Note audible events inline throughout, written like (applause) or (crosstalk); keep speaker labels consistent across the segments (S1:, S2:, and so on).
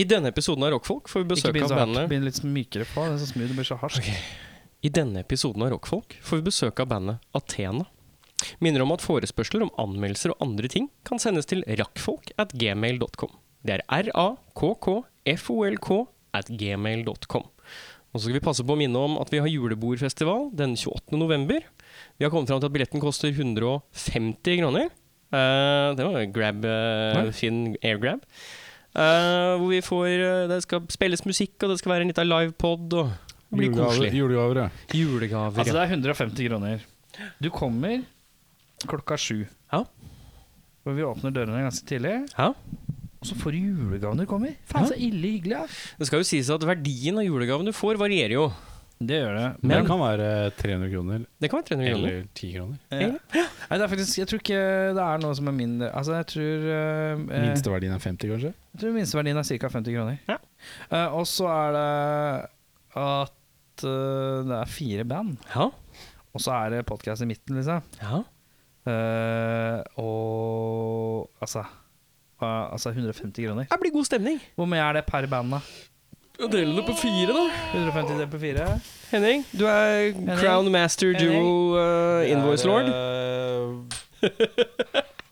S1: I denne episoden av Rockfolk får vi
S2: Ikke
S1: besøk
S2: begynn
S1: av
S2: så hardt.
S1: bandet
S2: Begynn litt mykere på. Det er så smooth, det blir så hardt. Altså,
S1: I denne episoden av Rockfolk får vi besøk av bandet Athena. Minner om at forespørsler om anmeldelser og andre ting kan sendes til rakkfolk at gmail.com. Det er r-a-k-k-f-o-l-k at gmail.com. Og så skal vi passe på å minne om at vi har julebordfestival den 28. november. Vi har kommet fram til at billetten koster 150 kroner. Eh, det var en grab, eh,
S2: Ja.
S1: fin airgrab. Eh, hvor vi får eh, Det skal spilles musikk, og det skal være en liten livepod. Og det blir
S3: Julegaver,
S1: koselig.
S3: julegaver, ja.
S1: Julegaver. ja.
S2: Altså, det er 150 kroner. Du kommer klokka sju.
S1: Ja.
S2: Og vi åpner dørene ganske tidlig.
S1: Ja.
S2: Og så får du julegaven når du kommer. Faen, så ille hyggelig. Ja.
S1: Det skal jo sies at verdien av julegaven du får, varierer jo.
S2: Det gjør det.
S3: Men
S1: Men-
S3: det kan være 300 kroner
S1: Det kan være 300 kroner.
S3: eller 10 kroner.
S2: Ja. eh, Nei, det er faktisk, jeg tror ikke det er noe som er mindre Altså, jeg tror eh, eh,
S3: Minsteverdien er 50, kanskje?
S2: Jeg tror minsteverdien er ca. 50 kroner.
S1: Ja.
S2: Eh, og så er det at eh, det er fire band,
S1: Ja.
S2: og så er det podkast i midten, liksom.
S1: ja.
S2: Eh, og altså eh, Altså 150 kroner.
S1: Det blir god stemning.
S2: Hvor mye er det per band, da?
S1: Del det på fire, da.
S2: 150 delt på fire?
S1: Henning, du er Crown Master Duo uh, Invoice Lord.
S3: eh,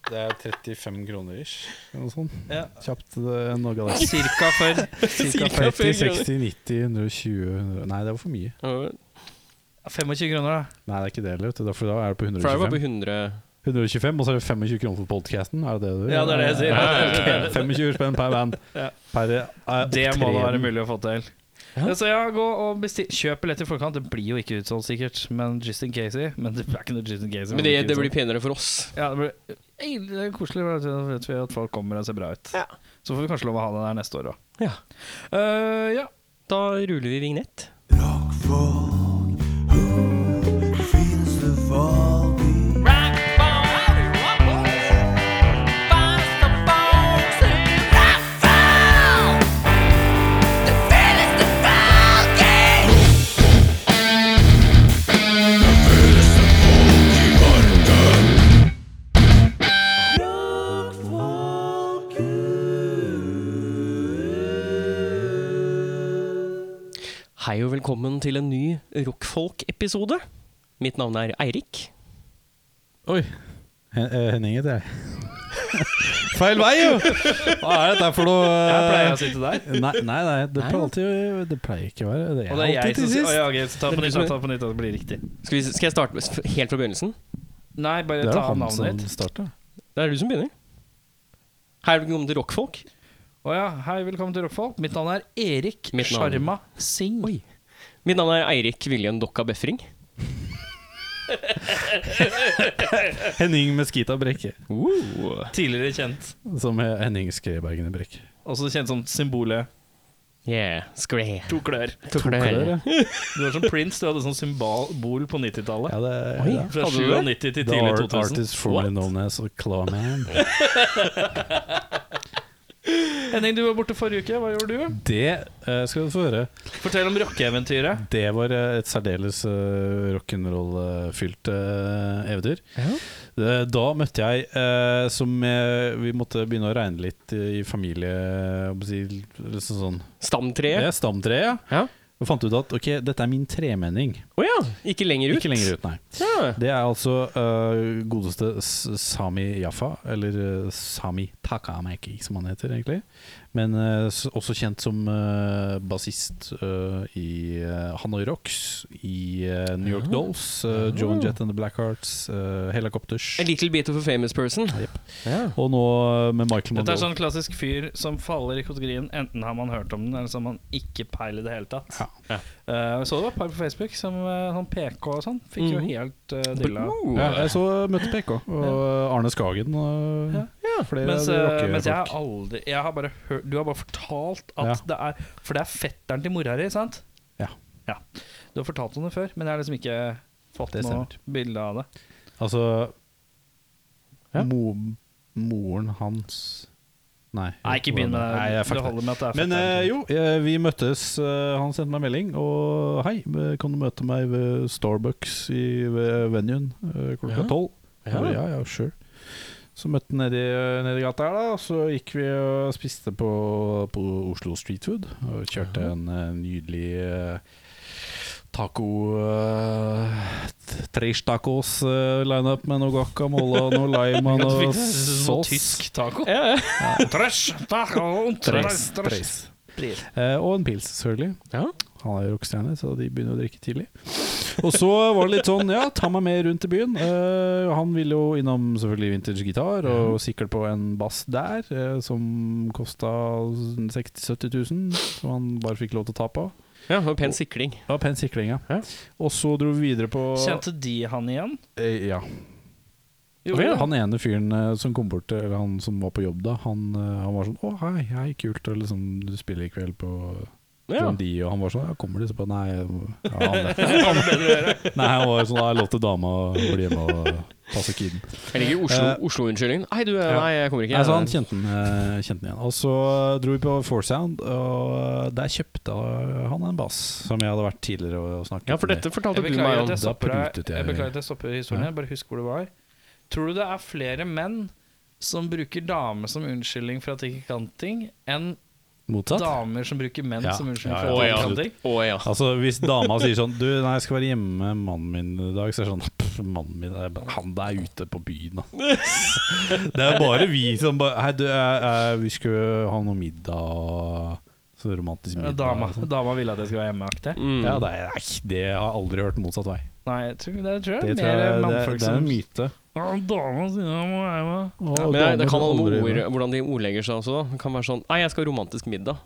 S3: Det er 35 kroner ish, eller noe sånt.
S2: Ja.
S3: Kjapt eh, nå ga (laughs) det.
S2: Cirka for
S1: Cirka
S3: Cirka 40,
S1: 40
S3: 60, 90, 120 100. Nei, det var for mye.
S1: kroner.
S2: 25 kroner, da.
S3: Nei, det er ikke det heller. vet du, For da er det på
S1: Fry var på
S3: 125.
S1: 100
S3: 125, og så er det 25 kroner for podcasten. Er det det du
S2: Ja, det er det jeg sier.
S3: Ok, 25 spenn per band.
S2: Ja.
S3: Per, eh,
S2: Det må det være
S3: opptreden.
S2: mulig å få til.
S1: Ja.
S2: Ja. Så ja, gå og bestill Kjøp billett i forkant. Det blir jo ikke utsolgt, sikkert. Men just in case (laughs) i. Men det er ikke noe just in case i.
S1: Men det, det blir penere for oss.
S2: Ja, det blir Ei, det er koselig for da vet vi at folk kommer og ser bra ut.
S1: Ja.
S2: Så får vi kanskje lov å ha den her neste år òg.
S1: Ja.
S2: ja.
S1: Uh, Da ruller vi vignett. Hei og velkommen til en ny Rockfolk-episode. Mitt navn er Eirik.
S3: Oi. Hen- eh, Henning heter jeg. (laughs) Feil vei, jo! Hva er dette for noe eh?
S2: Jeg pleier å sitte der.
S3: Nei, nei, nei det,
S1: Nei.
S3: pleier alltid, det pleier ikke å være det.
S2: Og det er jeg
S3: alltid
S2: som
S3: til
S2: sier
S3: sist.
S2: Å, ja, ok, så Ta
S1: Det
S2: på
S1: er
S2: nytt,
S1: du
S2: da,
S1: som-
S2: ta på nytt, da, så blir det riktig.
S1: Skal, vi, skal jeg starte med, helt fra begynnelsen?
S2: Nei, bare
S3: Det er
S2: ta
S3: jo han
S2: navnet ditt.
S3: som starta.
S1: Det er du som begynner. Hei og velkommen til Rockfolk.
S2: Å ja, hei, velkommen til Rockfolk. Mitt navn er Erik
S1: Mitt navn.
S2: Sharma Singh.
S1: Oi. Mitt navn er Eirik Viljen Dokka Befring.
S3: Henning Meskita Brekke. Uh.
S2: Tidligere kjent.
S3: Som er Henning Skrebergen i Brekke.
S2: Også kjent som symbolet.
S1: Yeah, skræ.
S2: To klør.
S3: Klør, ja.
S2: Du var som Prince, du hadde sånn symbol på 90-tallet.
S3: Ja, det,
S1: Oi.
S3: ja.
S2: Fra
S1: Hadde du det?
S2: 97 til
S3: The
S2: tidlig
S3: art,
S2: 2000.
S3: artist formerly known as Clawman.
S2: Henning, du var borte forrige uke. Hva gjorde du?
S3: Det eh, skal du få høre.
S2: Fortell om rockeeventyret.
S3: Det var eh, et særdeles eh, rock'n'roll-fylt eh, eventyr. Eh, Da møtte jeg, eh, som eh, vi måtte begynne å regne litt eh, i familie jeg må si, liksom sånn.
S1: Stamtreet.
S3: Det er stamtreet,
S1: Ja.
S3: Og fant ut at ok, dette er min tremenning.
S1: Å ja, ikke lenger ut.
S3: Ikke lenger ut, nei.
S1: Ja.
S3: Det er altså eh, godeste S- Sami Jaffa, eller eh, Sami Takameki, som han heter egentlig. Men eh, s- også kjent som eh, bassist eh, i eh, Hanoi Rocks, i eh, New
S2: Ah.
S3: York Dolls, eh, Joan Jett and the Blackhearts, eh, Helicopters.
S1: A little bit of a famous person.
S3: Jep.
S1: Ja.
S3: Og nå eh, med
S2: Dette
S3: Michael Monroe.
S2: er sånn klassisk fyr som faller i kategorien enten har man hørt om den, eller så har man ikke peil i det hele tatt.
S3: Ja.
S1: Ja.
S2: Eh, så det var et par på Facebook som eh, sånn PK og sånn. Fikk jo
S1: Mhm.
S2: helt eh, dilla.
S1: Oh.
S3: Ja, jeg så møtte PK og Arne Skagen og
S2: Ja.
S3: flere
S2: Mens, eh,
S3: rockefolk.
S2: mens jeg har aldri Jeg har bare hørt Du har bare fortalt at
S3: Ja.
S2: det er For det er fetteren til mora di, sant?
S3: Ja.
S2: ja. Du har fortalt om det før, men jeg har liksom ikke fått
S3: Det
S2: noe
S3: stemmer.
S2: bilde av det.
S3: Altså
S1: Ja.
S3: mo Moren hans Nei.
S2: Nei, ikke begynn med
S3: Nei,
S2: det.
S3: jeg
S2: Det
S3: fucker det.
S2: holder med at det er
S3: Men eh,
S2: fetteren.
S3: jo, eh, vi møttes. eh, han sendte meg melding og Hei, eh, kan du møte meg ved Starbucks i ved venuen eh, klokka
S1: Ja.
S3: tolv?
S1: Ja.
S3: Ja. ja, ja, sure. Så møtte han nedi, nedi gata her, da. Og så gikk vi og spiste på, på Oslo Street Food. Og kjørte en eh, nydelig eh, taco uh, Tres tacos eh, lineup med noe guacamole og noe lime
S1: (laughs)
S3: og noe saus.
S2: Tysk taco.
S1: Ja, ja.
S2: Trash, taco,
S3: Tres, tres.
S2: Pris.
S3: Eh, og en pils, selvfølgelig.
S1: ja.
S3: Han er jo rockestjerne, så de begynner å drikke tidlig. Og så var det litt sånn Ja, ta meg med rundt i byen. Eh, han ville jo innom selvfølgelig vintage gitar, og sikkert på en bass der, eh, som kosta 60 000-70 000, som han bare fikk lov til å ta på.
S1: ja det var pen sikling.
S3: Det var pen sikling, ja.
S1: Ja.
S3: Og så dro vi videre på
S2: Kjente de han igjen?
S3: Eh, Ja.
S2: Jo,
S3: Han ene fyren eh, som kom bort, eller han som var på jobb da, han, eh, han var sånn Å, hei, hei, kult, og liksom, du spiller i kveld på
S1: Ja.
S3: John Dee, og han var sånn ja, 'Kommer du?' Så bare Nei,
S1: (laughs)
S3: jeg har andre. (laughs) Nei, han var sånn 'Jeg har lov til dama å bli hjemme og passe kiden'.
S1: Jeg liker Oslo- Oslo-unnskyldningen. nei, du,
S3: Eh, Ja.
S1: nei, jeg kommer ikke.
S3: Nei, så han kjente den, eh, kjente den igjen. Og så dro vi på Four Sound, og der kjøpte han en bass, som jeg hadde vært tidligere og og snakket
S1: ja, for dette fortalte
S2: Jeg
S1: du meg
S2: beklager at
S1: om.
S2: jeg stopper
S3: Da
S2: deg.
S3: prutet jeg.
S2: Jeg beklager at jeg stopper historien.
S3: Ja.
S2: her, Bare husk hvor det var. Tror du det er flere menn som bruker damer som unnskyldning for at de ikke kan ting, enn
S3: Motsatt.
S2: damer som bruker menn
S3: Ja.
S2: som unnskyldning
S3: Ja,
S2: for
S3: ja,
S2: at de ikke
S1: absolutt.
S2: kan ting?
S1: Å ja.
S3: Altså Hvis dama sier sånn 'Du, nei, jeg skal være hjemme med mannen min i dag', så er det sånn «Pff, 'Mannen min, er bare- han der ute
S2: (laughs)
S3: på byen', da. Det er bare vi som bare 'Hei, du, jeg, jeg, vi skulle ha noe middag', og så romantisk middag.
S2: Dama,
S3: og sånn.
S2: dama ville at jeg skulle være hjemmeaktig.
S1: Mm.
S3: Ja, det, er, nei, det har jeg aldri hørt motsatt vei.
S2: Nei, jeg tror, det tror jeg
S3: Det,
S2: er
S3: tror
S2: mer
S3: jeg, det,
S2: mannfolk
S3: det er en
S2: som
S3: myte.
S2: Ja, Dama sier jeg må være hjemme.
S1: Men det, det kan ha noe med ord, hvordan de ordlegger seg også. da. Det kan være sånn Nei, jeg skal ha romantisk middag.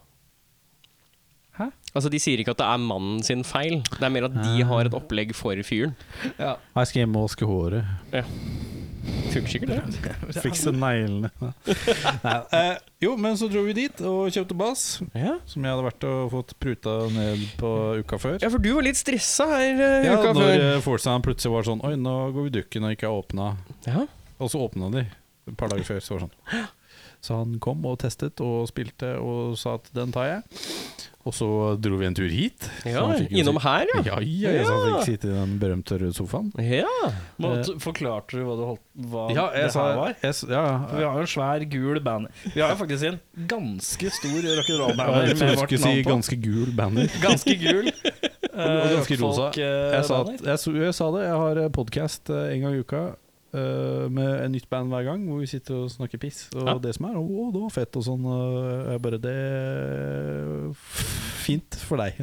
S2: Hæ?
S1: Altså, De sier ikke at det er mannen sin feil, det er mer at de har et opplegg for fyren.
S2: Ja.
S3: Jeg skal hjem og vaske
S2: (laughs)
S3: håret.
S1: Funker sikkert, det.
S3: Fikse
S2: (laughs)
S3: neglene. Nei, eh, jo, men så dro vi dit og kjøpte bass,
S1: Ja.
S3: som jeg hadde vært og fått pruta ned på uka før.
S1: ja, for du var litt stressa her eh,
S3: Ja,
S1: uka
S3: når
S1: før.
S3: eh, Forsan plutselig var sånn Oi, nå går vi dukken og ikke er åpna.
S1: Ja.
S3: Og så åpna de et par dager før. Så, var det sånn. så han kom og testet og spilte og sa at den tar jeg. Og så dro vi en tur hit. så
S1: ja.
S3: han fikk jo
S1: Innom
S3: si-
S1: her, ja.
S3: Ja, ja, ja, så han
S1: Ja.
S3: fikk sitte i den berømte røde sofaen.
S1: Ja.
S2: Måtte, forklarte du hva, du holdt, hva
S3: Ja,
S2: det
S3: jeg sa
S2: her var?
S3: jeg s- ja,
S2: For Vi har jo en svær, gul band. Vi har jo faktisk en ganske stor rock'n'roll-banner
S3: Jeg
S2: med
S3: trodde du
S2: vårt
S3: skulle si
S2: navn på.
S3: ganske gul banner.
S2: Ganske gul.
S3: og ganske rosa. Jeg sa, at,
S2: Folk-banner.
S3: jeg, så- jeg sa det. Jeg har podkast en gang i uka eh, med en nytt band hver gang, hvor vi sitter og snakker piss. Og
S1: Ja.
S3: det som er Å, det var fett, og sånn. Og jeg bare Det er Fint for deg.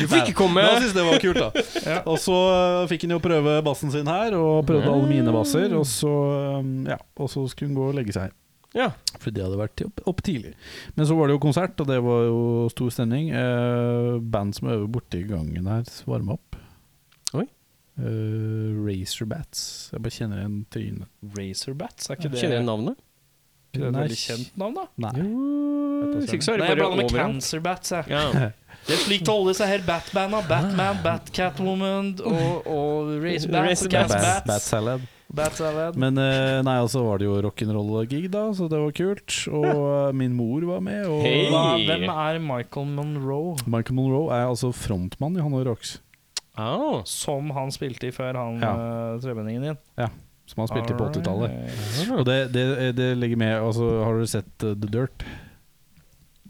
S1: Du får ikke komme
S3: Men han syntes det var kult, da. Og så eh, fikk han jo prøve bassen sin her, og prøvde alle mine basser. Og så, eh, ja, og så skulle hun gå og legge seg.
S1: Ja.
S3: For det hadde vært opp, opp tidlig. Men så var det jo konsert, og det var jo stor stemning. Eh, band som øver borti gangen her, varme opp.
S1: Oi.
S3: Eh, Razorbats. Jeg bare kjenner igjen trynet.
S2: Razorbats, er ikke det,
S1: Kjenner du navnet?
S2: ikke det et
S3: Nei.
S2: veldig kjent navn, da?
S3: Nei.
S1: Jo Hvis ikke så er
S2: sånn- Nei,
S1: det bare
S2: jeg blander med
S1: overalt.
S2: Cancerbats. jeg.
S1: Ja.
S2: Det er slik til alle disse her Batman-a. Batman, Batcatwoman og, og Razorbats.
S1: Razorbats.
S3: Bat,
S1: Bats.
S3: bat
S2: Bats.
S3: salad.
S2: Bats er det.
S3: Men eh, nei, altså var det jo rock'n'roll-gig, da, så det var kult. Og eh, min mor var med. Og
S1: Hei.
S2: Hva- Hvem er Michael Monroe?
S3: Michael Monroe er altså frontmann i Hanoi Rocks,
S2: Ah.
S1: Au.
S2: Som han spilte i før, han ja.
S3: Ja.
S2: tremenningen din.
S3: som han spilte på 80-tallet.
S2: Alright.
S3: Og det, det, det ligger med altså, Har du sett eh, The Dirt?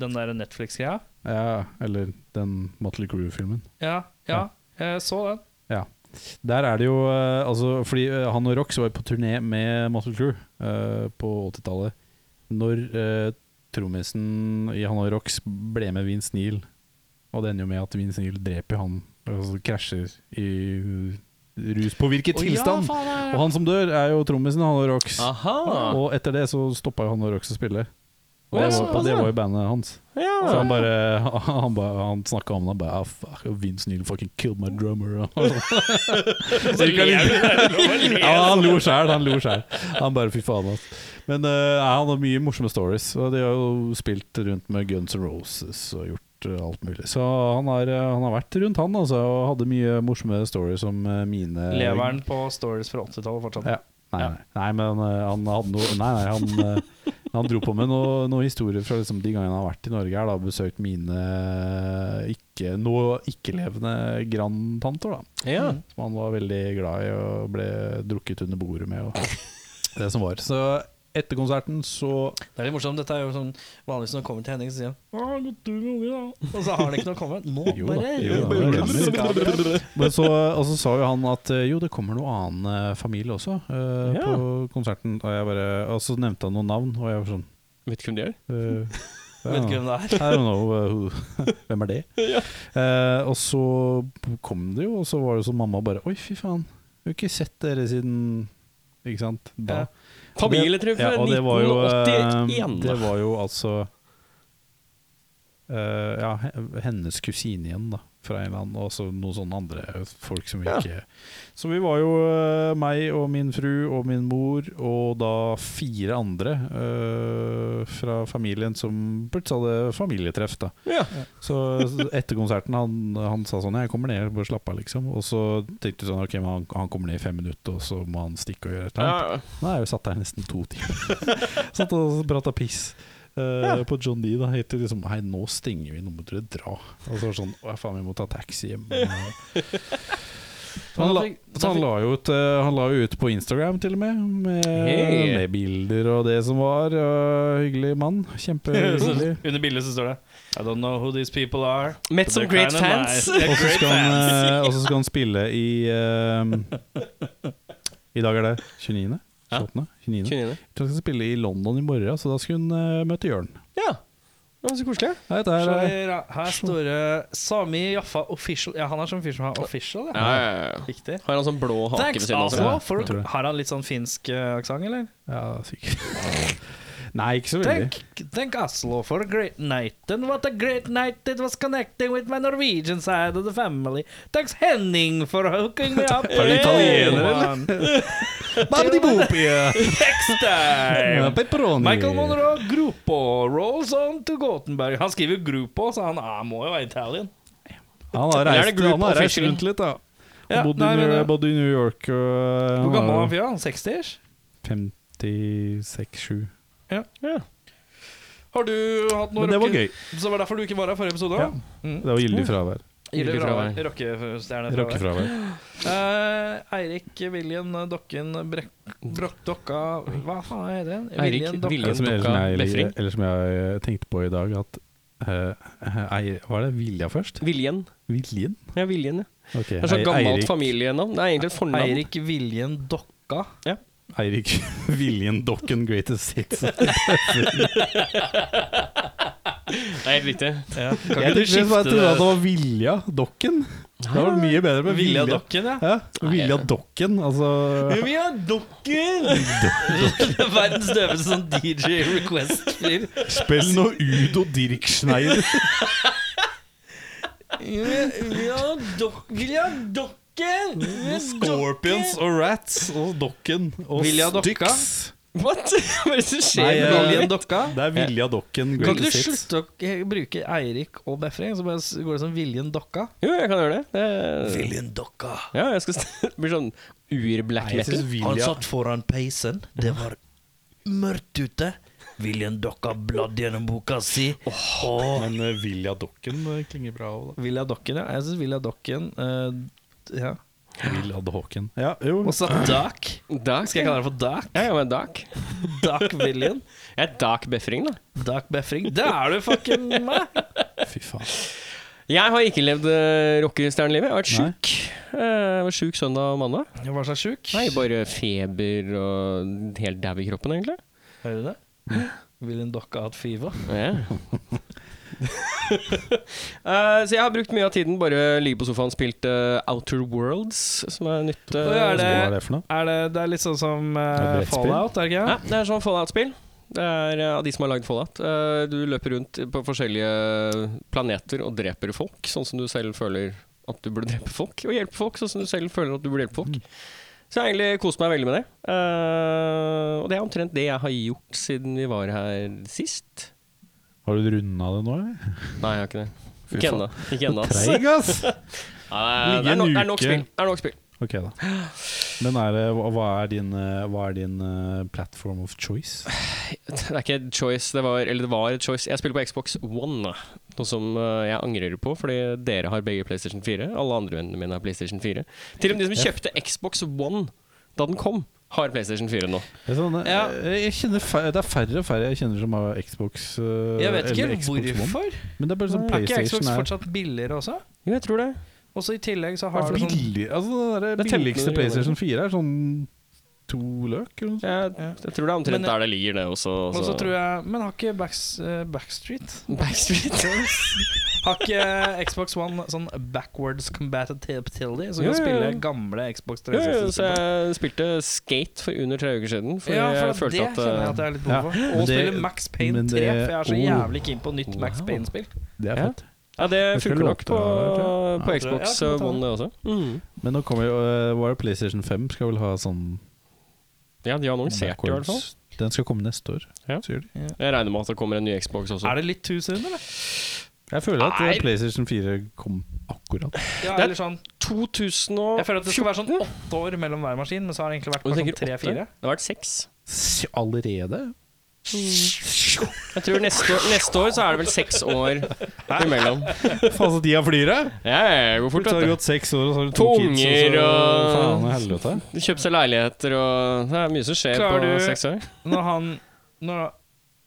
S2: Den der Netflix-greia?
S3: Ja, eller den Motley Crew-filmen.
S2: Ja, ja, jeg så den.
S3: Der er det jo eh, altså, Fordi eh, han og Rox var jo på turné med Motley Crew eh, på 80-tallet. Når eh, trommisen i han og Rox ble med Vince Neil, og det ender jo med at Vince Neil dreper jo han, altså krasjer i eh, ruspåvirket
S2: Å,
S3: tilstand.
S2: Ja, faen,
S3: og han som dør, er jo trommisen i han og Rox.
S1: Aha.
S3: Og etter det så stoppa jo han og Rox å spille. Og
S1: Å, ja,
S3: det, var,
S1: såpass,
S3: og det
S1: ja.
S3: var jo bandet hans. Så han bare (laughs) Han, bare- han snakka om det. Han bare ah, fuck, Vince Neil fucking killed my (laughs) drummer. Så gikk han litt- ja, han lo sjæl. Han lo sjæl. Han bare fy faen, ass. Men eh, nei, han har mye morsomme stories. Og de har jo spilt rundt med Guns N' Roses og gjort eh, alt mulig. Så han har, eh, han har vært rundt, han, altså. Og hadde mye morsomme stories om eh, mine
S2: Lever han på stories fra 80-tallet fortsatt?
S3: Ja. Nei, nei. nei, men eh, han hadde noe Nei, nei, han, eh, han dro på med noe- noen historier fra liksom, de gangene han har vært i Norge her, da, og besøkt mine eh, ikke, nå ikke-levende grandtanter, da.
S1: Ja.
S2: Mm.
S3: Som han var veldig glad i og ble drukket under bordet med. Og. Det som var. Så etter konserten så
S2: Det er litt morsomt. Dette er jo sånn vanligvis når han kommer til Henning, så sier han «Å, godt du med unge, da. Og så har han ikke noe å komme med. Nå
S3: (laughs) Jo da,
S2: bare
S3: jo da. Men så, og så sa jo han at eh, jo, det kommer noen annen eh, familie også eh,
S1: Ja.
S3: på konserten. Og, jeg bare, og så nevnte han noen navn, og jeg var sånn
S1: Vet ikke hvem de er.
S3: eh,
S2: Vet ikke hvem det er.
S3: I don't know uh, who. (laughs) Hvem er det? Eh, og så kom det jo, og så var det sånn mamma bare Oi, fy faen. Vi har ikke sett dere siden Ikke sant? Da.
S2: Ja.
S1: Familietreff fra
S3: og det var jo, eh,
S1: 1981.
S3: Det var jo altså eh, Ja, he- hennes kusine igjen, da. Fra en eller annen, og så noen sånne andre folk som vi
S1: Ja.
S3: ikke Så vi var jo eh, meg og min fru og min mor og da fire andre eh, fra familien som plutselig hadde familietreff, da.
S1: Ja.
S3: Så etter konserten han, han sa sånn 'Jeg kommer ned, bare slapp av', liksom. Og så tenkte vi sånn 'Ok, men han, han kommer ned i fem minutter, og så må han stikke og gjøre et eller annet'.
S1: Ja.
S3: Nei, jeg satt der nesten to timer. (laughs) satt og prata piss. eh, På John D. da helt til liksom Hei, nå stenger vi, nå må dere dra. Og så var det sånn Å, faen, vi må ta taxi
S2: (laughs)
S3: hjem. Så han, la, så han, la jo ut, eh, han la jo ut på Instagram til og med, med,
S1: Hey.
S3: med bilder og det som var. eh, hyggelig mann. Kjempehyggelig.
S2: Under bildet (laughs) så står det I don't know who these people are.
S1: Met
S2: but
S1: some
S2: they're
S1: great
S2: kinda
S1: fans. (laughs)
S2: nice. They're
S3: Og så
S2: great
S3: skal han,
S2: fans.
S3: eh, og
S2: (laughs)
S3: så skal han spille i eh, I dag er det 29.
S1: Ja.
S3: 28. 29.
S1: Kunne inn i det.
S3: Jeg tror han skal spille i London i morgen, så da skulle han eh, møte Jørn.
S1: Ja. Det var så koselig.
S3: Nei, dette er, eh,
S2: Her, her står det Sami Jaffa official. Ja, han er som fyr som har official, ja. Riktig.
S1: Har han sånn blå hake ved
S2: Thanks,
S1: siden av
S2: Oslo.
S1: seg?
S3: Ja,
S2: For,
S3: jeg tror det.
S2: har han litt sånn finsk eh, aksent, eller?
S3: ja, sikkert. (laughs) Nei, ikke så veldig.
S2: Thank, thank Oslo for a great night. And what a great night it was connecting with my Norwegian side of the family. Thanks Henning for hooking me up.
S3: Er du italiener,
S2: Next time!
S3: Pepperoni.
S2: Michael Monroe, Gruppo, rolls on to Gothenburg. Han skriver Gruppo, så han er, må jo være Italian.
S3: Han har
S1: Eller er det
S3: reist,
S1: group
S3: han har reist
S1: official?
S3: rundt litt, da. Han
S2: Ja,
S3: bodde,
S2: nei,
S3: i
S2: men
S3: New,
S2: det-
S3: bodde i New York og eh,
S2: Hvor gammel er
S3: var
S2: han fyren? Han er 60-ish?
S3: 56-7.
S1: Ja.
S2: Har du hatt noe
S3: Men det var gøy.
S2: Så var det derfor du ikke var her forrige episode?
S3: Ja. Det var gyldig fravær.
S1: Gyldig fravær.
S2: Rockestjerne.
S3: Rockefravær.
S2: Eh, Eirik Viljen eh, Dokken Brekk... Brokk Dokka Hva faen er det?
S1: Eirik
S2: Viljen Dokken
S1: Viljen
S3: Eller som, eller,
S1: Dokka
S3: som jeg,
S1: Befring.
S3: eller som jeg eh, tenkte på i dag, at eh, Eir- Hva er det? Vilja først?
S1: Viljen.
S3: Viljen?
S1: Ja, Viljen, ja.
S3: Ok,
S1: Det er sånn
S3: Ei-
S1: gammelt
S3: Eirik-
S1: familienavn. Det er egentlig et fornavn.
S2: Eirik Viljen Dokka.
S3: Eirik (laughs) Viljen Dokken Greatest Hits.
S1: Det er helt riktig. (laughs)
S2: Ja. Kan
S3: Jeg
S2: ikke du
S3: tenkte bare at
S2: skifte
S3: det var- det
S2: det?
S3: var Vilja Dokken. Det var mye bedre med
S2: Vilja
S3: Vilja
S2: Dokken, ja.
S3: Ja, Vilja Dokken, altså
S2: Vi har dokker! Verdens døveste sånn DJ request-fyr.
S3: Spill noe Udo (laughs) Dirkschneider.
S2: Vi har dokker! Vi har dokker!
S3: Scorpions og Rats og Dokken og
S2: Vilja Dokka?
S3: Styx.
S1: What? (laughs) Hva er det som skjer?
S3: Nei,
S1: med
S3: eh,
S1: Viljen?
S2: Viljen Dokka.
S3: Det er Vilja Dokken
S2: Kan ikke du
S3: Greatest Hits.
S2: slutte å k- bruke Eirik og Befring, så bare s- går det som Viljen Dokka?
S1: Jo, jeg kan gjøre det. det er...
S2: Dokka.
S1: Ja, jeg skal st- (laughs) bli sånn ur-black
S3: Nei, jeg
S1: metal.
S3: synes Vilja
S2: foran peisen. Det var mørkt ute. Viljen Dokka bladd gjennom boka si.
S3: Men eh, Vilja Dokken eh, klinger bra òg, da.
S2: Vilja Dokken, ja. Jeg syns Vilja Dokken eh, Ja.
S3: Vilja Dokken. Ja, jo.
S2: (clears throat) Og så Dak.
S1: Dark.
S2: Skal jeg kalle deg for Dak?
S1: Ja, ja, men Dark.
S2: Dak Viljen.
S1: Jeg er Dark Befring, da.
S2: Dak Befring. Det er du fucking meg!
S3: Fy faen.
S1: Jeg har ikke levd eh, rockestjernelivet. Jeg har vært
S3: Nei.
S1: sjuk. Eh, Jeg var sjuk søndag og mandag.
S2: Jeg var så sjuk.
S1: Nei, bare feber og helt dau i kroppen, egentlig.
S2: Hører du det? Viljen Dokka hatt fever.
S1: Ja. (laughs) Eh, så jeg har brukt mye av tiden bare ligge på sofaen, spilt eh, Outer Worlds, som er nytt. eh,
S2: Hva er det?
S3: Hva er det for noe?
S2: Er det, det er litt sånn som eh,
S3: Det er et brettspill.
S2: Fallout, er det ikke?
S1: Ja, det er sånn Fallout-spill. Det er eh, av de som har lagd Fallout. Eh, Du løper rundt på forskjellige planeter og dreper folk, sånn som du selv føler at du burde drepe folk. Og hjelpe folk, sånn som du selv føler at du burde hjelpe folk.
S3: Mm.
S1: Så jeg har egentlig kost meg veldig med det. Eh, og det er omtrent det jeg har gjort siden vi var her sist.
S3: Har du runda det nå, eller?
S1: Nei, jeg har ikke det.
S3: Fy
S1: Ikke
S3: faen.
S1: ennå. Ikke ennå, ass.
S3: Treig, ass!
S1: Nei, det
S3: Ligge
S1: er, no,
S3: en
S1: det er nok
S3: uke.
S1: spill. Det er nok spill.
S3: Ok, da. Men er det, hva hva er din, eh, hva er din eh, platform of choice?
S1: Det er ikke et choice, det var, eller det var et choice. Jeg spiller på Xbox One, noe som eh, jeg angrer på, fordi dere har begge PlayStation 4. Alle andre vennene mine har PlayStation 4. Til og med de som kjøpte Xbox One da den kom, har PlayStation 4 nå.
S3: Det er, sånn, eh,
S2: Ja.
S3: jeg kjenner fær- det er færre og færre jeg kjenner som har Xbox. eh,
S2: Jeg vet
S3: eller
S2: ikke
S3: Xbox One.
S2: hvorfor.
S3: Men det er bare sånn
S2: Er ikke Xbox
S3: PlayStation er
S2: fortsatt billigere også?
S1: Jo, jeg tror det.
S2: Og så i tillegg så
S3: Hva
S2: har
S3: er
S2: du
S3: det
S2: sånn
S3: billig, altså den der
S1: Det er
S3: billigste
S1: 1500
S3: PlayStation 4 er sånn to løk. Eller noe sånt.
S1: Jeg,
S2: Ja.
S1: jeg tror det er omtrent
S2: Men-
S1: der det ligger, det også. altså.
S2: Og så tror jeg Men har ikke Backs, eh, Backstreet (laughs)
S1: Backstreet.
S2: Har ikke Xbox One sånn backwards compatibility,
S1: Jo,
S2: så kan
S1: jo, jo.
S2: spille gamle Xbox
S1: Jo, jo, så
S2: 360?
S1: jeg spilte skate for under tre uker siden. For,
S2: Ja,
S1: jeg
S2: for det
S1: følte at
S2: kjenner jeg
S1: eh,
S2: at jeg er litt behov
S3: ja.
S2: for.
S3: Men
S2: Og
S3: det-
S2: spille Max Payne
S3: men
S2: 3, for
S3: det-
S2: jeg er så
S3: oh.
S2: jævlig keen på nytt Max
S1: Wow.
S2: Payne-spill.
S3: Det er
S1: Ja.
S3: fett.
S1: Ja, det
S3: Jeg skal
S1: funker nok
S3: låte
S1: på,
S3: det, tror jeg.
S1: på
S2: Ja.
S1: Xbox
S2: Ja, jeg kan ta
S1: One, det også. Mm.
S3: Men nå kommer jo eh, Var det PlayStation 5 skal vel ha sånn
S1: Ja, de har annonsert i hvert fall.
S3: backwards Den skal komme neste år,
S1: Ja.
S3: sier de.
S1: Jeg regner med at det kommer en ny Xbox også.
S2: Er det litt too soon, eller?
S3: Jeg føler at eh,
S1: Nei.
S3: PlayStation 4 kom akkurat.
S2: (laughs) Ja,
S1: Det er-
S2: eller sånn Jeg
S1: 2014?
S2: føler at det skal være sånn åtte år mellom hver maskin, men så har det egentlig vært
S1: Du
S2: bare
S1: tenker
S2: sånn
S1: åtte?
S2: tre-fire.
S1: Det har vært seks.
S3: S- Allerede?
S1: Jeg tror neste, år- neste år så er det vel seks år imellom.
S3: Faen, så tida flyr, det!
S1: Ja, ja, det går fort,
S3: Så har det
S1: vet
S3: gått seks år, og så har du to,
S1: To
S3: kids, og
S1: unger,
S3: så
S1: og-
S3: Faen i helvete.
S1: du. Du kjøper seg leiligheter og Det er mye som skjer på
S2: Klarer du-
S1: seks år.
S2: Når han når,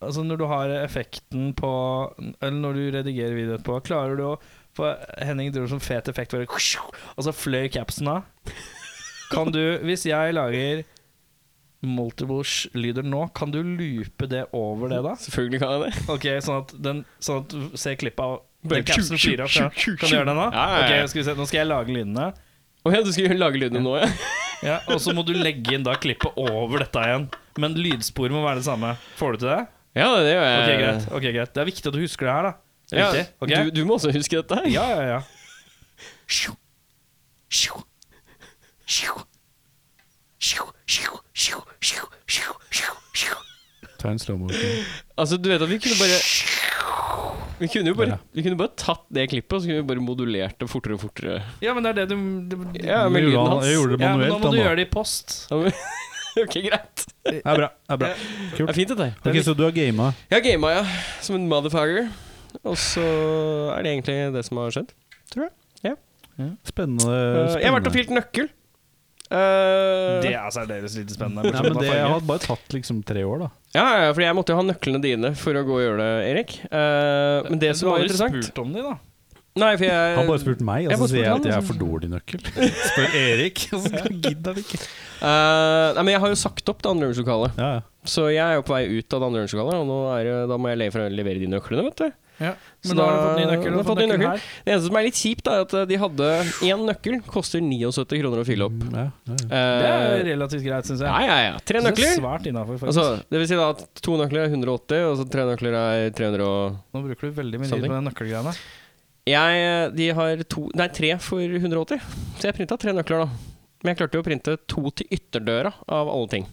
S2: Altså når du har effekten på Eller når du redigerer videoen etterpå, klarer du å For Henning dro som fet effekt, hvor det- og så fløy capsen av. Kan du, hvis jeg lager multiple sh- lyder nå, kan du loope det over det, da?
S1: Selvfølgelig kan jeg det.
S2: Ok, Sånn at, den, sånn at du ser klippet av
S1: Bare
S2: den capsen flyr av. Kan du gjøre det
S1: Ja,
S2: nå?
S1: ja, ja.
S2: Ok, skal vi se, Nå skal jeg lage lydene.
S1: Å ja, du skulle lage lydene nå, ja?
S2: Ja, og så må du legge inn da klippet over dette igjen. Men lydsporet må være det samme. Får du til det?
S1: Ja, det gjør jeg.
S2: Ok, greit. ok, greit Det er viktig at du husker det her, da. Det er
S1: Eh, Ja,
S2: viktig, ok?
S1: du, du må også huske dette her.
S2: ja, ja, ja.
S4: Shoo. Shoo. Shoo. Shoo. Shoo. Shoo. Shoo. Shoo. Shoo. Shoo.
S3: Ta en slow motion.
S1: Altså, du vet at vi kunne bare Vi kunne jo bare,
S3: Ja.
S1: vi kunne bare tatt det klippet, og så kunne vi bare modulert det fortere og fortere.
S2: Ja, men det er det du det,
S1: Ja, med
S3: Jeg gjorde
S1: lyden
S3: han-
S1: hans.
S3: Jeg gjorde det
S2: Ja, men
S3: manuelt,
S2: Nå må du
S3: han, da.
S2: gjøre det i post.
S1: (laughs) ok, greit.
S3: Det er bra. Det er bra.
S1: Det er fint, dette. her.
S3: Ok, Så du har gama?
S1: Jeg har gama, ja. Som en motherfucker. Og så er det egentlig det som har skjedd.
S3: Spennende.
S1: Eh, jeg har vært og
S3: spennende.
S1: fylt nøkkel. Eh,
S2: Det er særdeles lite spennende.
S3: Nei, men det jeg har bare tatt liksom tre år, da.
S1: ja, ja, fordi jeg måtte jo ha nøklene dine for å gå og gjøre det, Erik. Eh, men det som var interessant
S2: spurt om de,
S1: (laughs)
S2: da.
S1: Nei, for jeg
S3: Han bare spurte meg, og
S1: Eh, Jeg
S3: så
S1: bare
S3: sier jeg
S1: spurte
S3: at jeg
S1: han,
S3: er for dårlig
S1: (laughs)
S3: nøkkel. Spør Erik, og så gidder han ikke.
S1: Eh, Nei, men jeg har jo sagt opp det andre øvingslokalet.
S3: Ja, ja.
S1: Så jeg er jo på vei ut av det andre øvingslokalet, og nå er, det- da må jeg le for å levere de nøklene, vet du.
S2: Ja.
S1: Så
S2: Men da har du fått ny
S1: da-
S2: nøkkel.
S1: da
S2: og
S1: har jeg fått ny
S2: nøkkel
S1: nøkkel.
S2: her.
S1: Det eneste som er litt kjipt, er at eh, de hadde én nøkkel, koster 79 kroner å fylle opp.
S3: Ja, ja, ja.
S2: Det er
S1: Eh,
S2: relativt greit, syns jeg.
S1: ja, ja, ja. Tre
S2: Så det er
S1: nøkler.
S2: Svært innenfor, faktisk.
S1: Altså, det vil si da at to nøkler er 180, og så tre nøkler er 300 og
S2: Nå bruker du veldig mye tid
S1: Something.
S2: på den nøkkelgreiene.
S1: Jeg, eh, de har to, nei, tre for 180, så jeg printa tre nøkler, da. Men jeg klarte jo å printe to til ytterdøra, av alle ting.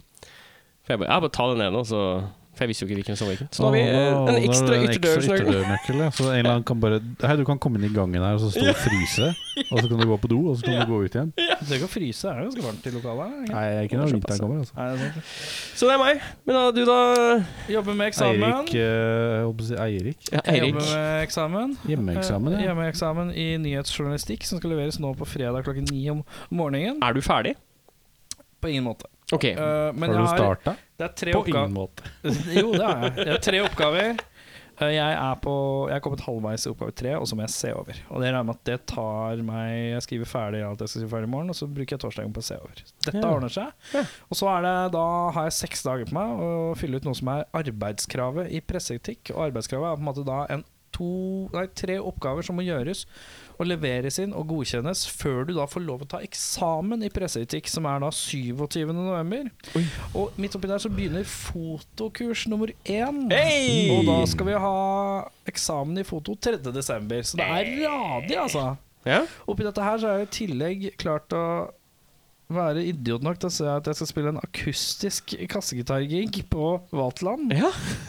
S1: For jeg bare, ja, bare ta den ene, og så For jeg visste jo ikke hvilken som var hvilken. Så nå har vi
S3: Åh,
S1: eh,
S3: da
S1: en
S3: er
S1: ekstra
S3: det en
S1: ytterdørsnøkkel.
S3: ytterdørnøkkel, ja. Så en eller annen kan bare Hei, du kan komme inn i gangen her og så stå
S1: (laughs)
S3: og fryse, og så kan du gå på do, og så kan du gå ut igjen.
S2: Du trenger ikke å fryse, er det ganske varmt i lokalet? her,
S3: Nei, ikke når vinteren kommer, altså.
S2: Er det sant?
S1: Så det er meg. Men da, du, da?
S2: Jobber med eksamen.
S3: Eirik eh, Jeg holdt på å si Eirik.
S1: Ja,
S2: Jeg
S1: Eirik.
S2: jobber med eksamen.
S3: Hjemmeeksamen,
S2: Eh,
S3: ja.
S2: Hjemmeeksamen i nyhetsjournalistikk som skal leveres nå på fredag klokken ni om morgenen.
S1: Er du ferdig?
S2: På ingen måte.
S1: Ok.
S2: Eh, men
S3: Har
S2: jeg
S3: du
S2: har,
S3: starta?
S2: det er tre
S3: På ingen
S2: oppgaver.
S3: måte.
S2: (laughs) jo, det er jeg. Jeg har tre oppgaver. Eh, jeg er på Jeg er kommet halvveis i oppgave tre, og så må jeg se over. Og det regner med at det tar meg Jeg skriver ferdig alt jeg skal skrive ferdig i morgen, og så bruker jeg torsdagen på å se over. Dette
S1: Ja.
S2: ordner seg.
S1: Ja.
S2: Og så er det, da har jeg seks dager på meg å fylle ut noe som er arbeidskravet i presseetikk. Og arbeidskravet er på en måte da en to, nei, tre oppgaver som må gjøres og leveres inn og godkjennes før du da får lov å ta eksamen i presseetikk, som er da 27. november.
S1: Oi.
S2: Og midt oppi der så begynner fotokurs nummer én.
S1: Hey!
S2: Og da skal vi ha eksamen i foto 3. desember. Så det er radig, altså.
S1: Ja?
S2: Oppi dette her så er jeg i tillegg klart å være idiot nok til å se at jeg skal spille en akustisk kassegitargig på Vaterland.
S1: ja?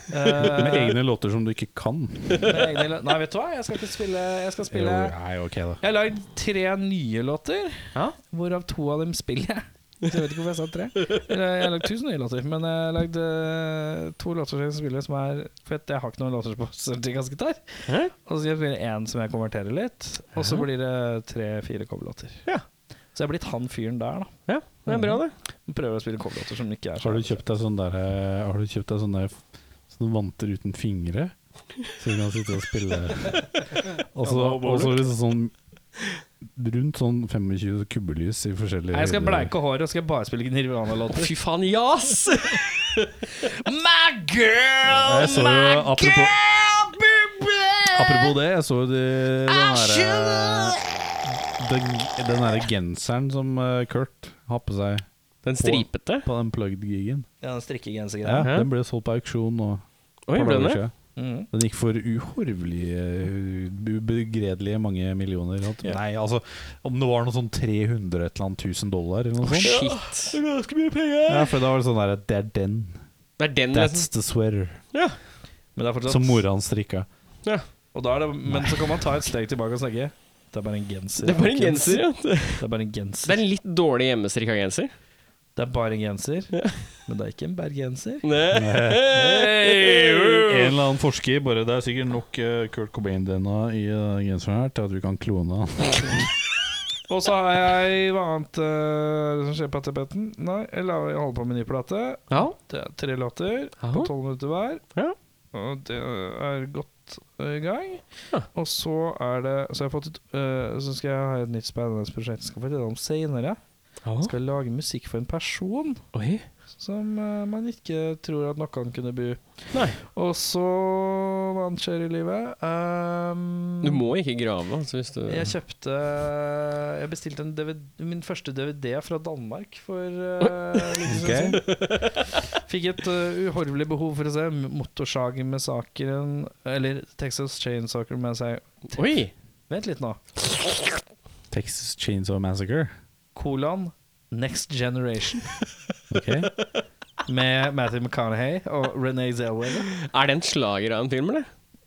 S2: Eh,
S3: Med egne låter som du ikke kan.
S2: med egne lå- Nei, vet du hva? Jeg skal ikke spille Jeg skal
S3: Jo,
S2: spille
S3: Nei, ok, da.
S2: Jeg har lagd tre nye låter,
S1: Ja?
S2: hvorav to av dem spiller jeg. Så jeg vet ikke hvorfor jeg sa tre. Eller, Jeg har lagd tusen nye låter, men jeg har lagd eh, to låter som jeg spiller som er For jeg- jeg har ikke noen låter på kassegitar.
S1: Hæ?
S2: Og så blir det én som jeg konverterer litt, og så blir det tre-fire coverlåter.
S1: Ja.
S2: Så jeg er blitt han fyren der, da. Mm.
S1: ja? Det er bra, det.
S2: Prøver å spille coverlåter som ikke er
S3: Har du kjøpt deg sånn der eh, Har du kjøpt deg sånn der f- Sånne vanter uten fingre? Så du kan sitte og spille Og så og så liksom sånn Rundt sånn 25 kubbelys i forskjellige
S2: Nei, jeg skal bleike håret og skal bare spille
S1: (laughs)
S2: Nirvana-låter.
S1: Fy faen, jas!
S4: My girl,
S3: Jeg så jo
S4: my
S3: apropos,
S4: girl, baby.
S3: apropos det, jeg så jo de, den derre den, den derre genseren som eh, Kurt har på seg
S1: Den stripete.
S3: på den plugged-gigen.
S2: Ja, den strikkegensergreia.
S3: Ja,
S1: Hæ?
S3: den ble solgt på auksjon nå.
S1: Oi,
S3: et par
S1: ble
S3: dager
S1: den det?
S3: siden.
S2: Mhm.
S3: Den gikk for uhorvelige, ubegredelige mange millioner. holdt jeg på å si. Nei, altså om det var noe sånn 300 et eller annet tusen dollar eller noe sånt.
S1: Shit.
S2: Ganske mye penger!
S3: Ja, for da var det sånn der Det er den.
S1: Det er den
S3: That's
S1: nesten.
S3: the sweater.
S1: Ja.
S2: Men det er fortsatt
S3: Som mora hans strikka.
S1: ja.
S2: Og da er det, men så kan man ta et steg tilbake og snakke. Det er bare en genser.
S1: Det er bare en
S2: folkens.
S1: genser, ja. Det
S2: Det er bare en
S1: det
S2: genser.
S1: er en litt dårlig hjemmestrikka genser.
S2: Det er bare en genser.
S1: Ja.
S2: Men det er ikke en bergenser.
S1: Hey!
S3: En eller annen forsker bare Det er sikkert nok eh, Kurt Cobain-DNA i eh, genseren her til at vi kan klone han.
S2: Og så har jeg hva annet eh, som skjer på tapeten. Nei, jeg la- jeg holder på med ny plate.
S1: Ja.
S2: Det er eh, tre låter
S1: Jaha.
S2: på tolv minutter hver.
S1: Ja.
S2: Og det er godt eh, i gang.
S1: Ja.
S2: Og så er det Så, har jeg fått ut, eh, så skal jeg ha et nytt spennende prosjekt. Skal jeg fortelle om senere.
S1: Ja.
S2: Skal jeg lage musikk for en person
S1: Oi.
S2: som eh, man ikke tror at noen kunne bu.
S1: Nei.
S2: Og så hva annet skjer i livet? Ehm,
S1: Du må ikke grave, altså, hvis du
S2: Jeg kjøpte Jeg bestilte en DVD, min første DVD fra Danmark for eh, litt siden. Fikk et eh, uhorvelig behov for å se Motorsagen-massakren Eller Texas Chainsaw Massacre
S1: Oi!
S2: Vent litt nå.
S3: (laughs) Texas Chainsaw Massacre.
S2: Kolon Next Generation
S3: Ok
S2: med Matthew McConaughey og Renee Zellweger.
S1: Er det en slager av en film, eller?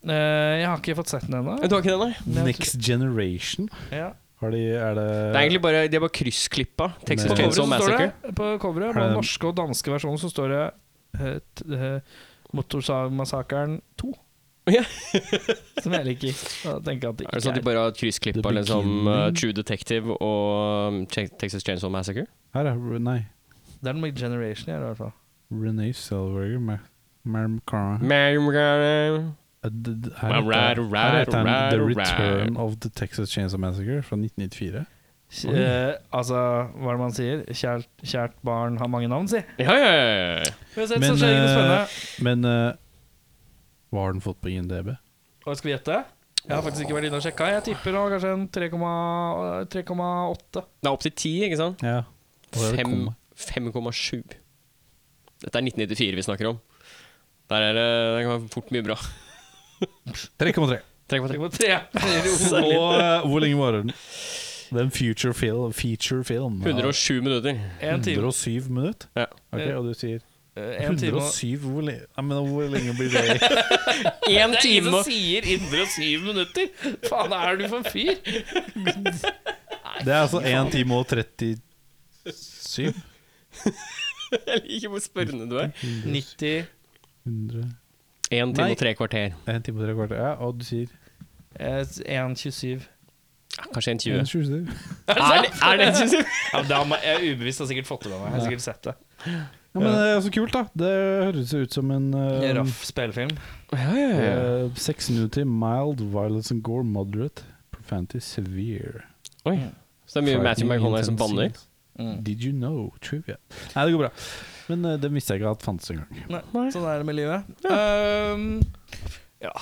S2: Eh, jeg har ikke fått sett den ennå.
S1: Du har ikke det, nei?
S2: Men jeg
S3: Next Generation.
S2: Ja.
S3: Har de Er det
S1: Det er egentlig bare, de er bare kryssklippa. Texas
S3: Nei.
S2: På coveret
S1: Chainsaw
S2: så står
S1: Massacre.
S2: det På coveret, på
S3: Er det-
S2: den norske og danske versjonen, så står det eh, t- eh, Motorsagmassakren 2.
S1: Ja.
S2: Som jeg liker. Da tenker jeg at det
S1: Er det sånn at de
S2: ikke er.
S1: bare har
S3: The
S1: kryssklippa liksom, uh,
S3: Beginning.
S1: True Detective og um, Che- Texas Chainsaw Massacre?
S3: Her er Nei.
S2: Det er noe med Generation her, i hvert fall.
S3: Renee Zellweger med Merm Cara.
S1: Nei,
S3: Uh, d- d-
S1: Ra-
S3: Her
S1: ra-
S3: heter
S1: ra-
S3: her heter
S1: ra-
S3: han The
S1: ra-
S3: Return of the Texas Chainsaw Massacre fra 1994. Oi.
S2: Eh, altså, hva er det man sier? Kjært, kjært barn har mange navn, si.
S1: Ja, ja, ja, ja.
S2: Vi har sett
S3: Men,
S2: så skjer ikke noe
S3: eh,
S2: spennende.
S3: Men eh, hva har den fått på INDB?
S2: Og skal vi gjette? Jeg har faktisk ikke vært inne og sjekka. Jeg tipper nå kanskje en 3,8. 3,8.
S1: Det er opptil ti, ikke sant?
S3: Ja.
S1: Fem- 5,7. Dette er 1994 vi snakker om. Der er det, det kan være fort mye bra.
S2: (laughs)
S3: 3,3.
S1: Trenger bare
S2: 3,3.
S3: Og eh, hvor lenge varer den? Det er en future film. Feature film.
S1: tre- 107 minutter.
S2: En time,
S3: 107 minutter?
S1: Ja.
S3: Ok, og du sier
S2: eh, en time og
S3: 107 Hvor, le Nei, men, hvor lenge blir
S2: (laughs)
S3: det?
S1: Én
S2: Det er ingen
S1: time
S2: som
S1: og
S2: sier 107 minutter! Faen, er du for en fyr?
S3: Det er altså 1 time og 37.
S1: Jeg liker hvor spørrende du er.
S2: 90
S3: 100
S1: Én
S3: Nei.
S1: time og tre kvarter.
S3: 1 time og 3 kvarter. Ja, og du sier
S2: eh, 1,27.
S1: Ja, Kanskje 1,20.
S3: 1,27.
S1: Er (laughs) det, er det, synes jeg?
S2: Ja, men da må- jeg er ubevisst har sikkert fått det med meg. Jeg har sikkert sett det.
S3: Ja, men det er så kult, da. Det høres jo ut som en
S2: En
S3: uh,
S2: Raff spillefilm.
S1: Ja, ja, ja.
S3: uh, Sexnudity, mild, violence and gore, moderate, profanity, severe.
S1: Oi. Så det er mye Matthew
S3: Frightening,
S1: McConaughey som
S3: intense
S1: banner.
S3: scenes.
S1: Mm.
S3: Did you know? Trivia. Nei, det går bra. Men uh, det visste jeg ikke at fantes engang.
S2: Nei,
S1: Nei.
S2: sånn er det med livet. Um, ja.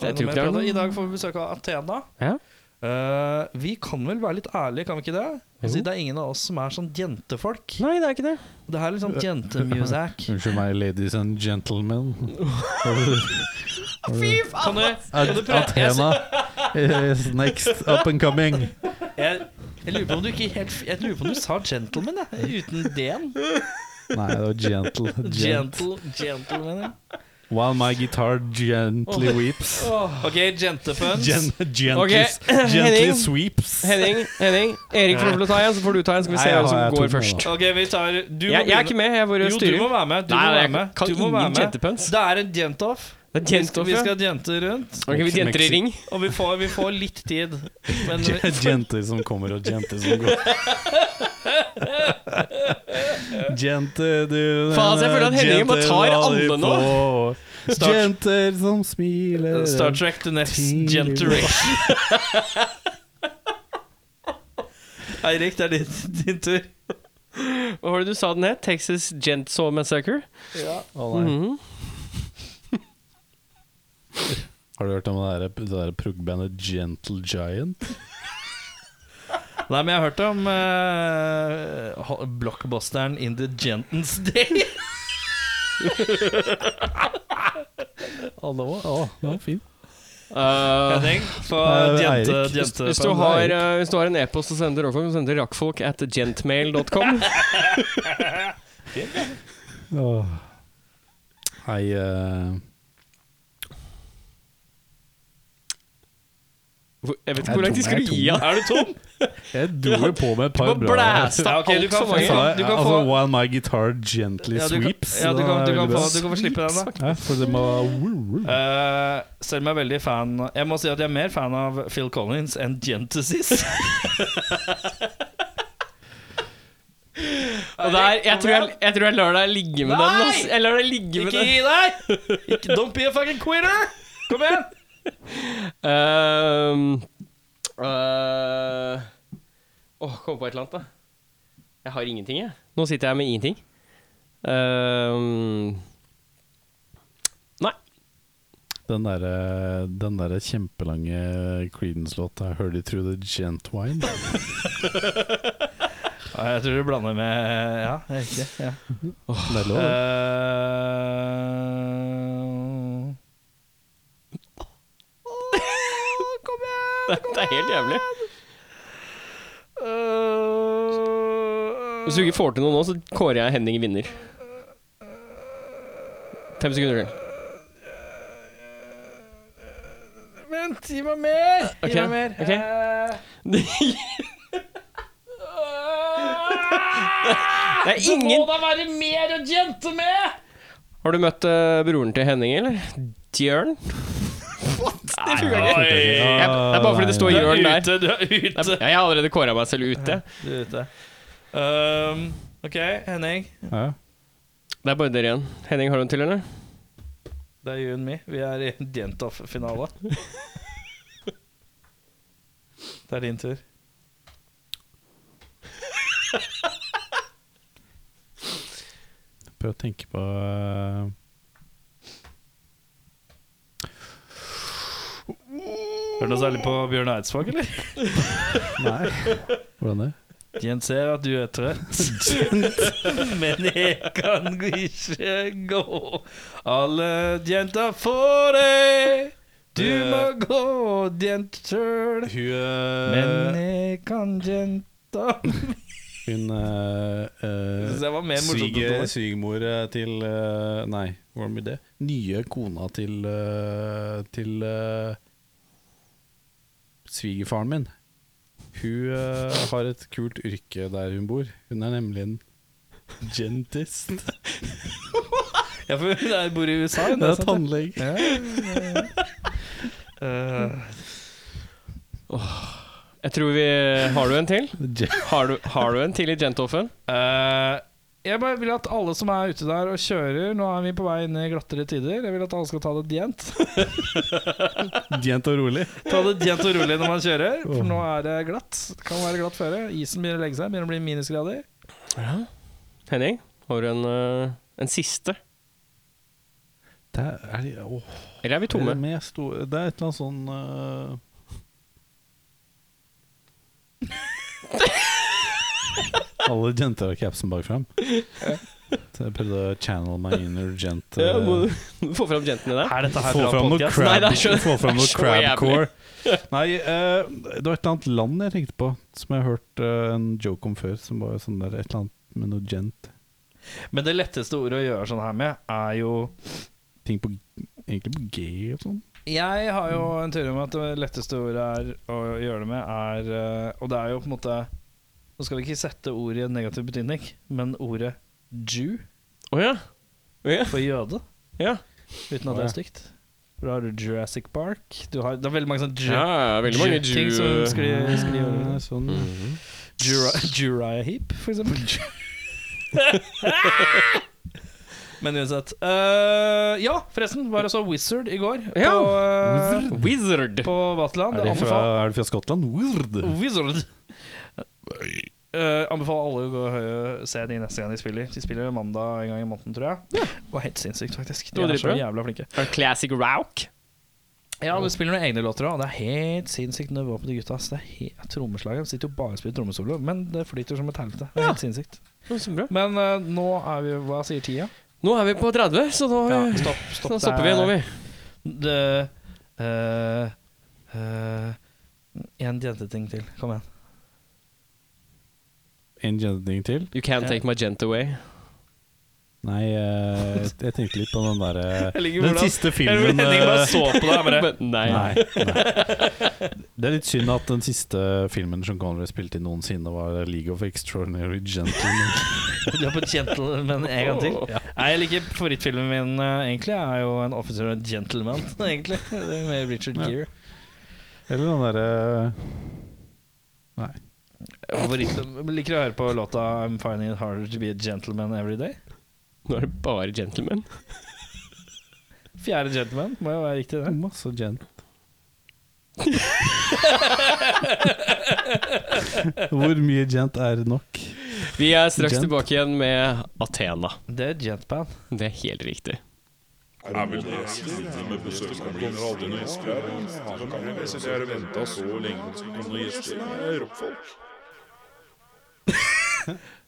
S1: Jeg
S2: Noe
S1: tror ikke
S2: mer
S1: det er
S2: prat?
S1: noe-
S2: I dag får vi besøk av Athena.
S1: Ja.
S2: Eh, vi kan vel være litt ærlige, kan vi ikke det? Og si
S1: Jo.
S2: det er ingen av oss som er sånn jentefolk.
S1: Nei, det er ikke det.
S2: Det her er litt sånn
S1: (laughs)
S2: jentemusikk.
S3: Unnskyld meg, ladies and gentlemen.
S2: Kan du
S3: At Athena is next up and coming.
S2: Jeg, jeg lurer på om du ikke helt Jeg lurer på om du sa 'gentleman', jeg. Uten D-en.
S3: Nei, det var gentle. Gent.
S2: Gentle, gentleman, ja.
S3: While my guitar gently weeps.
S2: Ok, gentepuns.
S3: Gen gently,
S1: Ok,
S3: gently
S1: Henning.
S3: sweeps.
S1: Henning, Henning, Erik får lov til å ta en, så får du ta en. Skal vi
S3: Nei,
S1: se
S3: jeg
S1: hvem
S3: har- jeg
S1: som
S3: har
S1: går
S3: to nå,
S1: først.
S3: da.
S2: Ok, vi tar Du
S1: Jeg,
S2: må
S1: jeg er ikke
S2: begynne.
S1: med, jeg bare
S2: Jo, du
S1: styrer.
S2: må være med. Du
S1: Nei,
S2: må
S1: nei,
S2: være
S1: jeg
S2: med.
S1: kan
S2: du må
S1: ingen
S2: være med.
S1: jentepuns.
S2: Det er en jentoff.
S1: Det er jentoff,
S2: Vi
S1: ja.
S2: skal jente rundt,
S1: Ok, vi jenter i ring.
S2: og vi får, vi får litt tid.
S1: (laughs)
S2: Men
S3: Jenter som kommer og jenter som går. Jenter, du
S1: Faen, altså, jeg føler at Henning bare tar alle nå.
S2: Start- Eh,
S3: Jenter som smiler
S2: Star Trek to next generation. Eirik, det er din, din tur.
S1: Hva var det du sa den het? Texas Gentsaw Massacre? Mhm.
S3: Har du hørt om det der, det der prog-bandet Gentle Giant?
S2: Nei, men jeg har hørt om eh, ho- blockbusteren In the Gentons Day.
S3: Å, det var, å, det var fint.
S1: Eh,
S2: Henning, få
S3: Nei,
S2: jente,
S3: Eirik.
S2: jente
S1: hvis, du har, eh, hvis du har en e-post å sende til rockfolk, så send til rockfolk at gentmail.com.
S3: Åh. Nei eh,
S1: Hvor- Jeg vet
S3: Jeg
S1: ikke hvor
S3: er
S1: langt de
S3: tom,
S1: skulle
S3: jeg er
S1: gi av.
S2: Er du (laughs) tom?
S3: Jeg dro jo på med et par
S1: bare
S3: bra
S1: blæste
S2: Ja, ok, du
S1: alt
S2: kan
S1: for
S2: få-
S1: mange.
S3: Jeg sa,
S2: Du kan
S3: altså,
S2: få-
S3: While my guitar gently
S2: Ja, du kan,
S3: sweeps.
S2: ja, du
S3: da
S2: kan,
S3: er
S2: du
S3: det
S2: kan, få,
S3: veldig bra.
S2: du kan få slippe den, da.
S3: Ja, for det må
S2: Eh, selv om jeg er veldig fan Jeg må si at jeg er mer fan av Phil Collins enn Gentesis.
S1: Og der, jeg, tror jeg, jeg tror jeg lar deg ligge med den.
S2: Nei!
S1: ass. Jeg lar deg ligge med
S2: Ikke
S1: den.
S2: gi deg! Ikke, don't be a fucking quitter! Kom igjen!
S1: Ehm, eh, Åh, kom på et eller annet, da. Jeg har ingenting, jeg. Nå sitter jeg med ingenting. Ehm, nei.
S3: Den derre den der kjempelange Creedence-låta 'Heard It Through The Gentwine'.
S2: Ja, jeg tror du blander med Ja, det er riktig. Ja.
S3: Det er lov.
S2: (laughs)
S3: det.
S2: Eh,
S1: Det, det er helt jævlig.
S2: Eh,
S1: Hvis du ikke får til noe nå, så kårer jeg Henning vinner. Fem sekunder til.
S2: vent, gi meg mer! Gi
S1: Ok,
S2: meg mer.
S1: ok.
S2: Eh,
S1: (laughs) Det, det er ingen
S2: Må da være mer å jente med!
S1: Har du møtt eh, broren til Henning, eller? Jørn? Det funker ikke.
S2: Oi.
S1: Jeg- Det er bare fordi det står
S2: Du er
S1: Jørn der.
S2: ute, du er ute.
S1: Ja, Jeg har allerede kåra meg selv ute.
S2: Du er ute. Um, OK, Henning.
S3: Ja.
S1: Det er bare dere igjen. Henning, har du en til, eller?
S2: Det er you and me. Vi er i en Jentoff-finale. Det er din tur.
S3: Prøv å tenke på eh,
S2: Hører du noe særlig på Bjørn Eidsvåg, eller?
S3: Nei. (laughs) Hvordan det?
S2: Jens ser at du er trøtt, men jeg kan ikke gå. Alle jenter får deg. Du må gå, jenter. Men eh, jeg kan jenta
S3: Hun eh, eh,
S2: Det var mer morsomt enn
S3: sviger-
S2: det.
S3: Svigermor eh, til eh, Nei, hvordan blir det? Nye kona til eh, Til eh, svigerfaren min. Hun eh, har et kult yrke der hun bor. Hun er nemlig en gentist.
S2: Ja, for (laughs) hun bor i USA. hun,
S3: Hun er
S2: sant det?
S3: tannlege. (laughs)
S2: Eh,
S1: Jeg tror vi eh, Har du en til?
S3: Gen-
S1: Har du, har du en til i Jentoffen?
S2: eh, jeg bare vil at alle som er ute der og kjører Nå er vi på vei inn i glattere tider. Jeg vil at alle skal ta det djent.
S3: Gent og rolig.
S2: (laughs) Ta det djent og rolig når man kjører, for nå er det glatt. Det kan være glatt føre. Isen begynner å legge seg, begynner å bli minusgrader.
S1: Henning, har du en, eh, en siste?
S3: Der er de Åh.
S1: Eller er vi tomme?
S2: Eh.
S3: Men jeg sto, det er et eller annet sånn
S1: (laughs)
S3: øh, Alle jenter har capsen bak fram. Så jeg prøvde å channel my inner gent.
S1: Ja,
S3: øh,
S1: må du få fram jentene der?
S2: Er dette
S3: få fram noe
S1: Nei,
S3: crab,
S1: det er så-
S3: få fram
S1: det (laughs)
S3: noe
S1: er så jævlig.
S3: crabcore. Nei, øh, det var et eller annet land jeg tenkte på, som jeg har hørt øh, en joke om før. Som var sånn der, et eller annet med noe gent.
S2: Men det letteste ordet å gjøre sånn her med, er jo
S3: Ting på, egentlig på G og sånn.
S2: Jeg har jo en teori om at det letteste ordet er å gjøre det med, er eh, Og det er jo på en måte Nå skal vi ikke sette ordet i en negativ betydning, men ordet Jew
S1: Å ja. Å ja.
S2: for jøde,
S1: ja.
S2: uten at det er stygt. For da har du Jurassic Park du har, Det er veldig mange sånne Jew.
S1: ja, ja, veldig mange
S2: Jew- ting som
S1: Jew...
S3: Eh,
S1: (laughs)
S2: skulle, skulle gjøre det.
S3: sånn.
S1: Mhm. (laughs)
S2: Jura, Juriah Heap, for eksempel. Men uansett. Eh, ja, forresten var det så Wizard i går. På,
S1: Ja.
S2: eh,
S1: Wizard.
S2: på Vaterland.
S3: Mm. Er de fra,
S2: Anbefal-
S3: er de fra Skottland? Weird.
S2: Wizard. Eh, anbefaler alle å gå og hø- se de neste gang de spiller. De spiller mandag en gang i måneden, tror jeg. Det var helt sinnssykt, faktisk. De
S1: Det var
S2: er så
S1: dritbra.
S2: jævla flinke.
S1: Classic rock.
S2: Ja, men de spiller noen egne låter òg. Det er helt sinnssykt nivå på de gutta. ass. Det er helt Trommeslaget de sitter jo bare og spiller trommesolo, men det flyter som et helvete. Det er helt sinnssykt.
S1: Så bra.
S2: Men eh, nå er vi Hva sier tida?
S1: Nå er vi på 30, så da,
S2: Ja,
S1: (laughs)
S2: stopp, stopp.
S1: da stopper vi nå, vi.
S2: Det eh, eh, En jenteting til. Kom igjen. (laughs)
S3: En jenting til?
S1: You can't take my gent
S2: (laughs)
S1: away.
S3: Nei, eh, jeg, jeg tenkte litt på den derre
S2: Jeg liker
S3: Den
S2: hvordan-
S3: siste filmen
S2: Henning bare
S3: eh,
S2: så på deg. Bare.
S1: (laughs) Men nei.
S3: (laughs) Nei, nei. Det er litt synd at den siste filmen Sean Connery spilte inn noensinne, var League of Extraordinary Gentlemen.
S2: Du er på gentleman en gang til? Nei, jeg liker favorittfilmen min eh, egentlig. Jeg er jo en officer og en gentleman, (laughs) egentlig. Det er Med Richard
S3: Ja.
S2: Gere.
S3: (laughs) Eller den derre Nei.
S2: Favoritt- Liker du å høre på låta 'I'm finding it harder to be a gentleman every day'?
S1: Nå er det bare gentlemen.
S2: Fjerde gentleman må jo være riktig, det.
S3: Masse gent. (laughs) Hvor mye gent er nok?
S1: Vi er straks
S3: Gent.
S1: tilbake igjen med Athena.
S2: Det er gentband.
S1: Det er helt riktig.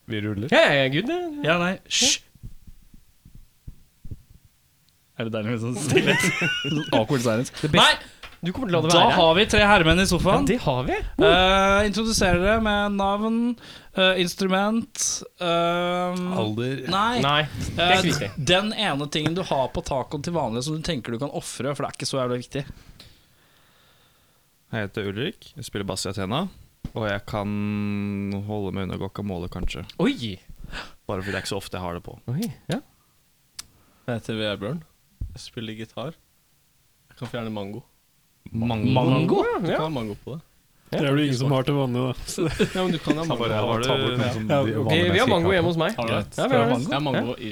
S3: Vi ruller.
S1: Ja, jeg er good, jeg.
S2: Ja, nei, hysj! Er det deilig med sånn stillhet? (laughs) Awkward silence. Nei!
S1: Du kommer til å la det
S2: Da
S1: være.
S2: har vi tre herremenn i sofaen.
S1: Det har vi.
S2: Eh, introduserer dere med navn, eh, instrument eh,
S3: Alder
S2: Nei.
S1: Nei.
S2: Eh,
S1: ikke viktig.
S2: den ene tingen du har på tacoen til vanlig som du tenker du kan ofre, for det er ikke så jævlig viktig.
S5: Jeg heter Ulrik, jeg spiller bass i Athena. Og jeg kan holde meg unna guacamole, kanskje.
S1: Oi.
S5: Bare fordi det er ikke så ofte jeg har det på.
S1: Oi, ja.
S6: Jeg heter Vebjørn. Jeg spiller gitar. Jeg kan fjerne mango.
S5: Mange
S1: Mango?
S6: Du
S1: Ja.
S6: kan ha mango på det.
S7: Det er vel ingen som har til vanlig, da. Så det-
S6: (laughs) Ja, men du kan ha mango.
S5: Bare har du
S3: vanlige
S1: Ok, vi har
S3: mennesker
S1: mango
S3: ikke
S1: hjemme hos meg.
S6: Har du det?
S1: Ja, vi har det.
S6: Det er mango i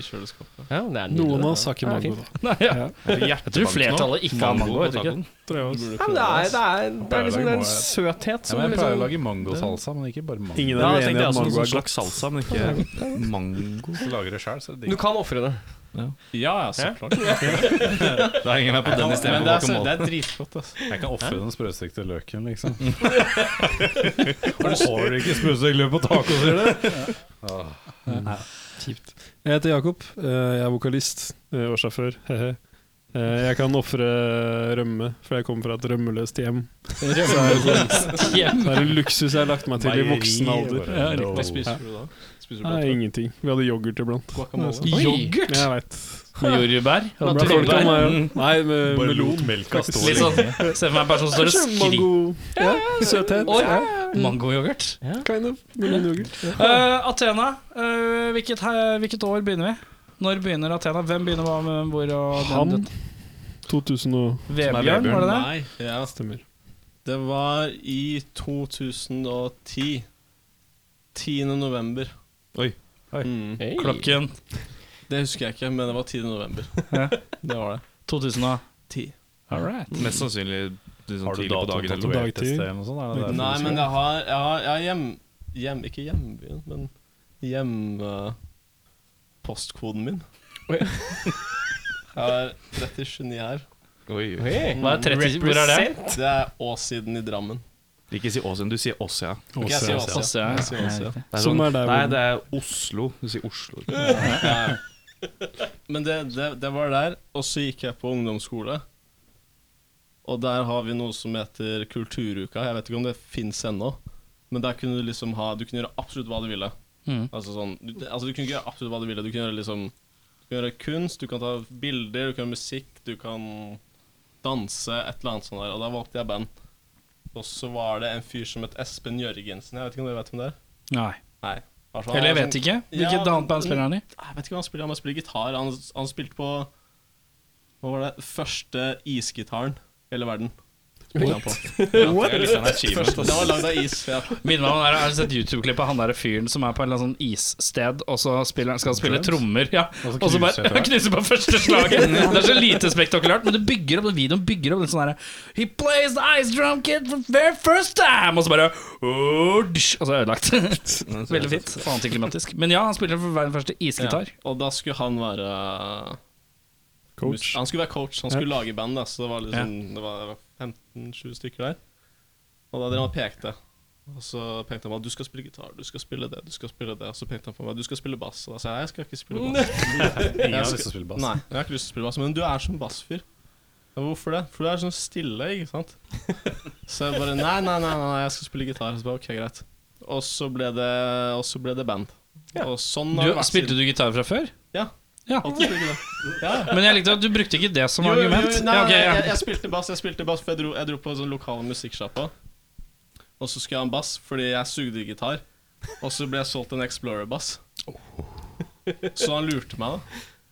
S1: Ja,
S6: kjøleskapet.
S1: det er nydelig.
S7: Noen av oss har ikke
S1: Ja,
S7: mango,
S1: fint.
S7: da.
S5: Jeg tror flertallet ikke har mango. jeg tror ikke.
S7: Tror jeg også.
S1: Ja, men det er, det er, det er liksom en søthet
S3: Ja,
S1: som
S3: men jeg pleier å
S1: liksom
S3: lage mangosalsa, men ikke bare mango.
S7: Ingen
S5: Ja,
S7: er
S5: jeg
S7: uenig i
S5: tenkte
S7: at
S5: også
S7: mango
S5: noen
S7: er godt.
S5: slags salsa, men ikke mango.
S3: Hvis du lager det sjøl, så er det
S1: Du kan ofre det.
S6: Ja, ja, så klart.
S5: Da henger jeg meg på den
S6: Men
S5: istedenfor
S6: det er, så, det
S5: guacamole.
S6: er dritgodt, altså.
S3: Jeg kan ofre den sprøstekte løken,
S5: (laughs)
S3: liksom. Har du ikke sprøstekt løk på taco, sier du?
S5: Ah,
S7: Kjipt. Jeg heter Jakob. eh, Jeg er vokalist. eh, Årssjåfør. Hehe. Eh, Jeg kan ofre rømme, for jeg kommer fra et rømmeløst hjem. Det er en luksus jeg har lagt meg til i voksen alder.
S6: Ja,
S3: No.
S6: Hva spiser du da? Spiser du
S7: Nei,
S6: blått?
S7: ingenting. Vi hadde yoghurt iblant.
S6: Guacamole?
S2: Yoghurt?
S7: Jeg veit.
S2: Med jordbær?
S7: Det ble folk av
S2: Naturlig.
S7: meg, ja. Nei,
S5: Eh,
S7: med
S3: Bare
S7: melon.
S3: lot melka stå
S2: Litt sånn, Se for meg en person som står og
S7: Kanskje
S2: skriker
S7: mango ja, Søthet.
S2: Oi.
S7: Ja,
S2: mangoyoghurt.
S7: kind of. Melonyoghurt. Ja.
S2: Eh, Athena, eh, hvilket, he- hvilket år begynner vi? Når begynner Athena? Hvem begynner hva med hvor og
S7: Han 2000 og
S2: Vebjørn, var det det?
S6: Nei, ja.
S7: Stemmer.
S6: Det var i 2010. 10. november.
S5: Oi.
S2: Oi.
S6: Mm.
S1: Hey.
S2: Klokken
S6: Det husker jeg ikke, men det var 10. november.
S2: Ja.
S6: Det var det.
S2: 2000 og
S6: Ti.
S2: All right.
S5: Mest sannsynlig litt sånn
S3: Har du
S5: tidlig på dagen eller noe.
S7: dagtid?
S3: datotatovert-system og sånn? er det derfor
S6: Nei,
S3: du
S6: men
S3: sier?
S6: jeg har, jeg har, jeg har hjem, hjem... Ikke hjembyen, men hjemme... postkoden min. (laughs)
S1: Oi.
S6: jeg har 39 her.
S5: Oi, oi.
S1: Hey.
S2: Hva er 30, hvor er det?
S6: Det er Åssiden i Drammen.
S5: Ikke si Åsen, du sier Ås, ja.
S6: Ok, jeg sier Ås, ja. Jeg sier Ås, ja.
S5: altså. Det er
S7: Som
S5: sånn,
S7: er der
S5: nei,
S7: hvor-
S5: det er Oslo. Du sier Oslo.
S6: Men det, det, det var der, og så gikk jeg på ungdomsskole. Og der har vi noe som heter Kulturuka. Jeg vet ikke om det fins ennå. Men der kunne du liksom ha Du kunne gjøre absolutt hva du ville.
S2: Mm.
S6: Altså sånn du, altså du kunne ikke gjøre absolutt hva du ville. Du kunne gjøre liksom Du kunne gjøre kunst, du kan ta bilder, du kan gjøre musikk, du kan danse, et eller annet sånt der. Og da valgte jeg band. Og så var det en fyr som het Espen Jørgensen. Jeg vet ikke om dere vet hvem det er?
S2: Nei.
S6: Nei. Altså, han
S2: Eller jeg
S6: var
S2: vet
S6: sånn-
S2: ikke.
S6: Ja,
S2: Hvilket annet band spiller han i?
S6: jeg vet ikke hva han spiller, han bare spiller gitar. Han, han spilte på Hva var det? Første isgitaren i hele verden. What? Det var lagd av is. Ja.
S2: Minner meg om den der- Har du sett YouTube-klipp av han der fyren som er på en eller annen sånn issted, og så spiller, han- skal han spille trommer? Ja. Og så bare (laughs) knuser på første
S6: (laughs)
S2: slaget! Det er så lite spektakulært, men det bygger opp, videoen bygger opp litt sånn herre He plays the ice drum kid for the very first time! Og så bare «Åh, dysj», Og så er det
S6: (laughs)
S2: ødelagt. (laughs) Veldig fint. Og antiklimatisk. Men ja, han spiller for verdens første isgitar.
S6: Ja. Og da skulle han være
S7: Coach.
S6: Han skulle være coach, han skulle lage band, da, så det var, liksom, det var det var 15-20 stykker der. Og da drev han og pekte. Og så pekte han på meg, du skal spille gitar, du skal spille det, du skal spille det. Og så pekte han på meg, du skal spille bass. Og da sa jeg, jeg skal ikke spille bass.
S3: Ingen
S6: har
S3: har
S6: lyst
S3: lyst til å spille
S6: Nei, jeg har ikke lyst til å spille bass, men du er som bassfyr. Ja, Hvorfor det? For du er sånn stille, ikke
S2: (laughs)
S6: sant? Så jeg bare, nei, nei, nei, nei jeg skal spille gitar. Så jeg bare, ok, greit. Og så ble det, og så ble det band. Og sånn har det
S2: Du,
S6: vært
S2: spilte
S6: siden.
S2: du gitar fra før?
S6: Ja.
S2: Ja.
S6: Alltid spilte det. Ja, ja.
S2: Men jeg likte at du brukte ikke det som
S6: Jo, jo, jo,
S2: argument.
S6: Nei,
S2: ja, ok, ja.
S6: Jeg, jeg spilte bass, jeg spilte bass for jeg dro, jeg dro på en sånn lokal musikksjappa. Og så skulle jeg ha en bass fordi jeg sugde i gitar. Og så ble jeg solgt en Explorer-bass.
S2: Oh.
S6: (laughs) Så han lurte meg,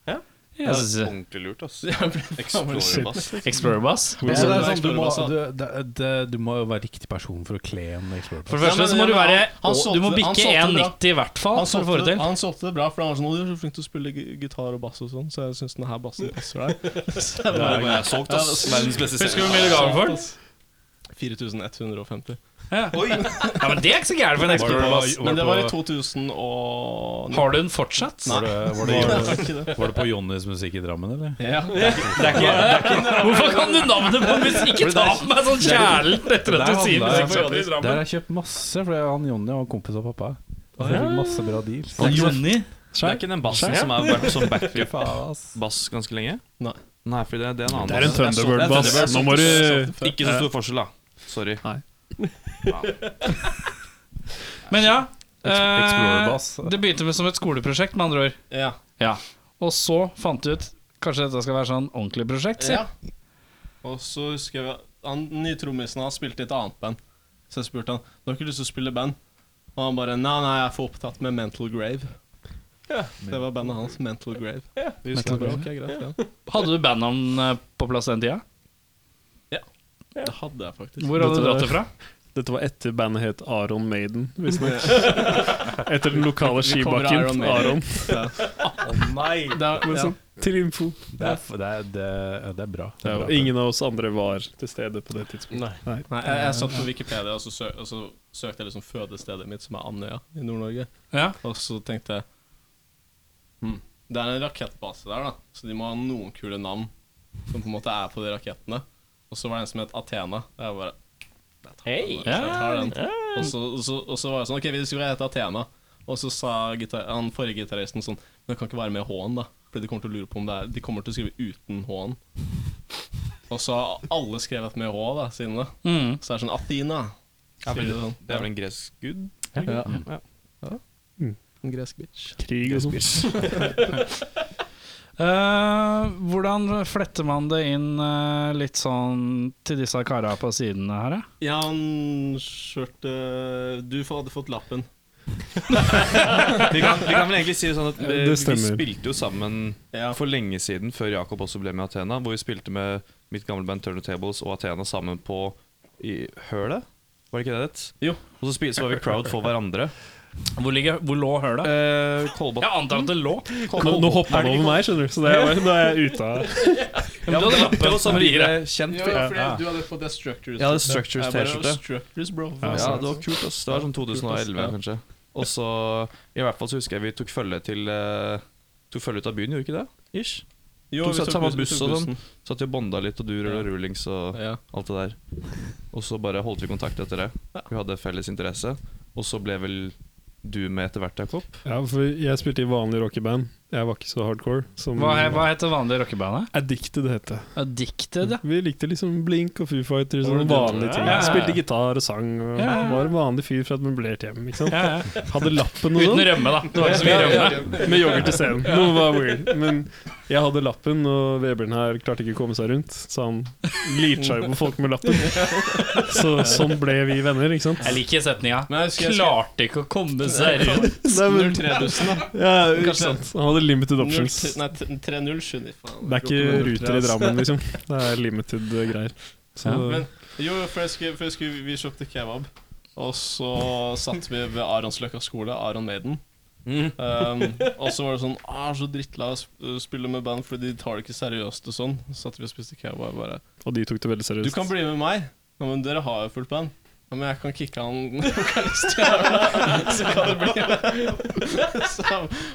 S6: da.
S2: Jeg synes-
S5: Ordentlig lurt, ass.
S6: Jeg ble faen meg lurt.
S5: Explorer-bass.
S2: Explorer Bass.
S3: Ja, det er
S6: Nei,
S3: sånn, du, må,
S6: Explorer-bass,
S3: du, det- det- du må jo være riktig person for å kle en
S2: For
S3: Explorer-bass.
S2: det
S6: Ja,
S2: første så
S6: men-
S2: må du
S6: ja, men
S2: være
S6: han-
S2: Du
S6: han
S2: må
S6: solgte- han
S2: bikke
S6: solgte bra.
S2: 1,90 i hvert fall
S6: Han
S2: for å få det
S6: solgte,
S2: til.
S6: han solgte det bra, for han var sånn «Å, 'Du er så flink til å spille gi- gitar og bass og sånn', så jeg syns denne her bassen
S2: (laughs)
S6: passer deg. Så jeg bare-
S5: Jeg har solgt, ass. Verdens beste
S2: Husker du hvor mye du ga den for?
S6: 4150.
S2: Ja, men Det er ikke så gærent for en Explorer Bass.
S6: Men det var i 2000 og
S2: Har du den fortsatt?
S3: Var det, var
S6: Nei, det
S3: det,
S6: var ikke det.
S3: var det på Johnnys musikk i Drammen, eller?
S6: Ja.
S2: Det er ikke, det er ikke, hvorfor kan du navnet på musikk? Ikke ta på meg sånn kjærlig etter at du sier liksom. musikk på Johnny i
S3: Der har
S2: Drammen.
S3: jeg kjøpt masse, for han Jonny var kompis av pappa. Så jeg fikk masse bra deals.
S2: Johnny?
S5: Det er ikke den bassen som har
S2: sånn
S5: vært som backflip-bass ganske lenge?
S6: Nei.
S5: Nei, fordi det, det er en annen
S7: Det er en
S5: bass. Jeg solgte-
S7: Thunderbird-bass.
S5: det er en
S7: Nå må du
S5: Thunderbird. Ikke så stor forskjell, da. Sorry.
S2: Men ja.
S3: Explorer-bass.
S2: eh, Det begynte med som et skoleprosjekt, med andre ord.
S6: Ja.
S2: Og så fant du ut Kanskje dette skal være sånn ordentlig prosjekt? Si.
S6: Ja. Og så husker jeg han, den nye trommisen han spilte i et annet band. Så jeg spurte han Du har ikke lyst til å spille band. Og han bare Nei, nei, jeg er for opptatt med Mental Grave. Det var bandet hans, Mental Grave. Vi husker det bra, ok, greit,
S2: Hadde du bandnavn eh, på plass den tida?
S6: ja. Det hadde jeg faktisk.
S2: Hvor hadde du dratt det fra?
S7: Dette var etter bandet het Aron Maiden, visstnok. Etter den lokale
S6: Vi kommer
S7: skibakken.
S6: Iron Maiden.
S7: Aron. (laughs)
S6: Nei! Det, er- ja.
S7: Liksom. Til info.
S3: Det er, f- det, er, det, er, det er bra. Det er bra.
S7: Ingen av oss andre var til stede på det tidspunktet.
S6: Nei.
S7: Nei.
S6: Nei, jeg, jeg satt på Wikipedia, og så, sø, og så søkte jeg liksom fødestedet mitt, som er Andøya i Nord-Norge.
S2: Ja.
S6: Og så tenkte jeg hm, Det er en rakettbase der, da, så de må ha noen kule navn som på en måte er på de rakettene. Og så var det en som het Athena. Og jeg bare jeg tar den, jeg tar den. Og, så, og, så, og så var det sånn OK, vi skulle hete Athena. Og så sa gitar han forrige gitaristen sånn Men det kan ikke være med H-en, da. Fordi de kommer til å lure på om det er De kommer til å skrive uten H-en. Og så har alle skrevet med H da, siden det.
S2: Mm.
S6: Så er det sånn Athena. Skriver det sånn.
S5: Det er vel en gresk gud?
S6: En gresk bitch.
S7: Krig og sånn.
S2: Eh, hvordan fletter man det inn eh, litt sånn til disse kara på sidene her, ja?
S6: Ja, han kjørte Du hadde fått lappen.
S5: Vi kan, vi kan vel egentlig si det sånn at
S7: Det
S5: eh, vi
S7: stemmer.
S5: spilte jo sammen
S6: Ja.
S5: for lenge siden, før Jakob også ble med i Athena, hvor vi spilte med mitt gamle band Turntables og Athena sammen på i Hølet. Var det ikke det det? het?
S6: Jo.
S5: Og så, spil, så var vi crowd for hverandre.
S2: Hvor, ligger, hvor lå hølet?
S5: Eh, Kolbotn.
S2: Jeg antar at det lå.
S7: Nå, nå hoppa han over meg, skjønner du, så det er, nå er jeg ute av
S2: Ja, men du hadde lappen som rier deg.
S5: kjent
S6: Ja,
S5: for.
S6: fordi du hadde fått det Structures.
S5: Jeg hadde Structures
S6: Jeg bare,
S5: T-skjorte.
S6: Structures, bro.
S5: Ja, det var kult, ass. Det var sånn
S6: Ja.
S5: 2011, kanskje. Og så I hvert fall så husker jeg vi tok følge til eh, Tok følge ut av byen, gjorde vi ikke det? Ish.
S6: Jo,
S5: Tok
S6: vi
S5: satt samme
S6: bussen-
S5: buss
S6: tok
S5: og sånn.
S6: bussen.
S5: Satt jo og bonda litt, og du rulla
S6: Ja.
S5: rullings og
S6: Ja.
S5: alt det der. Og så bare holdt vi kontakt etter det. Vi hadde felles interesse. Og så ble vel du med etter hvert, Jakob.
S7: Ja, for jeg spilte i vanlig rockeband. Jeg var ikke så hardcore. Som
S2: Hva, he- hva heter vanlige rockebandet?
S7: Addicted het det.
S2: Addicted, ja.
S7: Vi likte liksom Blink og Foo Fighters og
S6: Var
S7: sånne
S6: det
S7: vanlige ting.
S2: Ja.
S7: Spilte gitar og sang og
S2: Ja.
S7: var en vanlig fyr fra et møblert hjem. Ikke sant?
S2: ja, ja.
S7: Hadde lappen og
S2: Uten
S7: sånn.
S2: rømme, da. Det var ikke så mye rømme.
S7: Med yoghurt i scenen. Noe var weird. Men jeg hadde lappen, og Vebjørn her klarte ikke å komme seg rundt, så han glirte seg jo på folk med lappen. Så sånn ble vi venner, ikke sant?
S2: Jeg liker setninga.
S6: Men jeg husker jeg skrev-
S2: Klarte ikke å komme seg rundt.
S7: Nei, men,
S6: 03000, da.
S7: ja, ikke
S2: sånn.
S7: sant? Han hadde limited options.
S6: 0, nei, t- 307, nei, faen.
S7: Det er ikke ruter i Drammen, liksom. Det er limited eh, greier. Så
S6: Men Jo, jo, for, jeg skulle, for jeg skulle, vi kjøpte kebab, og så satt vi ved Aronsløkka skole, Aron Maiden.
S5: Mm.
S6: Um, og så var det sånn ah, Så drittlei av å sp- spille med band fordi de tar det ikke seriøst og sånn. Så satt vi og spiste kebab og bare
S7: Og de tok det veldig
S6: Du
S7: seriøst.
S6: kan bli med meg. Ja, men dere har jo fullt band. Ja, men jeg kan kicke han (laughs) Så kan du bli med. Så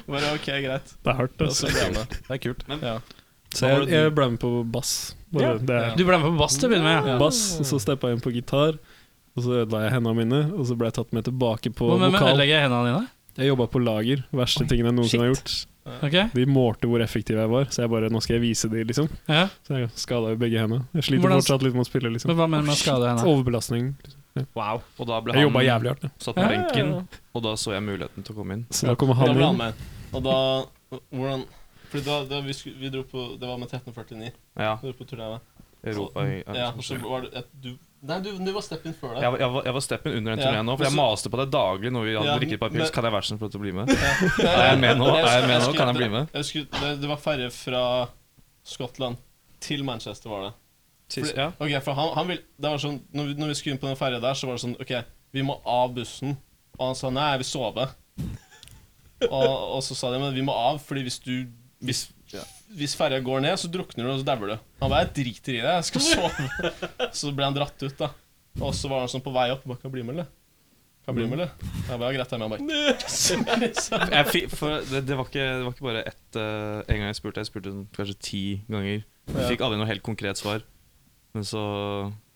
S6: bare OK, greit.
S7: Det er hardt.
S6: Og
S7: Altså.
S6: så ble jeg med.
S5: Det er kult. Men
S6: Ja.
S7: Så jeg, jeg ble med på bass. Bare, det er
S6: Ja.
S2: Du ble med på bass til å begynne med.
S7: bass, og så steppa jeg inn på gitar. Og så ødela jeg hendene mine, og så ble jeg tatt med tilbake på
S2: Hva med med å
S7: vokal.
S2: ødelegge hendene dine?
S7: Jeg jobba på lager. Verste tingen jeg noensinne har gjort.
S2: Ok?
S7: De målte hvor effektiv jeg var, så jeg bare Nå skal jeg vise de, liksom.
S2: Ja.
S7: Så jeg skada jo begge hendene. Jeg sliter
S2: Hvordan-
S7: fortsatt litt med å spille, liksom.
S2: Men hva mener du med å skade hendene?
S7: Overbelastning.
S2: Wow.
S5: Og da ble
S7: Jeg jobba
S5: han
S7: jævlig hardt, ja.
S5: satt på benken, og da så jeg muligheten til å komme inn.
S7: så da kommer
S6: Da
S7: han
S6: ble han
S7: inn.
S6: med. Og da Hvordan Fordi da, da vi, skulle, vi dro på Det var med 1349.
S5: Ja,
S6: Vi dro på turné med.
S5: Europa
S6: Ja, og så var det et, du Nei, du, du var steppen før det.
S5: Jeg, var- jeg, var, jeg var steppen under den
S6: Ja.
S5: turneen nå, for jeg
S6: Også-
S5: maste på deg daglig når vi hadde
S6: Ja,
S5: drikket et par pils.
S6: men-
S5: Kan jeg være så snill få lov til å bli med?
S6: (laughs) Ja.
S5: Er jeg med nå? Er jeg med nå?
S6: husker-
S5: Kan jeg bli med?
S6: Jeg husker, det, det var ferje fra Skottland til Manchester, var det.
S5: Sist, ja.
S6: Ok, for han, han vil, det var sånn, når vi, når vi skulle inn på den ferja der, så var det sånn OK, vi må av bussen. Og han sa nei, jeg vil sove. Og, og så sa de men vi må av, fordi hvis du Hvis, hvis ferja går ned, så drukner du, og så dauer du. Han bare jeg driter i det, jeg skal sove. (laughs) Så ble han dratt ut, da. Og så var han sånn på vei opp. Bare, kan jeg bli med, eller? Kan jeg bli med, eller? Jeg bare, ja, greit, jeg er med. Han bare Så-
S5: Jeg fi- for det, det, var ikke, det var ikke bare ett eh, En gang jeg spurte, jeg spurte sånn kanskje ti ganger. Jeg fikk aldri noe helt konkret svar. Men så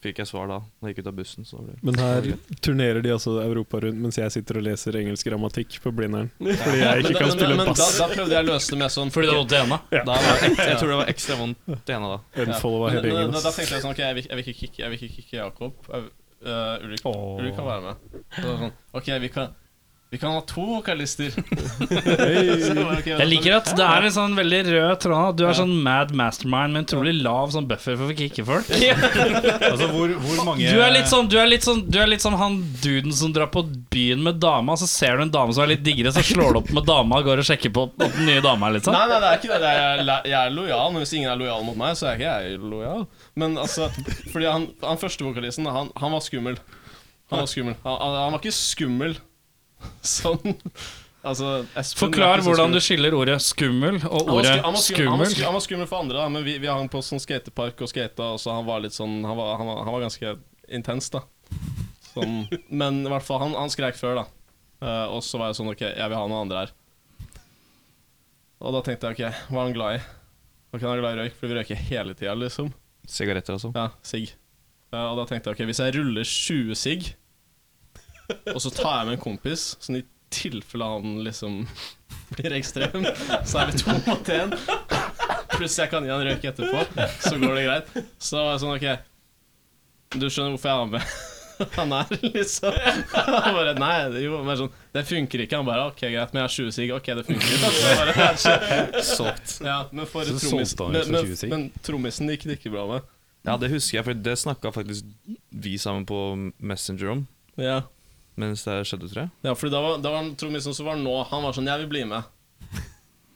S5: fikk jeg svar da Når jeg gikk ut av bussen. Så da ble det
S7: Men her turnerer de altså Europa rundt mens jeg sitter og leser engelsk grammatikk på Blindern. Fordi jeg
S6: Men
S7: ikke
S6: da-
S7: kan
S6: men-
S7: spille
S6: men da-
S7: bass.
S6: Da prøvde jeg å løse det med sånn
S2: Fordi du hadde vondt i hendene?
S5: da var det, Jeg tror det var ekstra vondt det ene da.
S7: Unfollowa
S6: Men
S7: hele
S6: da,
S7: gjengen.
S6: da, da
S7: ass.
S6: tenkte jeg sånn Ok, jeg vil, jeg vil ikke kicke, jeg vil ikke kicke Jakob. Jeg, øh, Ulrik, Ulrik kan være med. Så var det sånn, ok, vi kan, vi kan ha to
S7: (laughs)
S6: vokalister. Så var det ok,
S2: Jeg liker at det er en sånn veldig rød tråd. at Du er
S6: Ja.
S2: sånn mad mastermind med en utrolig lav sånn buffer for å kicke
S6: (laughs)
S2: folk.
S8: Altså, hvor, hvor mange
S2: Du er litt sånn, du er litt sånn, du er litt sånn han duden som drar på byen med dama, så ser du en dame som er litt diggere, så slår du opp med dama og går og sjekker på på den nye dama. Litt sånn.
S6: Nei, nei, det er ikke det. det er, jeg, er la- jeg er lojal, men hvis ingen er lojal mot meg, så er ikke jeg lojal. Men altså, fordi han, han første vokalisten, han, han var skummel. Han var skummel. Han, han, han var ikke skummel (laughs) sånn. Altså, Espen var
S2: Forklar
S6: ikke så
S2: hvordan
S6: skummel.
S2: du skiller ordet 'skummel' og
S6: Han var
S2: ordet
S6: sku- han var sku- Han var,
S2: 'skummel'.
S6: sku- han var skummel for andre, da, men vi, vi hang på sånn skatepark og skata, og så han var litt sånn Han var, han var, han var ganske intens, da.
S2: (laughs)
S6: Sånn. Men i hvert fall, han, han skrek før, da. Eh, og så var jeg sånn OK, jeg vil ha noen andre her. Og da tenkte jeg OK, hva er han glad i? Ok, han er glad i røyk, for vi røyker hele tida, liksom.
S5: Sigaretter, altså.
S6: Ja, sigg. Eh, og da tenkte jeg ok, hvis jeg ruller 20 sigg, og så tar jeg med en kompis, sånn i tilfelle han liksom (laughs) blir ekstrem, så er vi to mot én. Pluss jeg kan gi han røyk etterpå, så går det greit. Så var jeg sånn ok, du skjønner hvorfor jeg har med (laughs) han her, liksom. Han bare nei, det, jo, men sånn, det funker ikke. Han bare ok, greit, men jeg har 20 sigg. Ok, det funker. Så bare, (laughs)
S5: Solgt.
S6: ja, men for
S8: Så
S6: trommis,
S8: solgte han ut for
S6: men,
S8: 20
S6: men,
S8: sigg.
S6: men trommisen gikk det ikke bra med.
S5: liksom Ja, det husker jeg, for det snakka faktisk vi sammen på Messenger om
S6: Ja
S5: mens det skjedde, tror jeg.
S6: Ja, fordi da var, da var han- trommisen som var nå, han var sånn 'Jeg vil bli med'. Han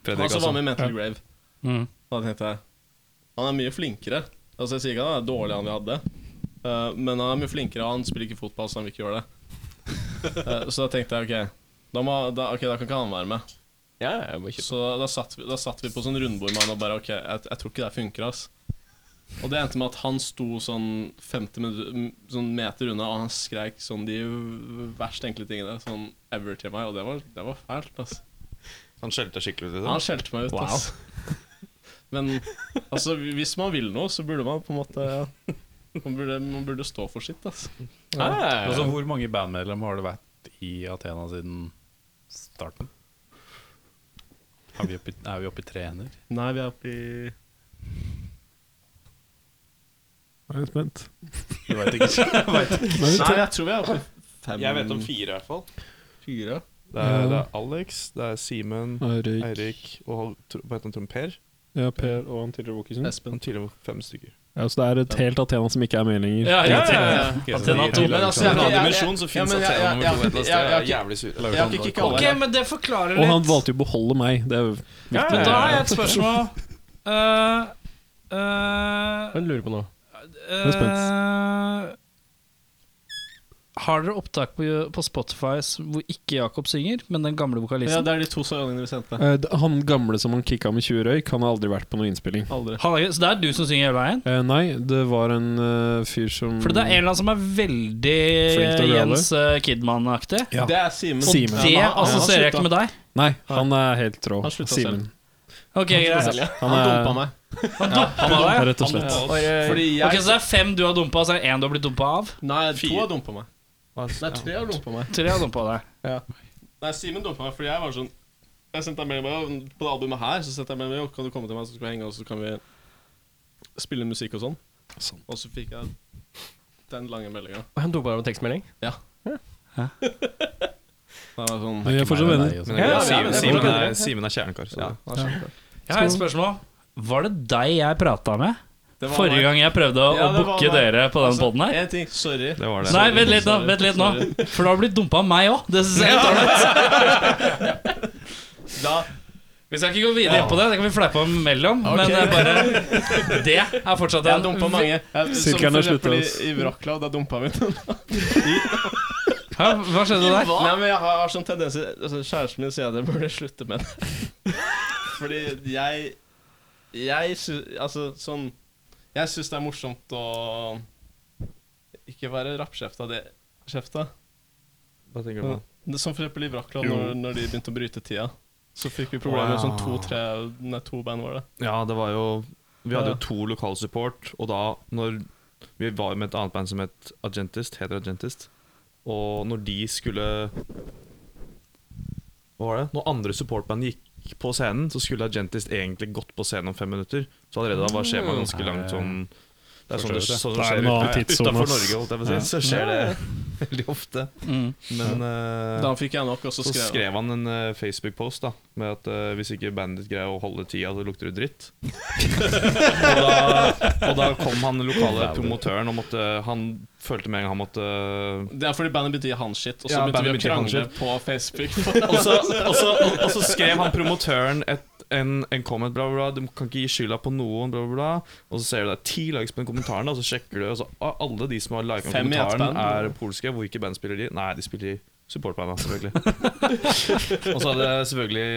S5: Fredrik,
S6: som var
S5: altså.
S6: med i Mental Grave.
S2: Mm.
S6: Da tenkte jeg Han er mye flinkere. Altså Jeg sier ikke han er dårlig, han vi hadde, Eh, men han er mye flinkere, og han spiller ikke fotball, så han vil ikke gjøre det. Eh, så da tenkte jeg OK, da, må, da, ok, da kan ikke han være med. Så da, da, satt vi, da satt vi på sånn rundbord med han og bare OK, jeg, jeg tror ikke det her funker, ass. Og det endte med at han sto sånn 50 minutter, m- sånn meter unna, og han skreik sånn de verst tenkelige tingene sånn ever til meg, og det var, det var fælt, ass.
S5: Han skjelte skikkelig ut liksom? i
S6: Han skjelte meg ut, ass. Men altså, hvis man vil noe, så burde man på en måte ja. man, burde, man burde stå for sitt, ass.
S3: sånn
S8: Altså, hvor mange bandmedlemmer har du vært i Athena siden starten? Er vi oppe i, er vi oppe i tre hender?
S6: Nei, vi er oppe i
S7: Jeg er spent.
S8: Du vet ikke.
S6: Nei, jeg tror vi er oppe i fem
S5: Jeg vet om fire, i hvert fall.
S6: fire.
S5: (laughs) Det er, det er Alex, det er Simen,
S7: Eirik,
S5: Eirik og tro- hva heter han, Trond Per?
S7: ja, Per og han tidligere vokisen.
S5: Han tidligere var fem stykker.
S7: Ja, så det er et helt Athena som ikke er med lenger.
S2: Ja, ja, ja, ja.
S6: Athena to, men altså, jeg-
S5: En annen
S6: jeg-
S5: dimensjon så
S6: jeg-
S5: fins
S6: ja, men jeg-
S5: Athena
S6: jeg-
S5: nummer to et eller annet
S6: jeg-
S5: sted.
S6: jeg-
S5: Jeg er jævlig sure.
S6: Jeg har ikke kikka
S2: Ok,
S6: alle.
S2: men det forklarer
S7: Og han
S2: litt.
S7: valgte jo å beholde meg. Det er jo
S2: Men da har jeg et spørsmål. Eh, eh,
S1: Jeg lurer på noe.
S2: er spent. Eh, har dere opptak på, på Spotify s- hvor ikke Jakob synger, men den gamle
S6: Ja,
S2: vokalisten?
S6: det er de to sangene dere sendte.
S7: Eh, d- han gamle som han kicka med 20 røyk, han har aldri vært på noen innspilling.
S6: Aldri.
S2: Han er ikke- så det er du som synger hele veien?
S7: Eh, nei, det var en eh, fyr som
S2: For det er en eller annen som er
S7: Flink til å
S2: veldig
S7: grave.
S2: Jens eh, Kidman-aktig.
S7: Ja.
S6: Det er Simen.
S2: Og
S7: Simen.
S2: det
S6: Ja, han- han
S2: assosierer jeg
S6: slutta.
S2: ikke med deg.
S7: Nei, han er helt rå.
S6: Han slutta
S7: Simen.
S2: Ok, greit.
S7: Han
S6: Han,
S7: er-
S6: dumpa meg.
S2: Han var det.
S7: Rett og slett.
S6: Fordi jeg
S2: Ok, Så det er fem du har dumpa, og så er det én du har blitt dumpa av?
S6: Nei, to har dumpa meg. Nei, tre har dumpa meg.
S2: Tre har dumpa deg.
S6: Nei, Simen dumpa meg fordi jeg var sånn Jeg sendte deg melding bare, på det albumet her. Så sendte jeg melding «Jo, Kan du komme til meg, så skal vi henge, og så kan vi spille musikk og sånn. Og så fikk jeg den lange meldinga.
S1: Og han dumpa deg med tekstmelding?
S6: Sånn,
S7: Vi er fortsatt venner.
S5: Men
S1: Ja, ja,
S5: Simen,
S1: ja,
S5: Simen,
S1: ja.
S5: er, Simen er kjernekar. Så.
S2: Jeg har et spørsmål. Var det deg jeg prata med
S6: Det var
S2: forrige
S6: meg.
S2: gang jeg prøvde å
S6: Ja, det var
S2: booke
S6: meg.
S2: dere på den
S6: Altså,
S2: poden her?
S6: En ting, sorry.
S5: Det var det.
S2: Nei, vent litt nå,
S6: Sorry,
S2: vent litt nå.
S6: sorry.
S2: For du har blitt dumpa av meg òg. Det synes jeg er helt ålreit.
S6: Da
S2: Vi skal ikke gå videre på det, det kan vi fleipe om mellom. Men det er bare Det er fortsatt
S6: Jeg
S2: en
S6: har dumpa mange. Jeg, som
S7: Sirkelen
S6: for
S7: har sluttet,
S6: eksempel
S7: ass.
S6: i, i Wroclaw, da dumpa vi noen.
S2: Hæ, Hva skjedde der?
S6: Nei, men jeg har, har sånn tendens altså, Kjæresten min sier at jeg burde slutte med det. (laughs) Fordi jeg Jeg syns Altså, sånn Jeg syns det er morsomt å ikke være rappkjefta det kjefta.
S5: Hva tenker du på?
S6: Det- Som for eksempel i Wroclaw, når, når de begynte å bryte tida. Så fikk vi problemer med sånn to-tre Nei, to band var det.
S5: Ja, det var jo Vi hadde jo to lokalsupport, og da når Vi var med et annet band som het Agentist, heter Agentist, og når de skulle Hva var det? Når andre supportband gikk på scenen, så skulle Agentist egentlig gått på scenen om fem minutter. Så allerede da
S7: Ah.
S5: var skjemaet
S6: altså.
S5: ganske langt sånn Det er sånn det,
S7: Forstår
S5: sånn
S7: det.
S5: det
S7: Det er
S5: skjer
S7: en annen
S5: ut-
S7: tidssone,
S5: utenfor
S7: ass.
S5: Norge, holdt jeg på å si. Så skjer det (laughs) veldig ofte.
S2: Mm.
S5: Men eh,
S6: Da fikk jeg nok, og så
S5: så
S6: skrev jeg.
S5: skrev han en eh, Facebook-post da med at eh, hvis ikke bandet ditt greier å holde tida, så lukter det (laughs) dritt. og, da, og da kom han lokale promotøren og måtte Han følte med en gang han måtte
S6: Det er fordi bandet begynte å gi han shit, og så
S5: Ja,
S6: begynte vi
S5: bandet
S6: å
S5: begynte å gi han
S6: krangle
S5: shit.
S6: på Facebook.
S5: (laughs) Og så, og så, og så skrev han promotøren et, en, en comment, bla, bla, bla. Du kan ikke gi skylda på noen, bla, bla, bla. Og så ser du det er ti likes på den kommentaren, og så sjekker du, og så ah, alle de som har liket
S6: Fem i ett
S5: kommentaren,
S6: band.
S5: er polske. Hvor ikke band spiller de? Nei, de spiller i supportbanda, selvfølgelig.
S6: (laughs)
S5: og så hadde selvfølgelig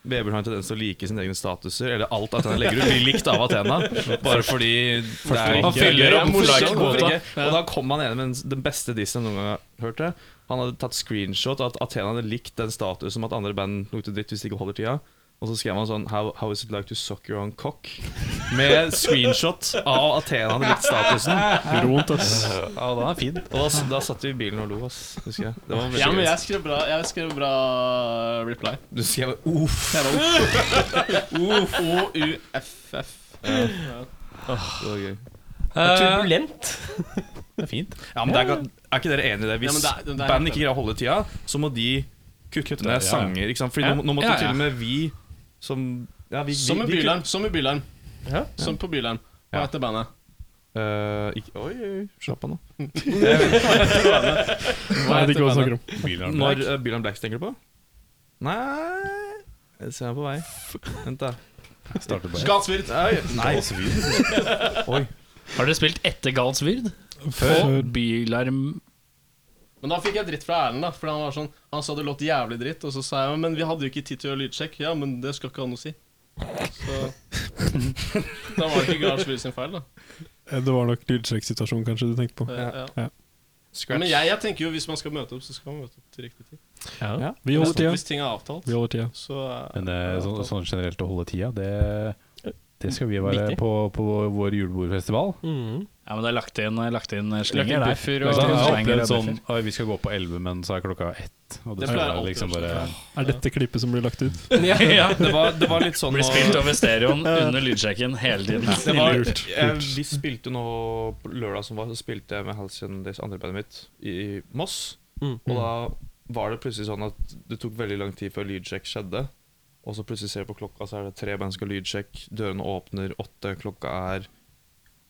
S5: Vebjørn har en tendens til å like sine egne statuser. Eller alt Athena legger ut, blir likt av Athena. Bare fordi det er
S2: Han
S5: ikke
S2: fyller opp
S5: Hvorfor ikke?
S2: like-kvota.
S5: Hvorfor ikke? Og da kom han ene med den- den beste dissen jeg noen gang har hørt. det Han hadde tatt screenshot av at Athena hadde likt den statusen om at andre band lukter dritt hvis de ikke holder tida. Og så skrev han sånn how, how is it like to suck your own cock? Med screenshot av Athena hadde likt statusen.
S7: Ront, ass.
S5: Ja, den er fin. Og da, s- da satt vi i bilen og lo, ass. Husker jeg. Det var veldig
S6: Ja, men
S5: gøy.
S6: jeg skrev bra, jeg skrev bra uh, reply.
S5: Du skrev uff. Det
S6: O-u-f-f.
S5: var gøy.
S2: Eh,
S5: (laughs)
S1: Turbulent.
S5: Det er fint. Ja, men det er, ga- er ikke dere enige i det? Hvis
S6: Ja, men det er- det er
S5: band
S6: helt
S5: ikke greier å holde tida, så må de kutte ned sanger. Ikke sant? Fordi
S2: Ja.
S5: nå, nå
S2: Ja,
S5: måtte
S2: ja.
S5: til og med vi som ja, vi, vi,
S6: Som i
S5: vi
S6: Bylarm. Som i Bylarm.
S5: Ja.
S6: Som på Bylarm. Hva
S5: Ja.
S6: heter bandet?
S5: kutte- Eh, ikke, oi, oi, oi, slapp av nå.
S7: Nei, det er ikke hva jeg snakker om.
S5: Når uh, Bylarm Blacks tenker du på? Nei Jeg ser meg på vei. Vent, (laughs) da.
S8: Starter bare.
S6: Skatsvirt!
S5: Nei. Oi.
S2: Har dere spilt etter Galsvyrd?
S7: Før.
S2: På Bylarm
S6: Men da fikk jeg dritt fra Erlend, da. For han var sånn Han sa det låt jævlig dritt, og så sa jeg men vi hadde jo ikke tid til å gjøre lydsjekk. Ja, men det skal ikke ha noe å si. Så Da var det ikke Gardsvirt sin feil, da.
S7: Eh, Det var nok lydsjekksituasjonen kanskje du tenkte på.
S6: Eh, Ja.
S7: Ja.
S6: Ja, Men jeg, jeg tenker jo hvis man skal møte opp, så skal man møte opp til riktig tid.
S7: Ja. Vi holder tida.
S6: Hvis ting er avtalt,
S7: Vi holder tida.
S6: så er-
S8: Men eh, så, sånn generelt å holde tida, det, det skal vi være
S1: Viktig.
S8: på, på vår julebordfestival.
S2: Ja, men det er lagt inn, eh, lagt inn
S1: Lagt
S2: slenger
S1: inn
S2: der.
S1: buffer
S8: Da
S1: og
S8: har
S2: Lagt inn
S8: jeg
S2: slenger
S8: opplevd
S2: og
S8: sånn
S2: buffer.
S8: Oi, vi skal gå på 11, men så er klokka ett. Og det, skal
S6: Det pleier
S8: være
S6: alltid
S8: liksom
S6: å skje.
S8: bare
S7: Er dette klippet som blir lagt ut?
S2: ja, ja.
S5: Det var, det var litt sånn
S2: Blir
S5: nå-
S2: spilt over stereoen under lydsjekken hele tiden.
S5: det var,
S7: Lurt,
S5: jeg, Vi spilte nå på lørdag som var, så spilte jeg med Halcyon Days, andre bandet mitt, i Moss. Og da
S1: Mm.
S5: var det plutselig sånn at det tok veldig lang tid før lydsjekk skjedde. Og så plutselig ser jeg på klokka, så er det tre band som skal lydsjekk. Dørene åpner åtte, klokka er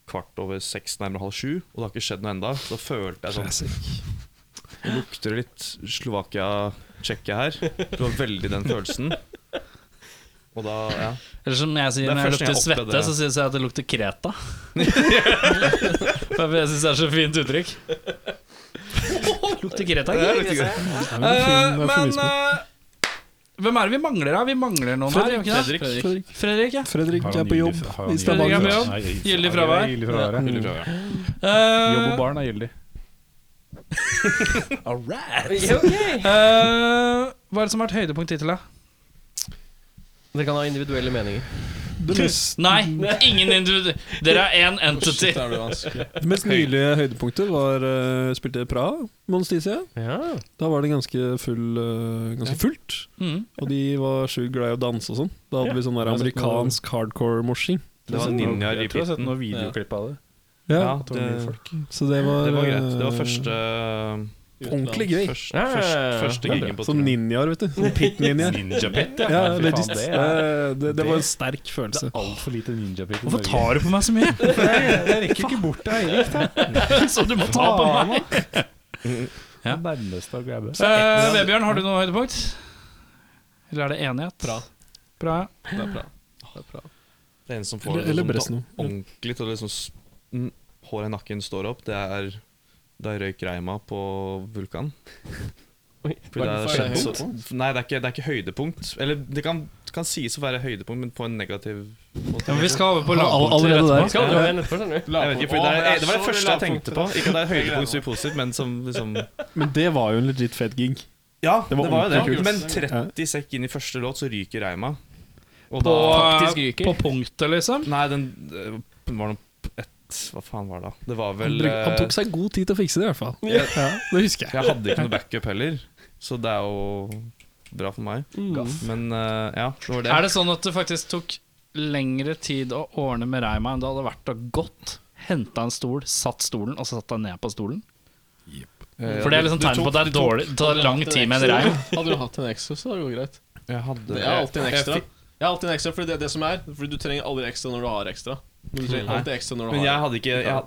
S5: kvart over seks, nærmere halv sju. Og det har ikke skjedd noe enda Så følte jeg sånn Lukter det litt Slovakia-tsjekkia her? Det var veldig den følelsen. Og da, ja.
S2: Eller som jeg sier
S5: Det er
S2: når jeg
S5: første
S2: lukter
S5: gang jeg
S2: svette,
S5: opplevde det.
S2: så sier jeg at det lukter Kreta.
S1: For jeg syns det er så fint uttrykk. Lukter greta,
S2: Eh, men eh, hvem er det vi mangler, da? Vi mangler noen
S7: Fredrik.
S2: her. Fredrik.
S7: Fredrik.
S2: Fredrik ja.
S7: Fredrik
S8: Har
S7: er
S8: han
S7: på
S8: gyldig-
S7: jobb
S8: har han
S7: i
S8: gyldig-
S2: Fredrik er
S7: Stavanger.
S2: på jobb.
S8: Nei, i-
S2: Gyldig fravær.
S8: Gyldig fravær, ja.
S7: Gyldig
S2: Eh,
S8: Jobb og barn er gyldig.
S2: eh, hva er det som har vært høydepunkt hittil, da?
S1: Dere kan ha individuelle meninger.
S7: Det mest,
S2: Nei, ingen individu... Dere Mm. er én entity.
S6: Der blir det vanskelig.
S7: det mest nylige høydepunktet var uh, spilte Praha, Mons Dizia.
S1: Ja.
S7: Da var det ganske, full, eh, ganske fullt.
S2: Mm.
S7: Og de var sjukt glad i å danse og sånn. Da hadde vi sånn der amerikansk hardcore-morsing.
S5: Det var ninja i
S8: Jeg tror jeg har sett
S5: repeaten.
S8: noen videoklipp av det.
S7: Ja,
S5: Ja, det,
S7: så det var
S5: det var greit. Det var
S7: eh,
S5: første
S7: Ordentlig gøy.
S5: Først,
S1: Ja, ja, ja.
S5: først, første giggen på
S7: Sånn
S5: turné.
S7: ninjaer, vet du.
S5: (laughs)
S7: Sånn Pit-ninjaer.
S8: Ninja Pit,
S7: Ja, eh,
S8: Nei, fy
S7: legit.
S8: faen,
S7: Det,
S8: det er-
S7: det, det var en
S8: det-
S7: sterk
S8: Det
S7: følelse.
S8: er altfor lite Ninja Pit. i
S2: Hvorfor
S8: Norge.
S2: tar du på meg så (laughs) mye?
S8: Jeg rekker ikke bort til Eirik, da.
S2: Så du må ta på
S5: (laughs)
S2: meg. Ja.
S8: Nærmeste å grabbe.
S2: Eh, Vebjørn, har du noe høydepunkt? Eller er det enighet? Bra. Bra.
S6: Det er bra. Det er bra.
S5: Det er en som får
S7: Eller,
S5: det
S7: eller
S5: sånn
S7: Bresno.
S5: ordentlig til å liksom s- n- Håret i nakken står opp. Det er da jeg røyk reima på Vulkan.
S1: Oi,
S5: Fordi det
S6: var
S5: er
S6: det
S5: skjedd så,
S6: høydepunkt?
S5: nei, det er, ikke, det er ikke høydepunkt. Eller det kan, kan sies å være høydepunkt, men på en negativ måte.
S2: Ja, men vi skal over på lag.
S7: All, allerede der.
S1: Skal du ha en etterpå, skjønner du?
S5: Jeg vet ikke, fordi det, er, det var det første jeg tenkte på. Ikke at det er høydepunkt som er positivt, men som liksom
S7: Men det var jo en legit fet gig.
S5: Ja,
S7: Det var ordentlig kult.
S5: Men 30 sekk inn i første låt, så ryker reima. Og
S2: På, eh,
S1: Faktisk ryker.
S2: på punktet, liksom.
S5: Nei, den eh, var noe p- et, Hva faen var det da? Det var
S7: Han,
S5: vel
S7: bruk, han
S5: eh,
S7: tok seg god tid til å fikse det, i hvert fall.
S5: Ja.
S7: Ja, det husker jeg.
S5: Jeg hadde ikke noe backup heller, så det er jo bra for meg. Men eh, ja, det var det.
S2: Er det sånn at det faktisk tok lengre tid å ordne med reima enn det hadde vært å gått? Henta en stol, satt stolen, og så satt deg ned på stolen?
S5: Eh,
S2: For det er liksom
S5: du- du
S2: tegn på at
S5: tok-
S2: det er dårlig, det tar lang tid med en reim.
S6: Hadde du hatt en ekstra, så hadde det gått greit.
S5: Jeg hadde
S6: Jeg har alltid en ekstra.
S5: Jeg,
S6: Jeg har alltid en ekstra, fordi det er det som er. Fordi du trenger aldri ekstra når du har ekstra. Men du trenger
S5: Nei.
S6: alltid ekstra når
S5: fikk-
S6: du
S5: men jeg
S6: har
S5: hadde ikke jeg, had-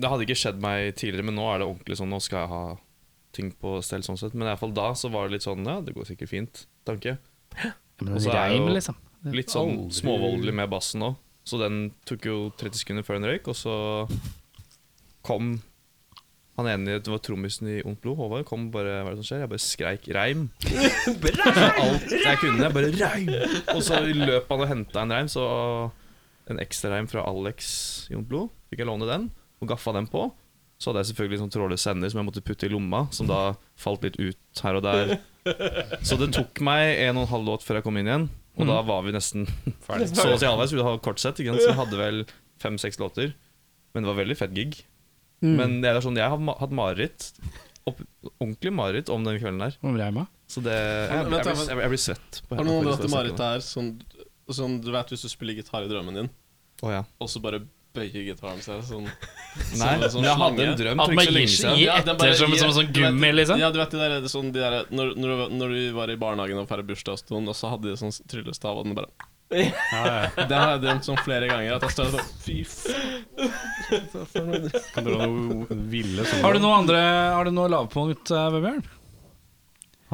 S5: Det hadde ikke skjedd meg tidligere, men nå er det ordentlig sånn. Nå skal jeg ha ting på stell sånn sett. Men i hvert fall da så var det litt sånn Ja, det går sikkert fint. Tanke.
S2: Men en
S5: Og så er
S2: reim,
S5: jo-
S2: liksom.
S5: Litt sånn småvoldelig med bassen òg. Så den tok jo 30 sekunder før den røyk, og så kom han ene det var trommisen i Ondt blod, Håvard, kom bare Hva er det som skjer? Jeg bare skreik 'reim'. Alt jeg kunne. Jeg bare 'reim'! Og så løp han og henta en reim, så en ekstra reim fra Alex i Ondt blod. Fikk jeg låne den, og gaffa den på. Så hadde jeg selvfølgelig sånn trådløs sender som jeg måtte putte i lomma, som da falt litt ut her og der. Så det tok meg en og en halv låt før jeg kom inn igjen. Og da var vi nesten ferdig. Så å si halvveis. Vi hadde kort sett, ikke sant? så vi hadde vel fem-seks låter. Men det var veldig fett gig. Men det er sånn, jeg har ma hatt mareritt. Opp, ordentlig mareritt om den kvelden der.
S2: Om reima.
S5: Så det Jeg, jeg, blir- jeg, jeg blir svett. på
S6: Har du noen
S5: hendene faktisk
S6: andre hatt
S5: når
S6: et
S5: jeg
S6: mareritt
S5: snakker om det.
S6: her som, som du vet hvis du spiller gitar i drømmen din,
S5: Å, ja.
S6: og så bare bøyer gitaren seg sånn
S5: Nei,
S6: Sånn- sånn
S5: men jeg hadde
S6: slange.
S5: en drøm
S2: At
S5: for
S2: man
S5: ikke så
S2: gir
S5: lenge
S2: seg
S5: siden.
S2: i
S6: Ja, den bare-
S2: etter som en sånn, sånn
S6: du vet-
S2: gummi, liksom.
S6: Ja, du vet det der, det er sånn, de der når, når, du- når vi var i barnehagen og feiret bursdag hos noen, og så hadde de sånn tryllestav, og den bare (laughs) Det har jeg drømt sånn flere ganger. At jeg står der sånn Fy faen.
S8: Kan dere ha noe ville sånn?
S2: Har du noe andre Har du noe lavpunkt, eh, Vebjørn?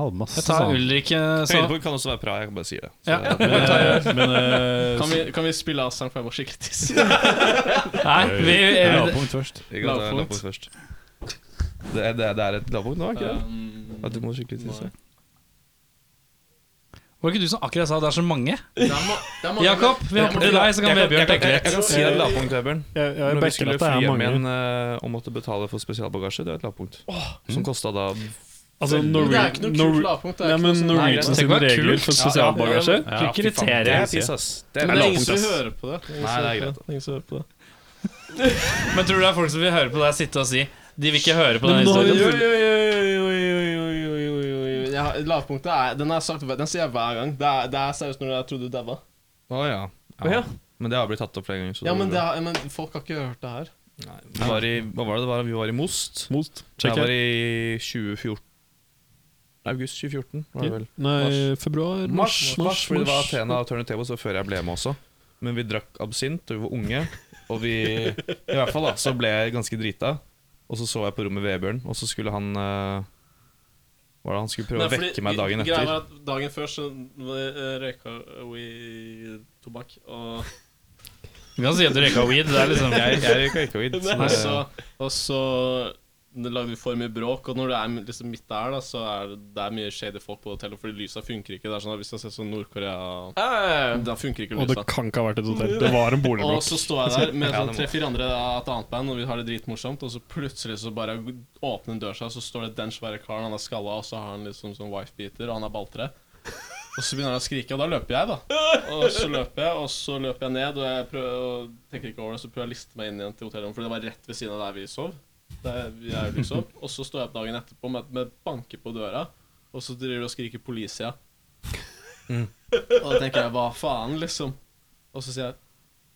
S8: Hadde masse
S2: Jeg tar
S8: sånn.
S2: Ulrik eh, så
S5: (laughs) Høydepunkt kan også være bra. Jeg kan bare si det. Så, (laughs)
S2: Ja.
S8: Men eh,
S6: Kan vi, kan vi spille av sang, for jeg må skikkelig tisse?
S2: Nei, vi
S8: jeg har
S2: eh,
S8: punkt først.
S5: jeg kan ta
S6: Lavpunkt.
S5: lavpunkt først. Det, er- det, er- det er et lavpunkt nå, er
S6: (laughs)
S5: ikke det?
S6: Um,
S5: At du må skikkelig tisse.
S6: nei.
S2: Var det ikke du som akkurat sa det er så mange?
S6: Det er ma- det er mange-
S2: Jakob, vi hopper til deg, så kan
S5: Jeg,
S2: Vebjørn
S5: jeg,
S2: tenke
S5: jeg,
S2: litt.
S5: jeg kan si det er et lavpunkt, Vebjørn.
S7: Jeg, jeg
S5: Når vi
S7: backer
S5: skulle
S7: at det
S5: fly
S7: er
S5: hjem
S7: mange.
S5: igjen eh, og måtte betale for spesialbagasje, det er et lavpunkt. Som kosta da
S7: Altså,
S6: Men Det er
S7: Norwegian,
S6: ikke noe kult
S7: Norwegian,
S6: lavpunkt. Det
S7: nei,
S6: er ikke
S7: men
S6: noe sånn-
S5: Norwegian-
S7: Norwegians
S2: Tenk hva
S7: regler
S2: kult.
S7: for spesialbagasje.
S2: Du kan ikke
S5: Det
S2: irritere.
S5: er piss, ass. Det er
S6: Men det er ingen
S5: lavpunkt,
S6: som
S5: ass.
S6: hører på det. Det er ingen
S5: Nei,
S6: som
S5: det er
S6: hører
S5: greit.
S6: på det. Det er ingen som hører på det.
S2: Men tror du det er folk som vil høre på deg sitte og si De vil ikke høre på den
S7: Men nå har
S6: Oi,
S2: historien.
S6: oi, oi, oi, oi, oi, oi, oi, oi, oi. Jeg har- Lavpunktet er Den har jeg sagt Den sier jeg hver gang. Det er, det er seriøst når jeg trodde du daua.
S5: Å ja. ja. Men det har blitt tatt opp flere ganger. Så
S6: Ja, men,
S5: det
S6: det
S5: går bra.
S6: er, men folk har ikke hørt det her.
S5: Nei, vi var i, hva var det det var? Vi var i Most.
S7: Most.
S5: Det
S7: Check
S5: var
S7: it.
S5: i 2014. August 2014, var det vel.
S7: Nei, februar,
S5: Mars,
S7: mars,
S5: mars, fordi det var Athena og Turn the Tables, og før jeg ble med også. Men vi drakk absint, og vi var unge, og vi I hvert fall, da, så ble jeg ganske drita. Og så så jeg på rommet Vebjørn, og så skulle han eh, Hva var det han skulle prøve
S6: Nei,
S5: å
S6: fordi
S5: vekke meg dagen
S6: Greia
S5: etter?
S6: var at dagen før så eh, røyka vi tobakk, og
S2: Du kan si at du røyka weed. Det er liksom
S5: Jeg, jeg røyka ikke weed. så
S7: Og
S5: det-
S7: så, og så det lager vi for mye bråk, og når det er liksom midt der, da, så er det, det er mye shady folk på hotellet, fordi lysa funker ikke. Det er sånn at Hvis du har sett sånn Nord-Korea Da funker ikke
S3: Og det
S7: lysa.
S3: kan ikke ha vært et hotell. Det var en
S7: Og
S3: boligblokk.
S7: så står jeg der med sånn tre-fire andre av et annet band, og vi har det dritmorsomt, og så plutselig så bare åpner døra seg, og så står det den svære karen, han er skalla, og så har han liksom sånn wife-beater, og han er balltre. Og så begynner han å skrike, og da løper jeg, da. Og så løper jeg, og så løper jeg ned, og jeg prøver, og tenker ikke over det, så prøver jeg å liste meg inn igjen til hotellrommet, for det var rett ved siden av der vi sov. Der vi er jo liksom. Og så står jeg opp dagen etterpå med, med banker på døra, og så driver du og skriker 'Policia'. Og da tenker jeg 'hva faen', liksom. Og så sier jeg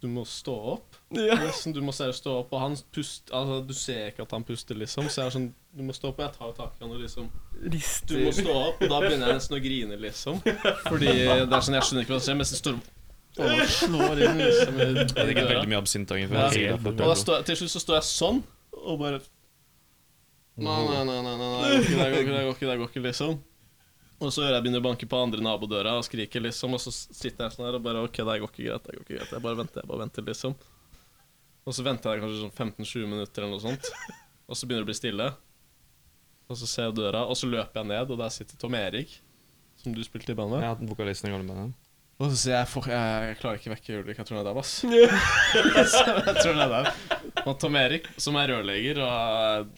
S7: du må stå opp. Nesten, du må seriøst stå opp, og han pust, altså, du ser ikke at han puster, liksom. Så jeg er sånn, du må stå opp, og jeg tar tak i han og liksom Du må stå opp, og da begynner jeg nesten å grine, liksom. Fordi det er sånn, jeg skjønner ikke hva som skjer, mens jeg står og slår inn liksom i
S5: Jeg
S7: i
S5: drikker
S7: døra.
S5: veldig mye absintange.
S7: Ja.
S5: før jeg sier det.
S7: Og da står jeg, til slutt så står jeg sånn, og bare Nei, nei, nei, nei, nei, nei, det går ikke, det går ikke, det går ikke, det går ikke liksom. Og så hører jeg begynner å banke på andre nabodøra og skrike, liksom. Og så sitter jeg sånn her og bare OK, det går ikke greit, det går ikke greit. Jeg bare venter, jeg bare venter, liksom. Og så venter jeg kanskje sånn 15-20 minutter eller noe sånt. Og så begynner det å bli stille. Og så ser jeg døra, og så løper jeg ned, og der sitter Tom Erik, som du spilte i bandet.
S5: Jeg har hatt vokalisten i gamle bandet.
S7: Og så sier jeg for, jeg, jeg klarer ikke å vekke Ulrik, jeg tror han er dau, ass. (laughs) Så jeg tror han er dau. Og Tom Erik, som er rørlegger og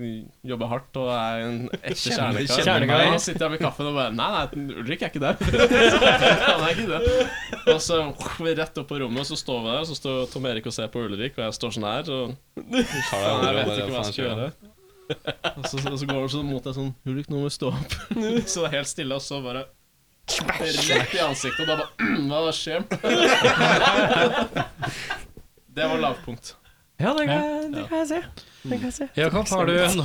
S7: eh, jobber hardt og er en ekte kjernekar.
S2: kjernekar.
S7: Han sitter her med kaffen og bare Nei, nei, Ulrik er ikke dau. (laughs) han er ikke dau. Og så rett opp på rommet, og så står vi der, og så står Tom Erik og ser på Ulrik, og jeg står sånn her og
S5: andre
S7: jeg vet
S5: og bare,
S7: ikke hva jeg skal
S5: faen,
S7: gjøre. Og så, og så går det sånn mot deg sånn Ulrik, nå må du stå opp. Så det er helt stille, og så bare Rett i ansiktet, og da bare (clears throat) Hva skjer? Det var lavpunkt.
S1: Ja, det kan, det kan jeg se. Det kan jeg se.
S2: Jakob, har du en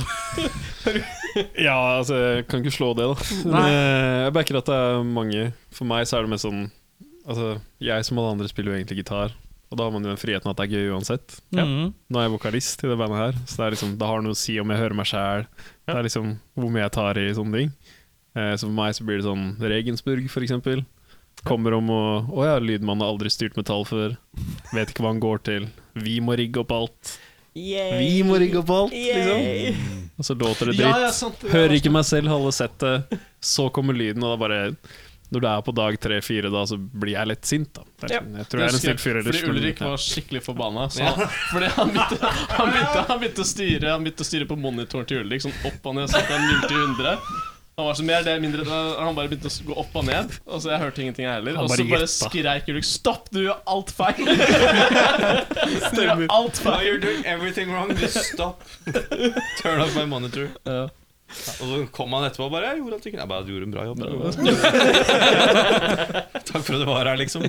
S3: Ja, altså, jeg kan ikke slå det, da. Men, eh, jeg backer at det er mange. For meg så er det mest sånn Altså, jeg som alle andre spiller jo egentlig gitar, og da har man jo den friheten at det er gøy uansett.
S2: Mhm.
S3: Nå er jeg vokalist i det bandet her, så det er liksom, det har noe å si om jeg hører meg sjæl. Det er liksom hvor mye jeg tar i sånne ting. Eh, så for meg så blir det sånn Regensburg, for eksempel. Kommer om og Å ja, lydmannen har aldri styrt metall før. Vet ikke hva han går til. Vi må rigge opp alt. Vi må rigge opp alt, liksom. Og så låter det dritt. Hører ikke meg selv, halve settet. Så kommer lyden, og da bare Når du er på dag tre-fire, da, så blir jeg litt sint, da. Det er sånn, Jeg tror jeg er en snill fyr ellers.
S7: Fordi
S3: men-
S7: Ulrik
S3: ja.
S7: var skikkelig forbanna. Så han, (laughs) fordi han begynte, han, begynte, han, begynte å styre, han begynte å styre på monitoren til Ulrik, sånn opp og ned, sånn fra 0 til 100. Han var så mer det, mindre det. Han bare begynte å gå opp og ned. Og så Jeg hørte ingenting, jeg heller. Og så bare skreik Ulrik 'Stopp, du gjør alt feil'! (laughs) Du gjør alt
S5: Now
S7: feil.
S5: you're doing everything wrong. Just stop. Turn off my monitor. Og så kom han etterpå og bare Jeg gjorde alt ikke Jeg bare, du gjorde en bra
S3: (laughs)
S5: jobb. Takk for at du var her, liksom.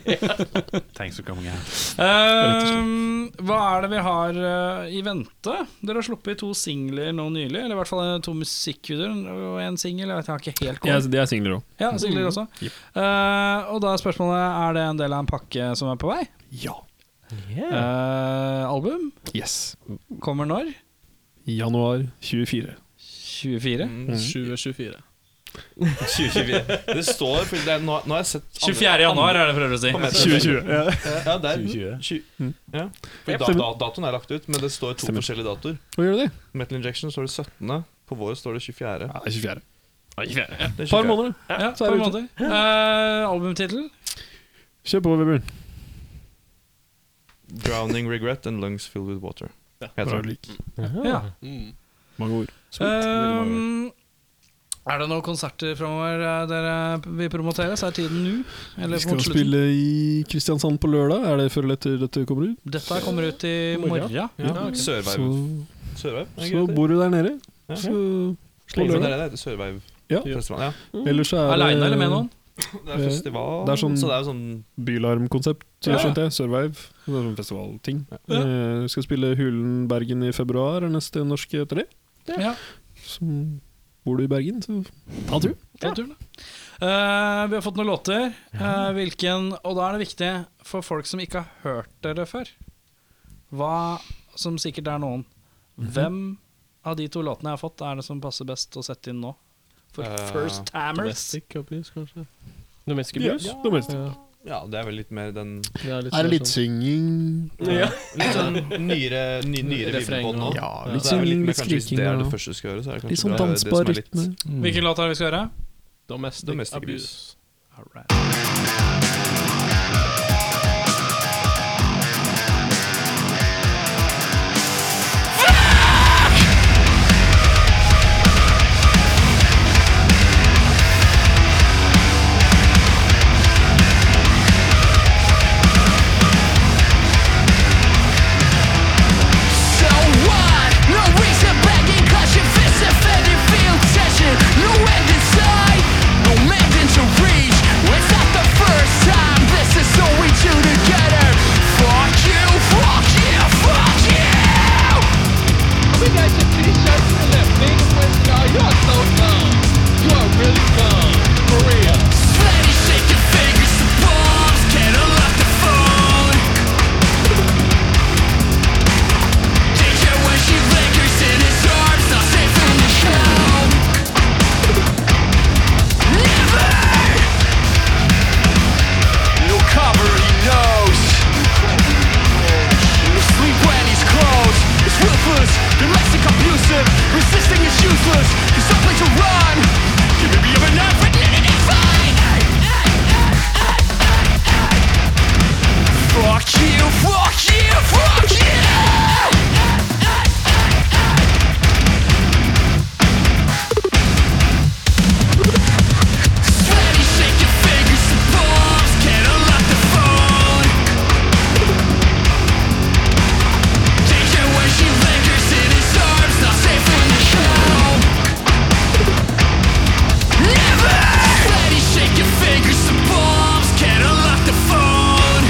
S9: Thanks for coming out.
S2: Ehm, Hva er det vi har eh, i vente? Dere har sluppet to singler nå nylig. Eller i hvert fall eh, to musikkvideoer og én singel. Jeg vet jeg har ikke helt
S3: Ja,
S2: kommet.
S3: så de er singler Mm. òg.
S2: Ja, singler også. Eh, og da er spørsmålet Er det en del av en pakke som er på vei.
S3: Ja.
S2: Eh, album
S3: Yes.
S2: kommer når?
S3: Januar 24.
S2: 24?
S3: Mm,
S7: 2024.
S5: 2024. Det står fordi det er, nå, nå har jeg sett andre-
S2: januar er det, prøver du å si.
S3: 2020. Ja.
S5: Ja, det er
S9: 2020.
S5: tjue- Ja. Fordi da, da,
S3: Stemmer.
S5: datoen er lagt ut, men det står to
S3: Stemmer.
S5: forskjellige datoer.
S3: Hva gjør du det?
S5: Metal Injection står det 17. På vår står det 24.
S3: Ja, det er 24.
S5: Det er
S3: Et par
S5: 24.
S3: måneder.
S2: Ja,
S3: er
S2: på
S3: det
S2: en måte. Eh, Albumtittel?
S3: Kjør på, Vebjørn.
S5: 'Drowning Regret and Lungs Filled With Water'. Heter det.
S2: Ja.
S7: Mm.
S3: Mange ord.
S2: Ehm, er det noen konserter framover dere vil promotere? Så er tiden nå.
S3: Vi
S2: Eller
S3: skal
S2: mot slutten.
S3: spille i Kristiansand på lørdag. Er det før eller etter dette kommer ut?
S2: Dette kommer ut i morgen.
S3: Så,
S5: Sørveiv. Sørveiv? er det
S3: så
S5: greit,
S3: bor du der nede,
S5: Ja.
S3: så på
S5: det? Det
S3: lørdag.
S5: er det det heter. Sørveiv
S3: Ja.
S5: festival. Ja.
S3: Ellers så er det
S2: Aleine eller med noen?
S10: Eh,
S5: Det er festival,
S3: Det er sånn-
S5: så det er jo sånn
S3: Bylarmkonsept,
S2: Ja.
S3: skjønte jeg. Survive. Det er sånn festivalting. Eh, vi skal spille Hulen Bergen i februar, er neste norske etter det.
S2: Ja.
S3: Så bor du i Bergen, så ta tur.
S2: Ta turen, da. Eh, vi har fått noen låter. Eh, hvilken Og da er det viktig for folk som ikke har hørt dere før, hva som sikkert er noen
S3: Mhm.
S2: Hvem av de to låtene jeg har fått, er det som passer best å sette inn nå? For
S5: Eh,
S2: First Hammers.
S7: Domestic Abuse, kanskje?
S1: Domestic Abuse.
S3: det meste.
S5: Ja, det er vel litt mer den
S10: Er det litt
S7: sånn
S10: synging?
S5: ja. Litt sånn nyere, ny, nyere vibber
S7: Refreng
S5: på den
S7: og-
S5: nå.
S10: Ja,
S5: Så
S10: litt
S5: det er vel
S10: synging,
S5: mer
S10: litt
S5: kanskje Hvis
S10: skriking.
S5: det er det
S10: og-
S5: første du skal gjøre, så er det
S10: Litt
S5: kanskje
S10: sånn
S5: bra å gjøre
S10: dansbar
S5: det som er
S10: rytme.
S5: litt
S3: Mm.
S2: Hvilken låt er det vi skal høre?
S7: Domestic,
S5: Domestic
S7: abuse.
S6: So what? No reason begging, clash your fists and fend your field session. No end in sight, no mountain to reach. It's not the first time, this is all we do together. Fuck you, fuck you, fuck you! I think I should t-shirt and that big question, oh, you're so dumb. You are really dumb, for real. Steady shake your fingers to bombs, can't unlock the phone. Danger when she lingers in his arms, not safe in the show. Never! He'll cover, he knows. He'll sleep when he's close. It's ruthless, domestic abusive. Resisting is useless. There's no place to run. Give me of an effort, and it's fine. Fuck you, fuck you, fuck you! Steady shake your fingers to bombs, can't unlock the phone. Danger when she lingers in his arms, not safe in the show. Never! Steady shake your fingers to bombs, can't unlock the phone.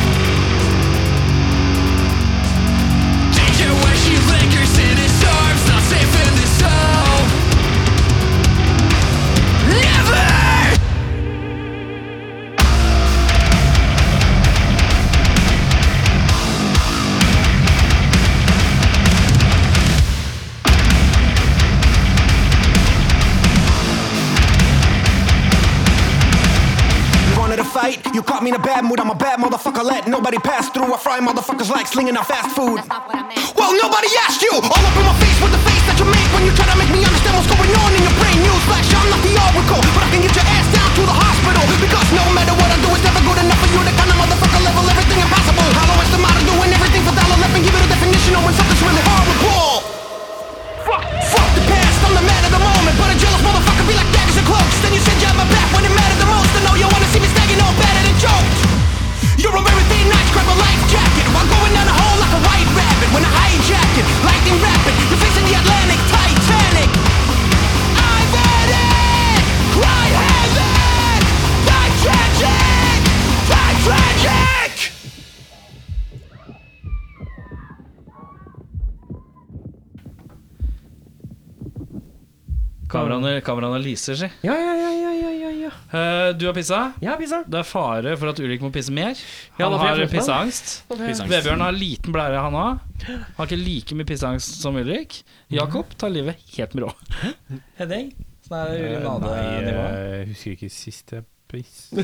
S6: Danger when she lingers in his arms, not safe in the show. Never!
S11: You wanted to fight? You caught me in a bad mood. I'm a bad motherfucker. Let nobody pass through. I fry motherfuckers like slinging out fast food. Well, nobody asked you. All up in my face with the face that you make when you try to make me understand what's going on in your brain. Newsflash, I'm not the oracle, but I can get your ass down to the hospital because no matter what I do, it's never good enough for you. The kind of motherfucker level everything impossible. Hollow is the motto, doing everything for dollar. Let me give it a definition on when something's really horrible. Fuck, fuck the past, I'm the man of the moment. But a jealous motherfucker be like that is a cloaks. Then you said you have my back when it mattered the most. I know you wanna see me snagging all better than joked. You're a very thin night, grab a life jacket. While going down a hole like a white rabbit. When I hijack it, lightning rapid. You're facing the Atlantic, Titanic. I've had it! Cry heaven! Die tragic! Die tragic!
S2: Kameraene, kameraene lyser, si.
S1: Ja, ja, ja, ja, ja, ja, ja.
S2: Eh, du har pissa.
S1: Jeg har pissa.
S2: Det er fare for at Ulrik må pisse mer.
S1: Ja,
S2: Han
S1: da får jeg
S2: har
S1: flytte meg.
S2: pisseangst. Vebjørn har liten blære, han òg. Har ikke like mye pisseangst som Ulrik.
S1: Mhm.
S2: Jakob tar livet helt
S1: (laughs)
S2: med rå. Henning? Sånn er urinadenivå.
S3: jeg husker ikke sist jeg pissa.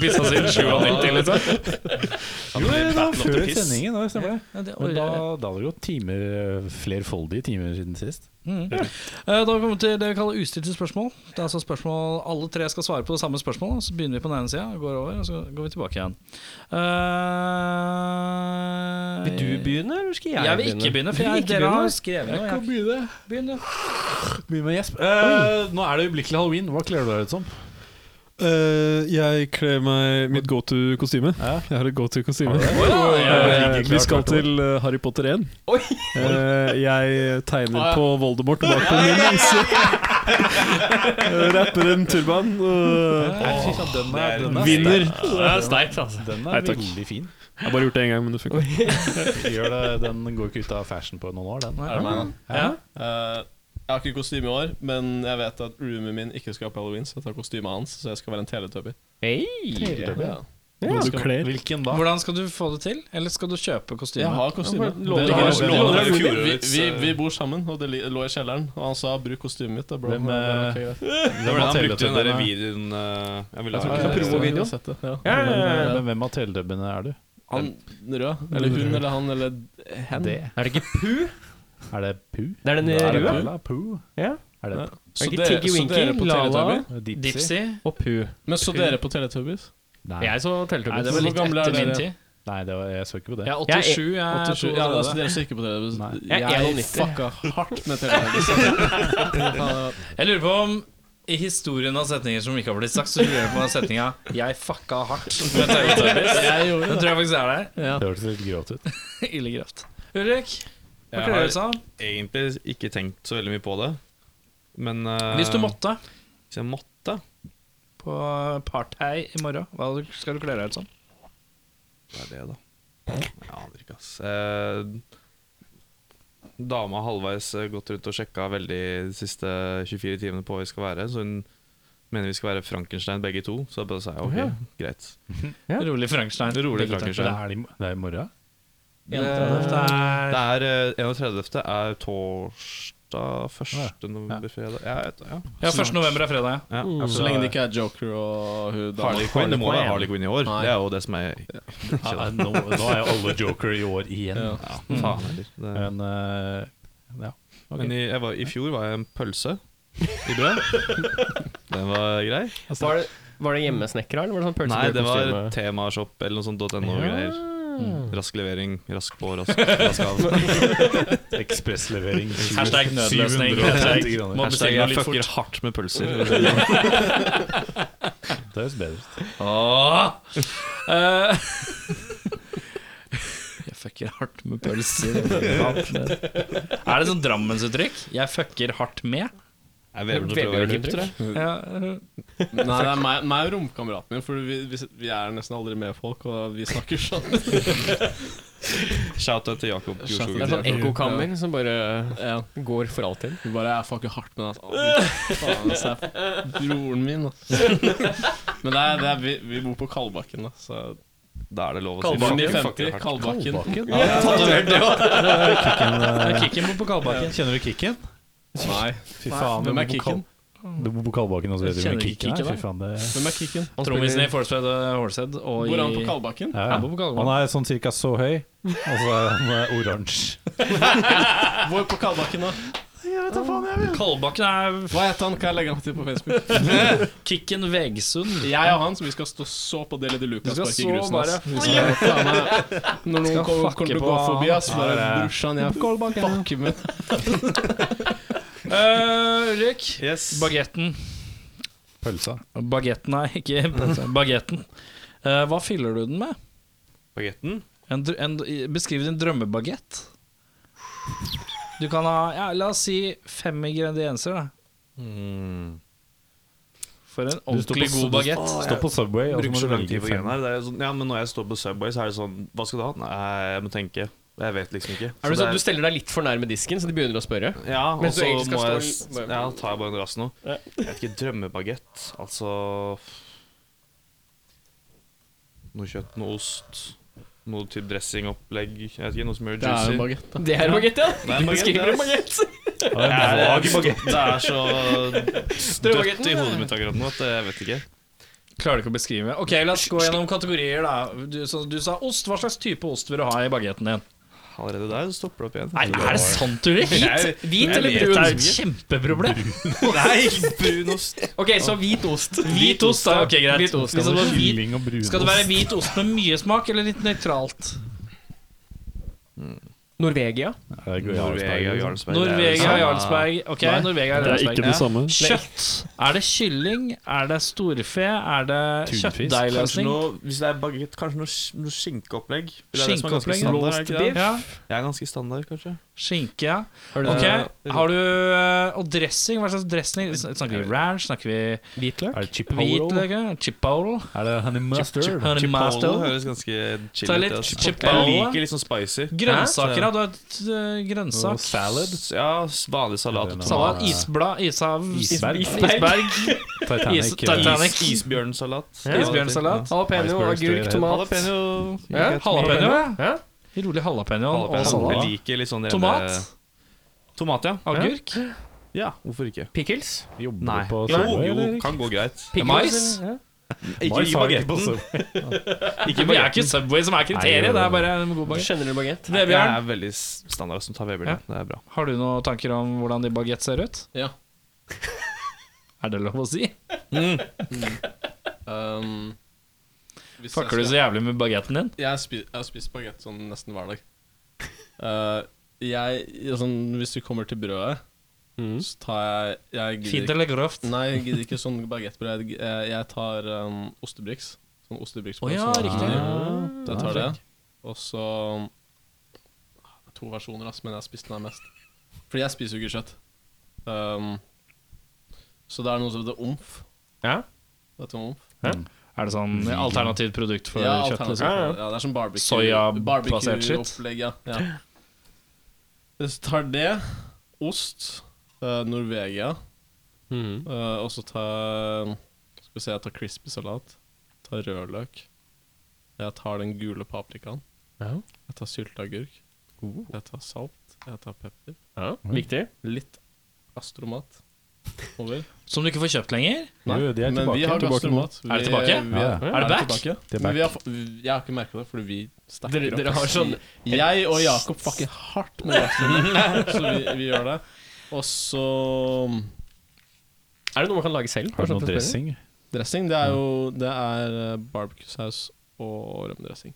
S2: Pissa siden 97, liksom.
S3: Ja, men det var før sendingen, da stemmer det.
S2: Ja, det
S3: Men
S2: orker
S3: da,
S2: jeg.
S3: da hadde det gått timer, eh, flerfoldige timer siden sist.
S2: Mm. Eh, Da har vi kommet til det vi kaller ustilte spørsmål. Det er altså spørsmål Alle tre skal svare på det samme spørsmålet. Så begynner vi på den ene sida, går over, og så går vi tilbake igjen. Eh,
S1: Vil du begynne, eller skal jeg,
S2: Jeg vil ikke begynne, for
S1: Du vil
S2: jeg,
S1: ikke
S2: dere
S1: begynne?
S2: har skrevet noe. Jeg
S3: begynne.
S2: begynner.
S3: Begynn med gjesp. Eh, nå er det øyeblikkelig halloween. Hva kler du deg ut som?
S12: Eh, jeg kler meg mitt go to-kostyme. Jeg har et go to-kostyme. Eh, Vi skal til eh, Harry Potter 1. Eh, jeg
S3: Ah,
S12: tegner på Voldemort bak på min
S3: (laughs)
S12: lense. Eh, Rapper en turban. og vinner.
S7: Det er sterkt, altså.
S3: Den
S12: Nei,
S3: er
S12: takk.
S3: veldig fin.
S12: Jeg har bare gjort det én gang, men det funka.
S3: (laughs) Gjør det, den går ikke ut av fashion på noen år, den.
S7: Er det meg, da?
S3: Ja.
S7: Eh, jeg har ikke kostyme i år, men jeg vet at roomien min ikke skal på halloween, så jeg tar kostymet hans. Så jeg skal være en teletubby.
S1: Hei!
S7: Ja. Hvordan skal- Hvilken da?
S2: Hvordan skal du få det til? Eller skal du kjøpe kostyme?
S7: Jeg har kostyme.
S2: Ja, bare
S7: Det-
S2: låne-
S7: det-
S2: låne-
S7: det-
S2: låne-
S7: det-
S2: låne-
S7: vi, vi, vi bor sammen, og det li- lå i kjelleren. Og han sa 'bruk kostymet mitt'. Da ble
S5: Hvem, eh,
S7: det ok, greit.
S5: hvem har han brukte den der videoen eh, Jeg ville ha
S7: Jeg tror ikke
S5: den.
S7: det er promovideoen. Jeg har sett det, ja. Ja, ja, ja, ja.
S3: Men hvem av teledubbene er du?
S7: Han rød, eller hun, eller han, eller hen.
S3: Det.
S1: Er det ikke Pu?
S3: Er det Pu?
S1: Det er den
S3: Er det
S1: røde?
S3: Lala Pooh?
S1: Ja.
S3: Er det
S7: Ja.
S1: Er
S7: Så
S1: det ikke
S7: dere-
S1: Tiggy
S7: så
S1: Winky,
S7: dere på
S1: Lala,
S7: Teletubby?
S2: Dipsy?
S1: og Pu?
S7: Men så dere på Teletubbies?
S3: Nei.
S1: Jeg så
S7: Nei, det
S1: Teletubbies.
S7: var
S2: Litt
S7: Hvor gamle er
S2: etter
S7: dere?
S2: min tid.
S3: Nei, det var, jeg så ikke på det.
S2: Jeg er 87. Jeg er
S7: 87, ja,
S2: 32.
S7: altså Dere som ikke på Teletubbies?
S3: Nei.
S1: Jeg er
S7: Jeg
S1: 91.
S7: fucka hardt med Teletubbies.
S2: Jeg lurer på om i historien av setninger som ikke har blitt sagt, så lurer jeg på om setninga 'Jeg fucka (laughs) hardt' med Teletubbies. Den tror jeg faktisk er der.
S3: Det hørtes litt grovt ut.
S2: Ille grovt. Ulrik, hva
S5: Jeg
S2: kler
S5: har-
S2: du som?
S5: Egentlig ikke tenkt så veldig mye på det. Men eh,
S2: Hvis du måtte
S5: Hvis jeg måtte
S2: på partei i morgen, hva skal du kle deg ut som?
S5: Hva er det, da? Jeg aner ikke, ass. Eh, dama har halvveis eh, gått rundt og sjekka veldig de siste 24 timene på hva vi skal være. Så hun mener vi skal være Frankenstein begge to. Så da bare sa jeg ok, greit.
S1: Ja.
S2: Rolig Frankenstein.
S5: Rolig
S2: Begge to.
S3: Det
S5: Frankenstein.
S3: er, i, det er i morgen?
S5: Det er eh, 31. er torsdag 1. november, fredag Ja, jeg vet det, ja.
S2: Ja, 1. november er fredag. ja.
S5: ja. altså,
S7: Så lenge det ikke er Joker og hun dama.
S5: Harley Quinn, det må være Harley Quinn i år.
S7: Nei.
S5: Det er jo det som er ja,
S3: Ja, nå, nå er jo alle Joker i år igjen.
S7: Ja.
S5: Faen heller. Det-
S3: Men eh, ja. Ok.
S5: Men i, jeg var, i fjor var jeg en pølse i (laughs) brød. Den var grei.
S1: Var det, var det hjemmesnekra, eller var det sånn
S5: Nei, det var
S1: pølsebrødkostyme?
S5: temashop eller noe sånt .no-greier. Mm. Rask levering, rask på, rask, av.
S3: Ekspresslevering.
S2: Hashtag (laughs) nødløsning.
S3: 750 kroner.
S2: Må bestille
S5: Hashtag
S2: noe
S5: jeg
S2: litt
S5: fucker
S2: fort.
S5: hardt med pølser.
S3: Det høres bedre ut.
S2: Åh. Eh, Jeg fucker hardt med pølser. Jeg fucker hardt med- Er det sånn Drammensuttrykk? Jeg fucker hardt med?
S5: Jeg vevler til å prøve å være hipp, tror jeg.
S7: Nei, det er meg, meg og romkameraten min, for vi, vi, vi er nesten aldri med folk, og vi snakker sånn.
S5: Shout-out til Jakob Gjorsog.
S1: Det er sånn ekkokammer som bare
S7: (laughs) Ja.
S1: går for alltid.
S7: Vi bare er fucker hardt med den. altså. Faen, altså, det er broren min, altså. (laughs) Men det er, det er, vi, vi bor på Kalbakken, da, så
S5: Da er det lov å si
S7: Kalbakken i
S5: fucker, fucker
S7: 50.
S5: hardt.
S7: Kalbakken.
S2: Kikken bor på Kalbakken.
S3: eh. Kjenner du Kikken?
S7: Nei.
S3: Fy faen.
S7: Hvem er
S3: du bor på Kal-
S7: Kikken?
S3: Du bor på Kalbakken og så vet du hvem
S2: Kjenner du ikke
S3: Kikken er?
S2: Kikken,
S3: Fy faen, det
S7: Hvem er Kikken?
S2: Trommisen i Forsved og Holsed og
S7: Bor han på
S2: i
S7: Kalbakken?
S3: ja, ja.
S2: Jeg bor på Kalbakken.
S3: Han er sånn cirka så høy, og så er han eh,
S2: (laughs)
S3: oransje.
S7: (laughs) Hvor på Kalbakken, da?
S2: Kalbakken er
S7: Hva heter han? Kan jeg legge han til på Facebook?
S2: Kikken Vegsund.
S7: (laughs) Jeg og han, som vi skal stå så på Deli de Luca og
S2: skal
S7: sparke i
S2: så
S7: grusen. ass.
S2: bare-
S7: Vi skal, faen, meg- når noen
S2: Skal
S7: kommer,
S2: fucke
S7: kommer til å
S2: på
S7: gå forbi, ass, bare
S3: Ja,
S7: brorsan, jeg fucker med
S2: Eh, Ulrik,
S5: Yes.
S2: bagetten
S3: Pølsa.
S2: Bagetten, nei, ikke bagetten. Eh, hva fyller du den med?
S5: Bagetten.
S2: En, dr- en, beskriv din drømmebagett. Du kan ha ja, La oss si fem ingredienser, da. Mm. For en ordentlig god bagett.
S3: Stå på Subway, og så
S5: Bruker
S3: må
S5: så
S3: du
S5: lang tid
S3: velge
S5: på
S3: fem.
S5: greiene her. Det er sånn, ja, men når jeg står på Subway, så er det sånn Hva skal du ha? Nei, jeg må tenke. Jeg vet liksom ikke.
S1: Er det sånn at Du
S5: det
S1: steller deg litt for nærme disken, så de begynner å spørre.
S5: er- ja, og
S1: mens du
S5: så
S1: egentlig skal
S5: må
S1: stå
S5: jeg
S1: i-
S5: s- Ja, tar jeg bare en rass nå. Jeg vet ikke. Drømmebagett. Altså Noe kjøtt, noe ost, noe typ dressingopplegg. Jeg vet ikke, noe som gjør
S7: Det er
S5: juicy.
S7: en bagett.
S1: Det er bagett, ja!
S5: er en
S1: Du
S5: baguette,
S1: beskriver
S5: ja.
S1: en bagett.
S5: Jeg- jeg- Det er så dødt i hodet mitt akkurat nå at jeg vet ikke.
S2: Klarer du ikke å beskrive? Ok, La oss gå gjennom kategorier. da du, så, du sa ost. Hva slags type ost vil du ha i bagetten din?
S5: Allerede der stopper det opp igjen.
S2: Nei, Er det sant, Ulrik? Hvit, hvit eller brun? Det er et kjempeproblem.
S5: Nei, brunost.
S1: Ok, så hvit ost.
S2: Hvit ost, da. Ok, greit.
S1: Hvit ost.
S2: Hvis det var hvit,
S3: Kylling og brunost.
S2: skal det være hvit ost med mye smak, eller litt nøytralt?
S1: Norvegia.
S3: Ja, det går i
S5: Norvegia,
S3: Jarlsberg.
S5: Jarlsberg.
S2: Norvegia Jarlsberg. Ok, Norvegia
S13: Det er ikke
S2: Jarlsberg.
S13: det samme.
S2: Kjøtt. Er det kylling? Er det storfe? Er det
S3: Tunfisk.
S5: Kanskje
S2: kjøttdeigløsning?
S5: noe, hvis det er baguett, kanskje noe, sk- noe skinkeopplegg. Det er det som er
S2: Skinkeopplegg,
S5: ganske
S2: ja.
S5: standard, er det ikke det?
S2: Ja,
S5: Jeg er ganske standard, kanskje.
S2: skinke, ja.
S5: Er det-
S2: Ok, har du eh, Og dressing? Hva slags dressing? Sn- Snakker vi ranch? Snakker vi
S1: Hvitløk.
S3: Er det chipotle?
S2: hvitløk? ja? Chipotle?
S3: Er det honey mustard?
S2: Honey
S5: Chipotle
S2: mustard?
S5: høres ganske chill
S2: Ta
S5: ut.
S2: litt
S5: altså.
S2: chipotle.
S5: Jeg liker litt sånn spicy.
S2: Grønnsaker, ja. Du har et eh, grønnsak.
S3: Salad?
S5: S- Ja, s- vanlig salat.
S3: Salat.
S2: Salat, isblad, ishav
S3: (laughs) Isberg.
S2: Isberg.
S1: Titanic.
S5: Is-
S3: eh,
S5: Titanic. Is- Isbjørnsalat.
S2: Isbjørnsalat. Jalapeno, agurk, tomat.
S5: Jalapeno.
S2: Ja, jalapeno, ja.
S5: Ja.
S2: Rolig jalapeno
S5: Jalapeno.
S2: og salat.
S5: Jeg liker litt sånn rene-
S2: Tomat?
S5: Tomat, ja.
S2: Agurk?
S5: Ja, hvorfor ikke?
S1: Pickles?
S5: Jobber
S2: Nei.
S5: på
S2: Jo,
S5: Subway,
S2: jo,
S5: eller?
S2: kan gå greit.
S5: Pickles,
S2: Mais?
S5: eller?
S2: Ikke
S5: Mais
S2: i
S5: har vi
S2: bagetten.
S5: ikke (laughs) på Subway.
S2: Ikke vi er ikke sånn, Subway som er kriteriet, det er bare en god bagett.
S1: Generell bagett.
S2: Vebjørn?
S5: Jeg er veldig standard som tar Vebjørn.
S2: Ja.
S5: Det er bra.
S2: Har du noen tanker om hvordan de baguette ser ut?
S7: Ja.
S2: (laughs) Er det lov å si?
S7: Um, hvis jeg
S2: Fucker du
S7: skal-
S2: så jævlig med bagetten din?
S7: Jeg har spi- jeg har spist bagett sånn nesten hver dag. Eh, jeg, jeg sånn, Hvis du kommer til brødet,
S1: Mm.
S7: så tar jeg, jeg gidder
S2: Fint
S7: ikke-
S2: eller grovt?
S7: Nei, jeg gidder ikke sånn bagettbrød. Jeg, eh, jeg tar um, ostebriks. Sånn ostebriksbrød.
S2: Å ja,
S7: som er-
S2: riktig. Ja,
S7: Så jeg tar
S2: den er
S7: det. Og så ah, To versjoner, ass, men jeg har spist den her mest. Fordi jeg spiser jo ikke kjøtt. Um, så det er noe som heter omf.
S2: Ja.
S7: Vet du hva omf?
S2: Ja. Er det sånn alternativt produkt for
S7: ja,
S2: kjøtt?
S7: alternativ.
S2: Liksom?
S7: Ja, det er sånn barbecue
S2: Soya-basert shit?
S7: barbecue-opplegg, ja. ja. Hvis du tar det, ost, eh, Norvegia,
S1: Mhm.
S7: eh, og så tar Skal vi se, jeg tar crispy salat, tar rødløk, jeg tar den gule paprikaen,
S1: Ja.
S7: jeg tar sylteagurk, jeg tar salt, jeg tar pepper,
S1: Ja, viktig.
S7: litt astromat over.
S2: Som du ikke får kjøpt lenger?
S7: Nei,
S2: Jo, jo, de er
S7: men vi
S2: tilbake.
S7: har
S2: Tilbake
S3: altså.
S7: gastromat.
S2: nå. Er det tilbake?
S7: Vi,
S2: Ja, ja. Er det back?
S7: tilbake?
S2: Det er
S7: Men vi har, fa- vi- jeg har ikke merka det, fordi vi stacker
S1: Dere- dere har sånn-
S7: Jeg og Jakob fucker hardt med gastromat, så vi, vi gjør det. Og så um,
S1: Er det noe man kan lage selv? sånn
S3: Har du noe
S1: Kanskje jeg får
S3: dressing?
S7: Dressing, det er jo Det er eh, barbecue-saus og rømmedressing.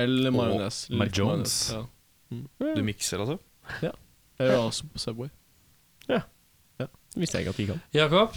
S7: Eller majones.
S3: Mad
S7: Litt
S3: Jones.
S7: majones, Ja.
S5: Du mikser, altså?
S7: Jeg gjør det også på Subway.
S1: spørre? Visste jeg ikke at vi kan.
S2: Jakob,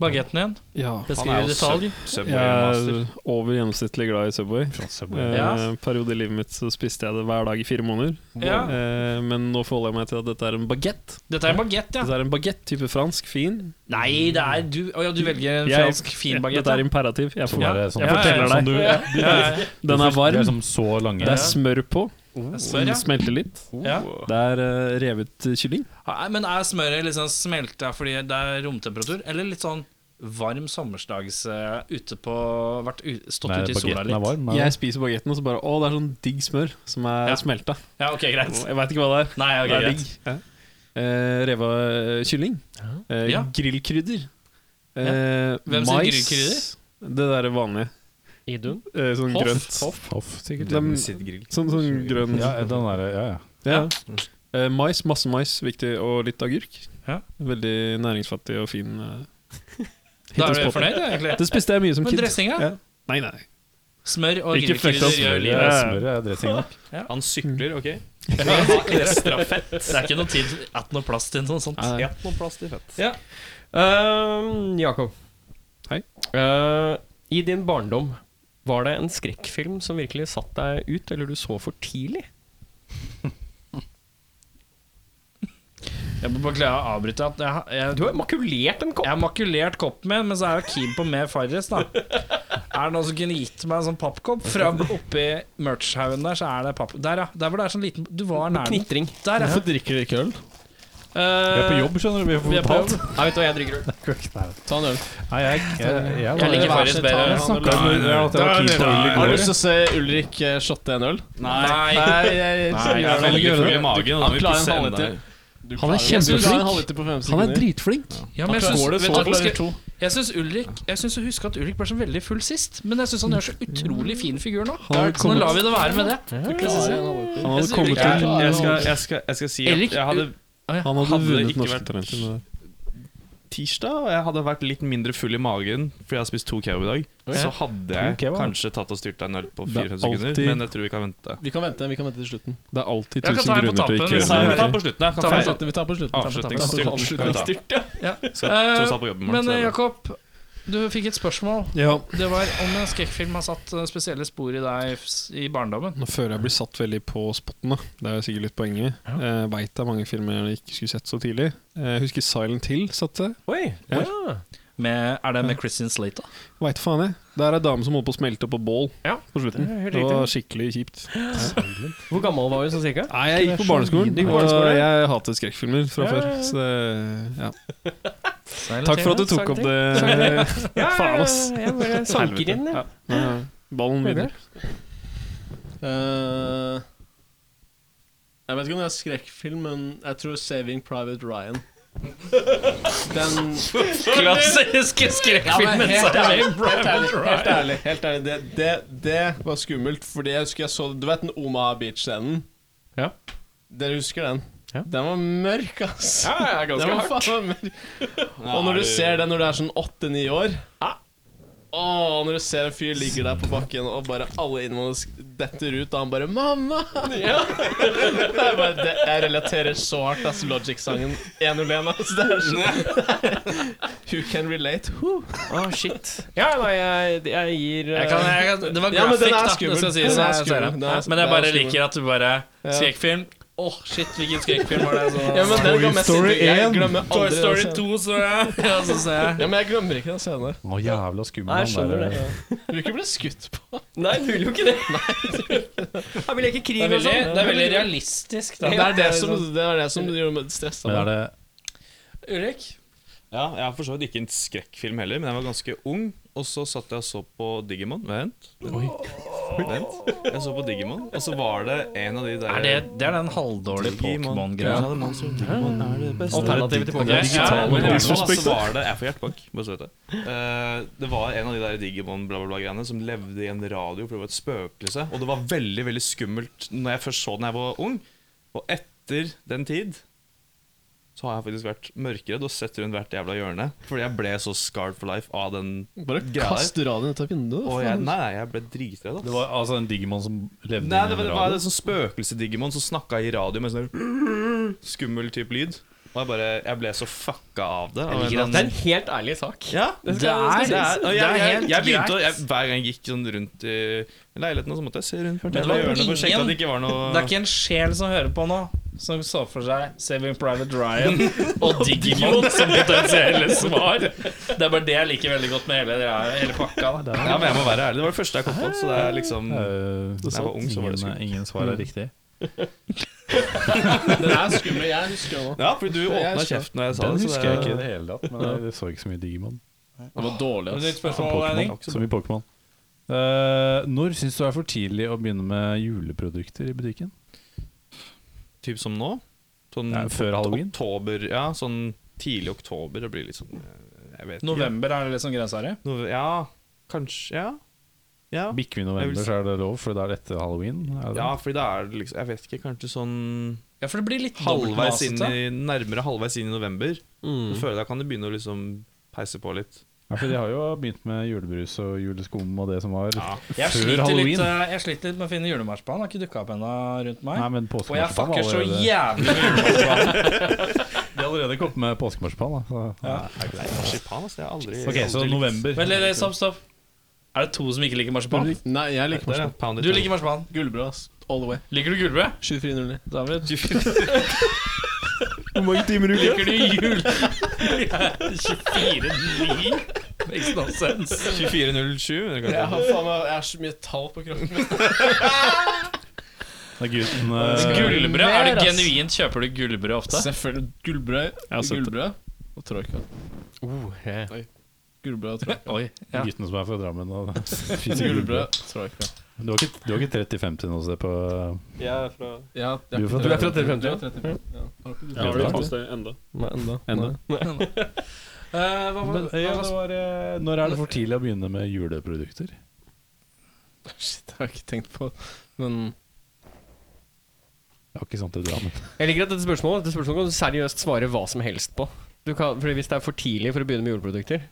S2: bagetten din.
S6: Ja.
S2: Beskriv i detalj.
S6: Jeg er over gjennomsnittlig glad i Subway. Eh,
S2: Ja.
S6: periode i livet mitt så spiste jeg det hver dag i fire måneder.
S2: Ja.
S6: Eh, men nå forholder jeg meg til at dette er en bagett.
S2: Dette er en bagett, ja.
S6: Dette er en bagett type fransk, fin.
S2: Nei, det er du Å ja, du velger en
S6: Jeg-
S2: fransk fin bagett.
S6: Dette er imperativ. Jeg, får,
S2: Ja.
S3: Det er sånn,
S6: jeg forteller deg.
S3: du,
S6: Den er
S3: Det er
S6: varm.
S3: som så lange.
S6: Det er smør på.
S2: smør, ja.
S6: Den smelter litt.
S2: Ja.
S6: Det er eh, revet eh, kylling.
S2: Nei, Men er smøret liksom smelta fordi det er romtemperatur, eller litt sånn varm sommersdags eh, ute på Vært u, stått
S3: Nei,
S2: ute i sola
S3: bagetten
S2: litt?
S3: er varm. er
S6: Jeg
S3: det?
S6: spiser bagetten, og så bare Å, det er sånn digg smør som er
S2: Ja.
S6: smelta.
S2: Ja, ok, greit.
S6: Jeg veit ikke hva det er.
S2: Nei, ok,
S6: Det er
S2: greit.
S6: digg. Ja. Eh, reva eh, kylling. Eh,
S2: Ja.
S6: Grillkrydder. Eh,
S2: Hvem sier grillkrydder?
S6: Det derre vanlige.
S1: Idun?
S6: Eh, sånn
S2: Hoff?
S6: grønt.
S3: Hoff, sikkert.
S6: Dem-
S5: Sittgrill.
S6: sånn, sånn grønn
S3: Ja, den der, ja, ja.
S6: Ja. Eh, mais, masse mais, viktig, og litt agurk.
S2: Ja.
S6: Veldig næringsfattig og fin. eh,
S2: Da er
S6: hit
S2: du
S6: og spot.
S2: fornøyd, egentlig?
S6: Det spiste jeg mye som
S2: Men
S6: kid.
S2: dressinga?
S6: Ja. Nei, nei.
S2: Smør og
S6: Ikke fucked up.
S2: grillkrydder gjør livet
S3: Smør
S6: Ja.
S3: er dressing, da.
S5: Han sykler, OK?
S2: ekstra fett. Det er ikke noe tid at noe plass til noe sånt.
S5: Ja, noen plass til fett.
S1: Ehm, Jakob.
S6: Hei.
S1: Eh, I din barndom, var det en skrekkfilm som virkelig satt deg ut, eller du så for tidlig?
S2: Jeg må beklage å avbryte at jeg, jeg,
S1: Du har makulert en kopp!
S2: jeg har makulert koppen min, men så er jeg keen på mer Farris, da. Er det noen som kunne gitt meg en sånn pappkopp? Fra oppi merch-haugen der, så er det papp... Der, ja. Der hvor det er sånn liten Du var nær den.
S1: Knitring.
S2: Der, ja.
S7: Hvorfor drikker dere ikke øl?
S2: Vi er på jobb, skjønner du. Vi er på jobb.
S1: Nei, vet du hva, jeg
S7: (laughs)
S1: drikker øl.
S7: Ta en øl.
S3: Nei, jeg, jeg, jeg,
S2: Jeg liker
S7: Vær
S2: Farris
S7: så snill,
S2: bedre.
S7: ta en
S3: jeg snakket om det, at jeg var keen på øl i
S7: Har du
S3: går.
S7: lyst til å se Ulrik eh, shotte en øl?
S2: Nei.
S7: jeg
S2: Nei, jeg vil
S7: veldig
S2: ikke
S7: full
S2: gjøre det.
S7: i magen. og
S5: Han
S7: da må vi
S5: klarer en
S7: pisse enda
S5: halvliter.
S7: mer.
S3: Han er
S7: Jeg synes
S3: kjempeflink.
S7: du klarer en halvliter på fem
S3: Han er
S7: sekunder.
S3: dritflink.
S2: Ja, men jeg
S7: Han
S2: syns,
S7: klarer det
S2: vet du,
S7: så
S2: hva,
S7: fort.
S2: skal, jeg syns Ulrik Jeg syns å huske at Ulrik ble så veldig full sist, men jeg syns han gjør så utrolig fin figur nå. Så nå lar vi det være med det.
S6: Han
S2: Jeg
S6: hadde
S2: synes
S6: kommet
S2: ikke jeg
S6: til
S2: klarer
S5: Jeg skal, jeg, skal, jeg skal si
S2: Erik,
S5: at jeg hadde
S6: Han hadde
S5: Hadde det
S6: vunnet
S5: ikke
S6: norske
S5: vært-
S6: talenter med det.
S5: tirsdag, og jeg hadde vært litt mindre full i magen fordi jeg har spist to kebab i dag, så hadde jeg
S3: kebab?
S5: kanskje tatt og styrta en øl på
S6: Det er
S5: 4-5 sekunder,
S6: alltid-
S5: men jeg tror vi kan vente.
S7: Vi kan vente vi kan vente til slutten.
S6: Det er alltid
S2: Jeg kan
S6: tusen
S2: ta en på
S6: grunner til å
S2: tappen,
S6: ikke
S2: hvis
S6: gjøre
S5: Vi
S6: det.
S5: tar på slutten, jeg
S7: Ta
S5: kan
S7: på
S5: feire
S7: slutten, vi tar på slutten.
S5: avslutningsstyrt. Avslutningsstyrt,
S2: Ja.
S5: Så
S2: Eh,
S5: sa på jobb i morgen,
S2: Men
S5: så
S2: eh,
S5: er det-
S2: Jakob, du fikk et spørsmål.
S6: Ja,
S2: Det var om en skrekkfilm har satt eh, spesielle spor i deg s- i barndommen.
S6: Nå føler jeg blir satt veldig på spotten, da. Det er jo sikkert litt poenget. Ja. Veit det er mange filmer jeg ikke skulle sett så tidlig. Eh, Jeg husker Silent Hill satte.
S1: Oi!
S6: Ja.
S1: Ja.
S2: Med, er det med Christian Slater?
S6: Veit faen jeg. Det er ei dame som holder på å smelte på bål
S1: Ja,
S6: på slutten.
S1: det er helt
S6: Det var skikkelig kjipt.
S1: Hvor gammel var du sånn cirka?
S6: Nei, jeg gikk på barneskolen,
S1: Du gikk på
S6: og
S1: barneskolen,
S6: jeg hatet skrekkfilmer fra
S1: Ja, ja,
S6: før.
S1: ja.
S6: Så det- ja. Takk for at du tok opp (laughs) det.
S1: Ja,
S6: Faen, ass.
S1: ja, jeg bare sanker
S6: Helvete.
S1: inn, jeg.
S6: Ja. Ja. Ballen
S1: Hører
S6: vinner.
S7: Eh, jeg vet ikke om det er skrekkfilm, men jeg tror 'Saving Private Ryan'. Den
S1: Klassiske skrekkfilmen,
S6: altså.
S7: Ja, men helt ærlig,
S1: Saving Private
S7: helt ærlig, Helt
S1: Ryan.
S7: ærlig, helt ærlig det, det, det var skummelt, fordi jeg husker jeg så Du vet den Omaha Beach-scenen?
S1: Ja.
S7: Dere husker den? Den var mørk, ass.
S5: Ja, ja, ganske
S7: (laughs) den var
S5: hardt.
S7: faen meg mørk. Og når du ser den når du er sånn åtte-ni år Åh, når du ser en fyr ligger der på bakken, og bare alle innvandrere sk- detter ut, og han bare 'Mamma!' (laughs) Det er bare, det, jeg relaterer så hardt, ass. Logic-sangen 101, ass. Det er sånn (laughs) Who can relate? Who?
S1: Å, shit. Ja, nei, jeg, jeg gir eh,
S2: Jeg kan, jeg kan, det var
S7: Ja, men
S2: graphic,
S7: den er
S2: da.
S7: skummel.
S2: Det skal sies.
S7: Den er
S2: Jeg ser
S7: skummel.
S2: det.
S7: Den er-
S2: Men jeg
S7: den er
S2: bare
S7: skummel.
S2: liker at du bare Skrekkfilm. Åh, shit, hvilken skrekkfilm var det?
S1: (laughs)
S2: Så,
S7: Ja, men den ga mest inntrykk. Jeg glemmer
S2: Toy
S7: aldri
S2: Story
S7: den scenen.
S2: 2, så jeg. Ja, så ser jeg.
S7: Ja, men jeg glemmer ikke den scenen der.
S14: Å, jævla skummel
S1: Nei, jeg
S14: han
S1: skjønner
S14: der.
S1: det.
S7: Du vil ikke bli skutt på.
S1: Nei, du vil jo ikke det. Jeg vil ikke krig
S2: Det er
S1: og
S2: veldig,
S1: sånn.
S2: det er veldig realistisk, da.
S7: Det er det som, det er det som gjør meg stressa.
S14: Men er det
S2: Ulrik?
S5: Ja, jeg har for så vidt ikke en skrekkfilm heller, men jeg var ganske ung. Og så satt jeg og så på Digimon. Vent. Vent. Jeg så på Digimon, og så var det en av de der
S2: Er det, det er den halvdårlige
S5: Digimon.
S2: Pokémon-greia.
S5: Ja, man så Digimon er det beste.
S2: Alternativet til
S5: Ja,
S2: Pokémon.
S5: men i hvert fall da,
S6: Disrespect,
S5: så var det Jeg får hjertebank, bare så vet jeg. Eh, det var en av de der Digimon bla bla bla greiene som levde i en radio, for det var et spøkelse. Og det var veldig veldig skummelt Når jeg først så den da jeg var ung. Og etter den tid så har jeg faktisk vært mørkeredd og sett rundt hvert jævla hjørne. Fordi jeg ble så scarred for life av den
S7: Bare
S5: Greier.
S7: kast radioen ut av vinduet.
S5: Og jeg, nei, nei, jeg ble dritredd. ass.
S3: Det var altså en Digimon som levde
S5: Nei,
S3: i en
S5: det var, det var
S3: radio?
S5: en sånn spøkelse-Digimon som snakka i radio med sånn (laughs) der skummel type lyd. Og jeg bare Jeg ble så fucka av det.
S1: Jeg liker at det er en helt ærlig sak.
S5: Ja,
S1: Det
S5: det
S1: skal-
S5: er,
S1: det skal sies.
S2: Det er
S5: og jeg, jeg, jeg,
S2: helt
S5: begynte å
S2: greit.
S5: jeg, Hver gang jeg gikk sånn rundt i leiligheten, så måtte jeg se rundt hvert
S2: det
S5: jævla
S2: var
S5: hjørne for å sjekke
S2: ingen-
S5: at det ikke var noe
S2: Det er ikke en sjel som hører på nå, som så for seg Saving Private (laughs) Ryan og Digimon som potensielle svar. Det er bare det jeg liker veldig godt med hele, det- hele pakka. Da.
S5: Ja, men jeg må være ærlig. Det var det første jeg kom på, så det er liksom
S3: Øh,
S5: Da jeg var ung, så var
S3: ingen,
S5: det skummelt.
S3: ingen svar er riktig.
S7: Den er skummel. Jeg husker den nå.
S5: Ja, fordi du åpna
S7: husker-
S5: kjeften når jeg sa
S3: Den
S5: det.
S3: husker jeg ikke i det hele tatt, men jeg så ikke så mye Digimon.
S7: Det var dårlig, ass.
S2: Nytt spørsmål, Henning.
S3: Så mye Pokémon. Øh, når syns du det er for tidlig å begynne med juleprodukter i butikken?
S5: Typ som nå. Sånn
S3: Ja, før halloween?
S5: Oktober, ja, sånn tidlig oktober. Det blir litt sånn eh, Jeg vet ikke.
S2: November er det liksom grensa di.
S5: Nove- ja, kanskje Ja. Ja,
S3: Bikker vi
S5: Jeg
S3: november,
S5: vil-
S3: så er det lov, for da er det etter halloween. Er det?
S5: ja fordi da er det liksom Jeg vet ikke, kanskje sånn
S2: Ja, for det blir litt
S5: halvveis inn
S2: dobbeltmasete.
S5: i, nærmere halvveis inn i november. Så føler jeg da kan det begynne å liksom peise på litt.
S3: Ja, for de har jo begynt med julebrus og juleskum og det som var
S2: Jeg
S3: før
S2: sliter, litt,
S3: halloween.
S2: eh, jeg sliter litt med å finne julemarsipan. Har ikke dukka opp ennå rundt meg.
S3: Nei, men
S2: og jeg
S3: påskemarsipan
S2: fucker
S3: var
S2: så
S3: allerede-
S2: jævlig med
S3: De har allerede kommet med påskemarsipan. Da. Så.
S5: Marsipan, altså. Jeg har aldri
S3: Ok, så
S5: aldri likt.
S3: november.
S2: Vent, litt, litt, stopp, stopp. Er det to som ikke liker marsipan?
S7: Nei, jeg liker
S5: Det er
S7: marsipan.
S5: pound it
S2: Du
S5: down.
S2: liker marsipan.
S7: Gullbrød, ass. All the way.
S2: Liker du gulbrød?
S7: 2409.
S2: Da har vi et
S3: Hvor mange timer du
S2: Liker du jul? (laughs) 24-9? Makes no sense.
S5: 24.07? eller kanskje?
S7: Jeg har faen meg Jeg har så mye tall på kroppen min.
S3: Da gutten eh,
S2: Gullbrød?
S7: Mer,
S2: Er det
S7: ass.
S2: genuint? Kjøper du gullbrød ofte?
S7: (laughs) Selvfølgelig. Gullbrød,
S6: har sett det.
S7: gullbrød og troika.
S1: Uh,
S7: Gullbrød og troika.
S2: Oi. Ja.
S3: Gutten som er fra Drammen
S7: (laughs)
S3: og spiser
S7: Gullbrød
S3: julebrød.
S7: og troika.
S3: Du har ikke, du har ikke 30-50 nå, se på
S7: Ja,
S3: Du er
S7: jeg-
S3: fra-
S7: jeg-
S3: du er fra
S1: 35,
S7: jeg er fra 35, ja. Har ikke du-
S3: Ja,
S6: Har
S3: det
S6: du
S3: er
S6: fått det enda?
S1: Enda.
S3: enda.
S2: Eh, hva, var-
S3: Men, ja, det var, eh, når er det for tidlig å begynne med juleprodukter?
S7: Shit, det har jeg ikke tenkt på. Men
S3: Det var ikke sånt i Drammen.
S1: Jeg liker at dette spørsmålet, dette spørsmålet kan du seriøst svare hva som helst på. Du kan, fordi Hvis det er for tidlig for å begynne med jordprodukter,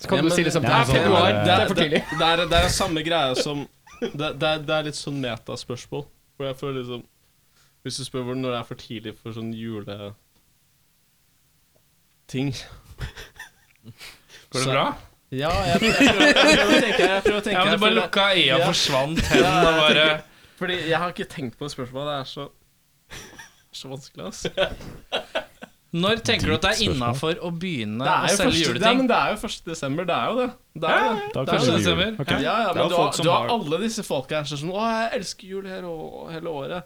S1: så kan
S7: Ja,
S1: du
S7: men-
S1: si liksom
S7: Nei,
S1: Det er
S7: sånn-
S1: februar,
S7: det er-
S1: det er
S2: eh,
S1: for tidlig.
S7: Det er, det er samme greie som Det, det, er, det er litt sånn metaspørsmål. For jeg føler liksom Hvis du spør hvordan når det er for tidlig for sånn jule... Ting.
S2: går det bra?
S7: Ja, jeg, jeg, prøver, jeg prøver å tenke. Jeg prøver å tenke
S2: Ja, men Du bare
S7: fordi-
S2: lukka øya og
S7: Ja.
S2: forsvant hen
S7: Ja,
S2: og bare
S7: jeg tenker- Fordi jeg har ikke tenkt på det spørsmålet. Det er så så vanskelig, ass. Det
S2: Når tenker du at det er innafor å begynne å
S7: jo
S2: selge
S7: første, det, er-
S2: juleting?
S7: men det er jo 1. desember. Det er jo det. Det er jo det.
S3: Da
S7: Det
S3: kanskje
S7: er jo
S3: det er jul.
S2: desember.
S3: Ok.
S7: Ja, ja,
S5: Det er
S7: men du
S5: folk
S7: har,
S5: som
S7: du har
S5: har-
S7: alle disse folka her som er sånn Å, jeg elsker jul hele, å- hele året.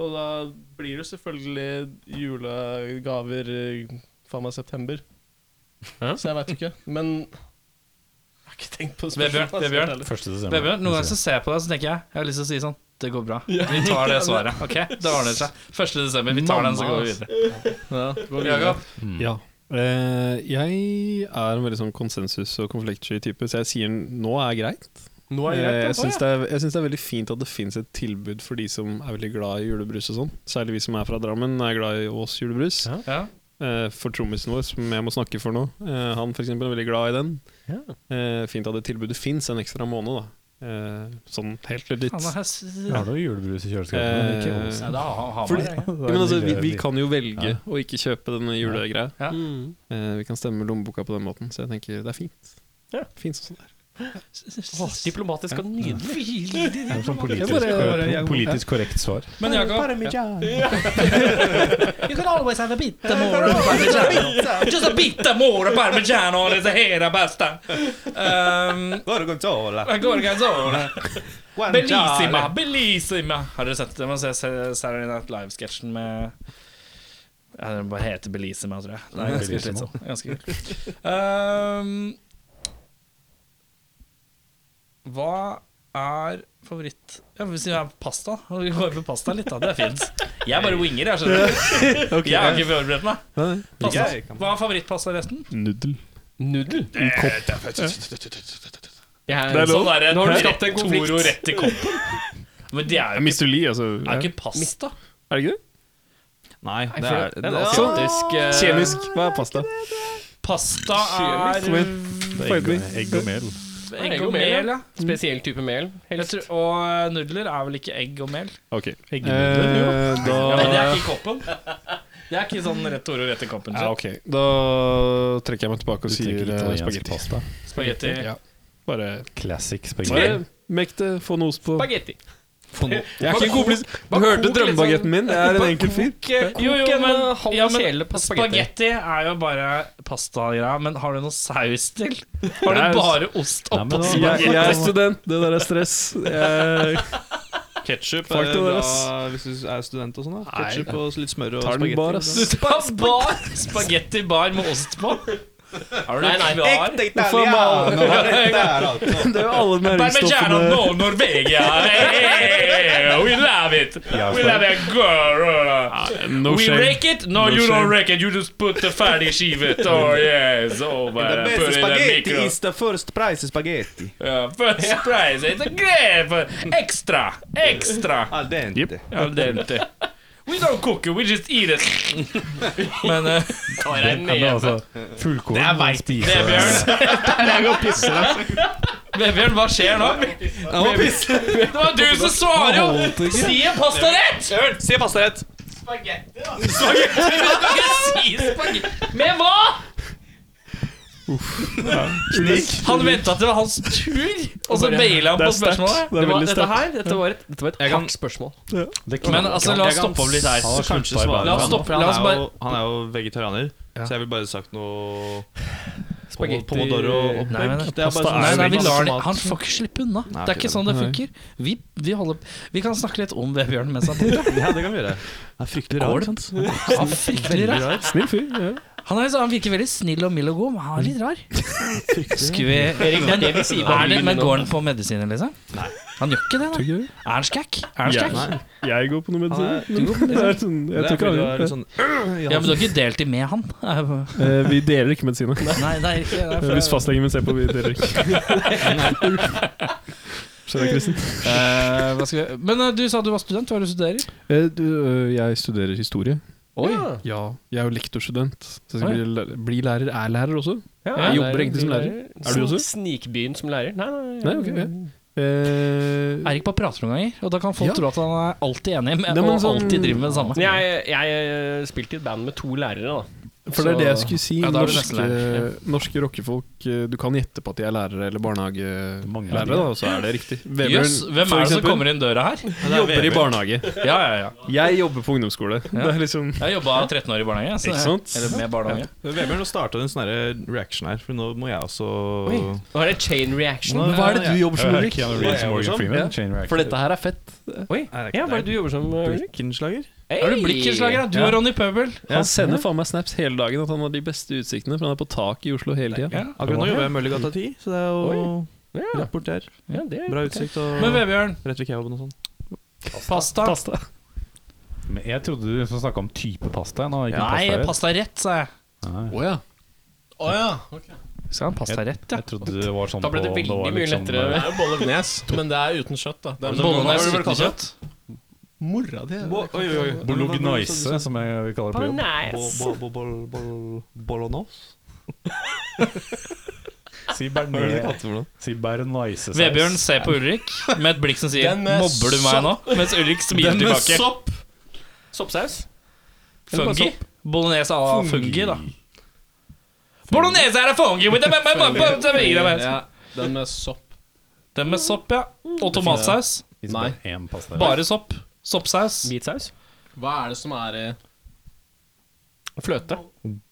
S7: Og da blir det selvfølgelig julegaver eh, faen meg september.
S15: Så jeg veit ikke. Men jeg har ikke tenkt på
S2: Vebjørn,
S15: spørsmålet.
S2: Vebjørn.
S3: Første desember.
S2: Vebjørn, noen ganger så ser jeg på deg Så tenker jeg Jeg har lyst til å si sånn Det går bra
S15: Ja.
S2: Vi tar det svaret Ok, det ordner seg 1. desember Vi tar den så går vi videre
S15: videre.
S2: Jakob?
S7: Ja. Eh, jeg er en veldig sånn konsensus- og konfliktsky type, så jeg sier nå er greit.
S1: Nå er greit,
S7: Eh,
S1: ja.
S7: jeg syns
S1: Å,
S7: det, er- jeg syns det er veldig fint at det fins et tilbud for de som er veldig glad i julebrus og sånn. Særlig vi som er fra Drammen, er glad i Ås julebrus. Eh, for trommisen vår, som jeg må snakke for nå, eh, han for eksempel er veldig glad i den. Eh, fint at det tilbudet fins en ekstra måned, da. Eh, sånn helt legit.
S2: Han er s-
S7: Ja.
S3: Har du julebrus i kjøleskapet? men ikke Ås?
S2: Nei, da har- har man
S7: Fordi,
S2: det, ja.
S7: Eh, ja, men altså, vi, vi kan jo
S3: Ja.
S7: velge å ikke kjøpe denne julegreia.
S2: Ja.
S7: Eh, vi kan stemme lommeboka på den måten, så jeg tenker det er fint. Fint sånn det er.
S1: diplomatisk og nydelig.
S3: Det er sånn
S7: Jeg bare-
S3: politisk,
S7: jeg bare-
S3: politisk korrekt svar.
S2: Men Jakob
S16: You can always have a bit more
S2: Just a bit more parmigiano Det er hele beste um,
S5: Gorgonzola.
S2: Gorgonzola Bellissima,
S5: Guanciale.
S2: bellissima Har dere sett det? Man ser ser- Saturday Night Live-sketsjen med ja, Den bare heter Bellissima, tror jeg. Det er ganske
S3: Bellissima.
S2: slitsomt. Ganske kult. Ehm, hva er favoritt Ja, Hvis vi er på pasta Vi går på pasta litt, da. Det er fint. Jeg bare winger, jeg, skjønner du. Jeg har ikke forberedt meg. Pasta.
S7: Jeg
S2: Hva er favorittpastaretten?
S7: Nudel.
S1: Nudel?
S7: En kopp.
S1: Jeg,
S7: Det er lov.
S2: Sånn der,
S1: Nå har du
S2: rett
S1: skapt en konflikt.
S2: Toro rett i koppen. Men det er jo ikke,
S7: Mistuli, altså.
S2: er jo ikke pasta.
S7: Er det ikke det?
S5: Nei, det
S1: for
S5: er,
S1: det
S5: det
S1: er
S5: er
S1: sånn.
S7: Kjemisk. Hva er pasta?
S2: Pasta er
S7: Kjemisk. Farging.
S3: Egg og mel.
S2: egg og mel, ja.
S1: Mm. Spesiell type mel.
S2: Jeg
S1: Helst.
S2: tror, og eh, nudler er vel ikke egg og mel?
S7: Ok. Eh,
S2: Ja, men det
S7: da
S2: er ikke i koppen. Det er ikke sånn rett ord og rett i koppen.
S7: ja,
S2: så.
S7: ok. Da trekker jeg meg tilbake
S3: Du
S7: og sier
S3: tenker
S7: eh,
S3: italiensk
S7: spagetti.
S3: pasta.
S2: Spagetti.
S7: Ja. Bare,
S3: Classic
S7: bare
S3: spagetti.
S7: mekte, få nos på
S1: Spagetti.
S7: Jeg er ikke en komplis. Du hørte drømmebagetten min? Jeg er en enkel fyr.
S1: eh,
S2: Jo, jo,
S1: en
S2: men,
S1: halv
S2: ja, men
S1: kjele på spagetti.
S2: spagetti er jo bare pastagreia, men har du noe saus
S7: (laughs)
S2: til? Har du
S7: Nei,
S2: bare ost
S3: Nei, men
S2: oppå
S3: da-
S7: Jeg,
S2: spagetti?
S7: jeg er student. Det der er stress. Jeg
S5: ketsjup.
S7: Fuck det der,
S5: Hvis du er student og sånn, da.
S7: Nei.
S5: Ketsjup og litt smør og
S7: tar den bare, ass.
S2: Spa- Bar, spagetti bar med ost på? Har du nei, kvar?
S7: Det er jo alle
S2: Parmigiano
S7: næringsstoffene
S2: no Norvegia! Hey, we love it! We love it, girl!
S7: No
S2: we
S7: shame.
S2: rake it? No, you
S7: shame.
S2: don't rake it. You just put the ferdig
S7: (laughs)
S2: skivet. Oh yes, over. Put it in the Eh, micro.
S5: the first price spagetti.
S2: Yeah, first prize. It's a great extra, extra. Eh,
S5: Al dente.
S2: Al dente. We don't cook it. We just eat it. Men eh, tar jeg
S3: Men
S2: ned
S3: altså, fullkorn man spiser
S2: Vebjørn. Vebjørn, hva skjer nå?
S5: Jeg må pisse!
S2: Det var du som svarer, jo! Si en pastarett!
S5: Hør, se pastarett!
S2: Du kan ikke si spagetti Med hva? Han venta til det var hans tur, og så baila han på spørsmålet.
S7: Det er veldig
S1: dette
S7: sterkt.
S1: her, dette var et, dette var et hardt spørsmål.
S2: Men altså, la oss stoppe opp litt her.
S5: Så kanskje svare
S2: La oss
S5: han.
S2: stoppe,
S5: Han
S2: la oss
S5: er
S2: bare-
S5: jo- Han er jo vegetarianer, så jeg ville bare sagt noe
S1: Spagetti-
S5: Pomodoro-opplegg.
S2: Nei, men
S5: Det er bare sånn-
S2: Nei, nei, vi
S5: masse
S2: lar det.
S5: mat.
S2: Han får ikke slippe unna.
S5: Nei,
S2: Det er ikke
S5: ikke
S2: sånn det funker. Vi, vi, holder, vi kan snakke litt om Vebjørn (laughs) mens han bor der.
S5: Ja, det kan vi gjøre. Det er fryktelig rart. sant?
S2: Han er fryktelig rar.
S7: Snill fyr. Ja.
S2: Han, er, liksom- han virker veldig snill og mild og god, men han er litt (laughs) rar. Skal vi men,
S1: det vi sier
S2: er
S1: bare
S2: det,
S1: lyden
S2: men
S1: nå.
S2: går han på medisiner, liksom? Han gjør ikke det, da.
S7: Tror ikke det.
S2: Er han skækk? Er han skækk?
S5: Nei.
S7: Jeg går på noe
S5: Han er-
S7: medisin. men det er sånn-
S5: Det er fordi
S7: Jeg tror ikke han
S5: du
S7: gjør
S5: er litt
S7: det.
S5: sånn
S2: Ja, men du har ikke delt dem med han? (laughs)
S7: Eh, Vi deler ikke medisiner.
S2: Nei, det er ikke det.
S7: Hvis fastlegen min ser på, vi deler ikke. Skjønner jeg, Kristin.
S2: Eh, hva skal vi? Men eh, du sa du var student. Hva er det du studerer?
S7: Eh, du, øh, jeg studerer historie.
S1: Oi.
S7: Ja, jeg er jo lektorstudent. Så jeg
S1: Å,
S7: skal
S1: ja.
S7: bli, lærer, bli lærer, er lærer også.
S1: Ja,
S7: Jeg jobber egentlig som lærer. Er du også?
S1: Snikbyen som lærer? Nei, nei,
S7: Nei, ok. Ja. Eh,
S2: Eirik bare prater noen ganger, og da kan folk
S7: Ja.
S2: tro at han er alltid enig med,
S7: Nei, men
S2: og
S7: sånn-
S2: alltid driver med det samme.
S1: Men Jeg, jeg eh, spilte i et band med to lærere, da.
S7: for det er det jeg skulle si.
S2: Ja, da er du
S7: norske,
S2: nesten
S7: norske rockefolk eh, Du kan gjette på at de er lærere eller
S3: Mange
S7: barnehagelærere,
S3: lærere.
S7: da, og så er det riktig. Vebjørn,
S2: Jøss, hvem
S7: for
S2: er det som
S7: eksempel,
S2: kommer inn døra her?
S7: Jobber i barnehage.
S2: Ja, ja, ja.
S7: Jeg jobber på ungdomsskole. Det er liksom
S2: Jeg jobba 13 år i barnehage. Så
S7: Ikke sant?
S2: Eller med barnehage.
S5: Vebjørn, nå starta den sånn her reaction her, for nå må jeg også
S1: Nå er det chain reaction.
S5: Hva er det du
S3: jobber som
S5: Ulrik?
S3: Keanu Reeves og Morgan Freeman. Chain reaction.
S1: her er fett. Oi. Ja, hva er det du jobber som, eh, Ulrik?
S5: Brekkenslager?
S2: Er du blikkenslager, da? Du og Ronny Pøbel.
S17: Han sender faen meg snaps hele dagen at han har de beste utsiktene, for han er på taket i Oslo hele tida.
S5: Akkurat nå jobber jeg i Møllergata 10, så det er jo rapport der.
S1: Ja, det er
S5: Bra
S1: ok.
S5: utsikt og
S2: Men Vebjørn,
S5: rett ved kebaben og sånn.
S2: pasta.
S3: Men jeg trodde du skulle snakke om type pasta. Nå, ikke
S2: Nei,
S3: pasta rett.
S2: pasta rett, sa jeg.
S3: Nei.
S17: Å ja.
S7: Å ja. ok.
S2: Skal han pasta rett, ja?
S3: Jeg trodde det var sånn
S1: Da ble det
S3: på- om var
S1: veldig mye
S3: liksom,
S1: lettere.
S3: eh,
S7: Det er jo bolognese, men det er uten kjøtt, da. Det er
S2: Bolognese
S7: Hva var det du
S2: uten
S1: liksom.
S7: kalte det? Mora di.
S5: Bo- Oi, oi, oi.
S3: Bolognese, som jeg kaller det på jobb.
S5: Bo- bo- bo- bol- bol- (laughs) Bolognese?
S3: Si
S5: Hva er det du
S3: bearnaise
S5: kalte det for noe?
S3: si bearnaisesaus.
S2: Vebjørn ser på Ulrik med et blikk som sier
S7: Den med
S2: 'mobber du meg nå?' Mens Ulrik smiler
S7: Den med
S2: tilbake.
S7: sopp!
S2: Soppsaus? Fungi? Bolognese à la fungi, da. Bolognese à la fungi with the bum, bum, bum, bum, bum, bum, bum.
S7: Ja, den med sopp.
S2: Den med sopp, ja. Og tomatsaus.
S3: Fins bare én pasta.
S2: Bare sopp. Soppsaus.
S1: Hvitsaus?
S7: Hva er det som er i
S1: Fløte?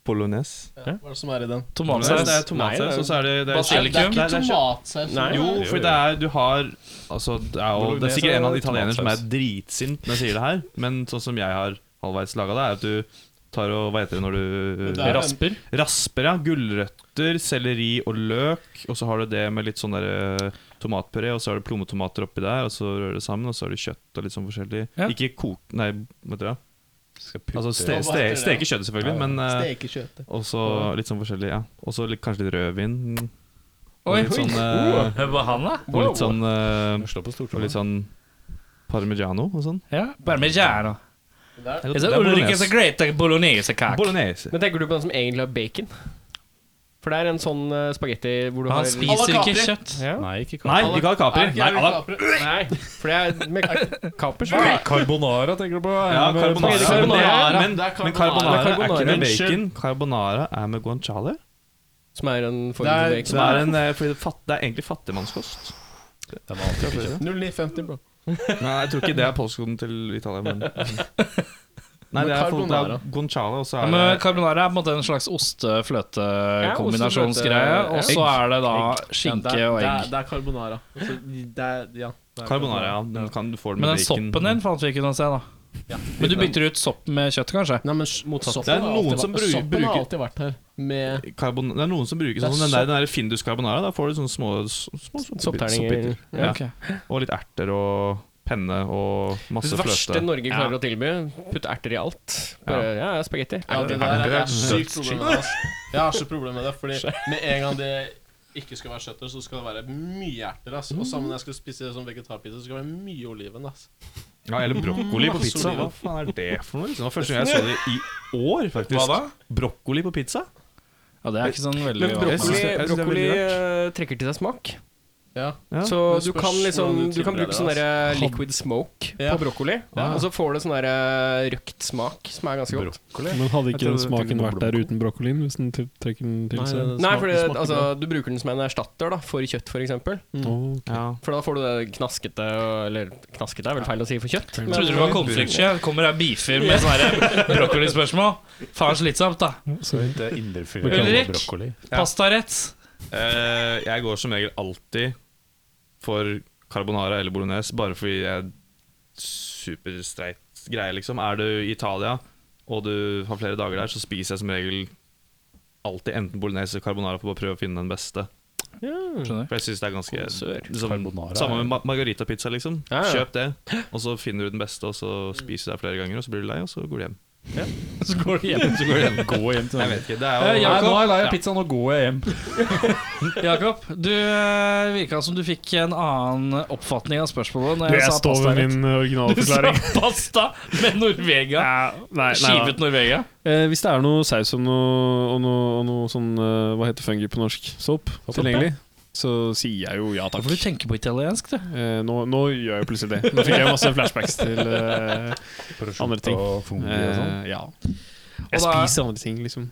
S5: Bolognese.
S7: Hva er det som er i den?
S5: Nei, det er
S2: Tomatsaus.
S5: tomatsaus, og så er det, det er
S7: Er det, det er
S2: Basilikum.
S5: Nei,
S7: ikke
S5: det er kjøtt.
S7: tomatsaus.
S1: Nei.
S5: Jo, for det er, du har altså, det, er jo, det er sikkert en eller annen italiener som er dritsint når jeg sier det her, men sånn som jeg har halvveis laga det, er at du tar og hva heter det når du
S7: Det er-
S1: Rasper?
S5: Rasper, ja. Gulrøtter, selleri og løk. Og så har du det med litt sånn der, eh, tomatpuré, og så har du plommetomater oppi der, og så rører du sammen, og så har du kjøtt og litt sånn forskjellig.
S2: Ja.
S5: Ikke kok... Nei, vet du det? Altså ste,
S7: Ja, hva
S5: ste,
S7: heter det?
S5: steke kjøttet, selvfølgelig, men eh,
S7: Stekekjøttet.
S5: også litt sånn forskjellig, ja. Og så litt- kanskje litt rødvin. Og
S2: Oi,
S5: litt sånn eh,
S2: Hør på han, da.
S5: og litt sånn eh,
S3: Slå på
S5: Og
S3: stortromma.
S5: litt sånn parmigiano og sånn.
S2: Ja, bare med gjæra.
S7: Der.
S2: Is it Ulrik is a great bolognese kak?
S5: Bolognese.
S1: Men tenker du på den som egentlig har bacon? For det er en sånn eh, spagetti hvor du
S2: Han
S1: har
S2: spiser
S7: Alla
S2: ikke
S7: Capri.
S2: kjøtt.
S1: ja.
S3: Nei, ikke
S5: Nei,
S3: kar-
S5: vi kaller kapri.
S7: Er ikke
S5: Nei,
S7: jeg
S5: alla.
S7: kapre?
S1: Nei, for det er med kapers.
S3: Carbonara tenker du på?
S5: Ja,
S3: Med
S5: carbonara.
S3: pasta.
S1: Carbonara.
S5: Men,
S7: Det er
S5: men carbonara
S7: carbonara.
S1: Det
S5: er
S1: er carbonara.
S5: ikke med bacon.
S1: Unnskyld.
S5: Carbonara er med guanciale.
S1: Som er en form
S7: Det
S1: for
S5: Så
S7: er-
S1: bacon.
S5: det er, en, eh, fordi det, fatt, det er egentlig fattigmannskost.
S3: Det var alltid kjøtt.
S7: 0950, bro.
S5: Nei, jeg tror ikke det er postkoden til Italia, men Nei, det er, det er
S7: carbonara.
S5: guanciale, og så
S2: Ja,
S5: er
S2: men
S5: det
S2: Carbonara er på en måte en slags oste-fløte-kombinasjonsgreie.
S1: Ja, oste-fløte-
S2: Og så er det da skinke
S7: Ja,
S2: og
S7: det er-
S2: egg.
S7: Det er, det er carbonara. Altså, det er, ja, det er
S5: carbonara. Ja, men kan, du får det
S2: Men
S5: med
S2: den
S5: bacon.
S2: soppen din fant vi ikke noe sted, da. Men du bytter ut sopp med kjøtt, kansoppen, kanskje?
S7: Nei, men s- motsatt.
S5: Det er noen som bru-
S7: Soppen har
S5: bruker-
S7: alltid vært her. Med
S5: Carbon, det er noen som bruker
S7: Det er
S5: sånn som den der, den der Findus carbonara. Da får du sånne små, små
S1: Soppterninger.
S5: soppbiter. Ja.
S2: Ok.
S5: Og litt erter og penne og masse
S1: Det
S5: fløte.
S1: verste Norge klarer å tilby. Putte erter i alt. Bare, ja, ja spagetti.
S7: Ja, det der
S5: er
S7: er
S5: dødt.
S7: sykt problem med det. ass. Jeg har så problem med det, fordi med en gang det ikke skal være kjøtt, så skal det være mye erter. Ass. Og sammen når jeg skal spise sånn vegetarpizza, så skal det være mye oliven. Ass.
S5: Ja, eller brokkoli på
S7: Masse
S5: pizza. Hva
S7: oliven.
S5: faen er det for noe? liksom? Det var første gang jeg så det i år, faktisk.
S7: Hva da?
S5: Brokkoli på pizza?
S2: Ja, det er ikke sånn veldig
S1: Men
S5: Jeg synes
S1: brokkoli,
S5: det- jeg synes det er
S1: brokkoli
S5: veldig
S1: eh, trekker til seg smak.
S7: Ja.
S5: Ja,
S1: Så
S7: det
S1: du
S7: spørs
S1: kan liksom
S7: hvordan du
S1: Du kan bruke sånn
S7: tilbereder
S1: der liquid smoke
S7: Ja.
S1: på brokkoli.
S5: Ja.
S1: Og så får du sånn der eh, røkt smak, som er ganske godt.
S17: Men hadde
S5: Jeg
S17: ikke
S5: tror
S17: den
S5: det
S17: smaken
S5: tenker
S17: vært der uten brokkolien? Hvis den til- trekker den til seg?
S1: Nei, for det, altså, du bruker den som en erstatter da, for kjøtt, f.eks. For, eksempel.
S17: Åh,
S5: Ja.
S1: for da får du det knaskete og- Eller knaskete er vel feil å si for kjøtt.
S2: Jeg trodde det var konfliktsky. Kommer her beefer med
S1: (laughs)
S2: sånne brokkolispørsmål. Faen slitsomt, da.
S17: sorry.
S3: Det er indrefilet
S17: Beklager.
S3: og
S2: Ulrik?
S3: brokkoli.
S2: Pastarett.
S5: Eh, jeg går som regel alltid for carbonara eller bolognese, bare fordi jeg er superstreit greie, liksom. Er du i Italia og du har flere dager der, så spiser jeg som regel alltid enten bolognese eller carbonara for å prøve å finne den beste.
S2: Skjønner.
S5: For jeg synes det er ganske
S1: Konsør.
S5: liksom,
S3: Carbonara
S5: Samme
S3: er-
S5: med ma margaritapizza, liksom.
S1: Ja, ja.
S5: Kjøp det, og så finner du den beste, og så spiser du deg flere ganger, og så blir du lei, og så går du hjem.
S2: Så går det hjem.
S5: (laughs) Så går du hjem.
S3: Gå hjem til
S5: Jeg
S3: Norge.
S5: vet ikke, det er
S2: Eh,
S5: jo
S2: ja.
S3: Nei,
S2: Jakob?
S3: nå er jeg lei av pizza, nå går jeg hjem.
S2: (laughs) Jakob, du eh, virka som du fikk en annen oppfatning av spørsmålet. Når
S17: Du,
S2: jeg,
S17: jeg
S2: sa
S17: står ved
S2: pastarett.
S17: min eh,
S2: Du sa (laughs)
S17: originalforklaring.
S2: pasta med Norvega.
S17: Ja, nei, nei, nei.
S2: Skivet Norvega.
S17: Eh, hvis det er noe saus og noe, og noe, og noe sånn eh, Hva heter fungi på norsk? Soap? tilgjengelig? Så sier jeg jo ja takk.
S2: Hvorfor du tenker på italiensk, du?
S17: Eh, nå, nå gjør jeg jo plutselig det. Nå fikk jeg masse flashbacks til eh, andre ting.
S3: Og fungi og sånn.
S17: Eh, ja. Jeg
S2: da-
S17: spiser andre ting, liksom.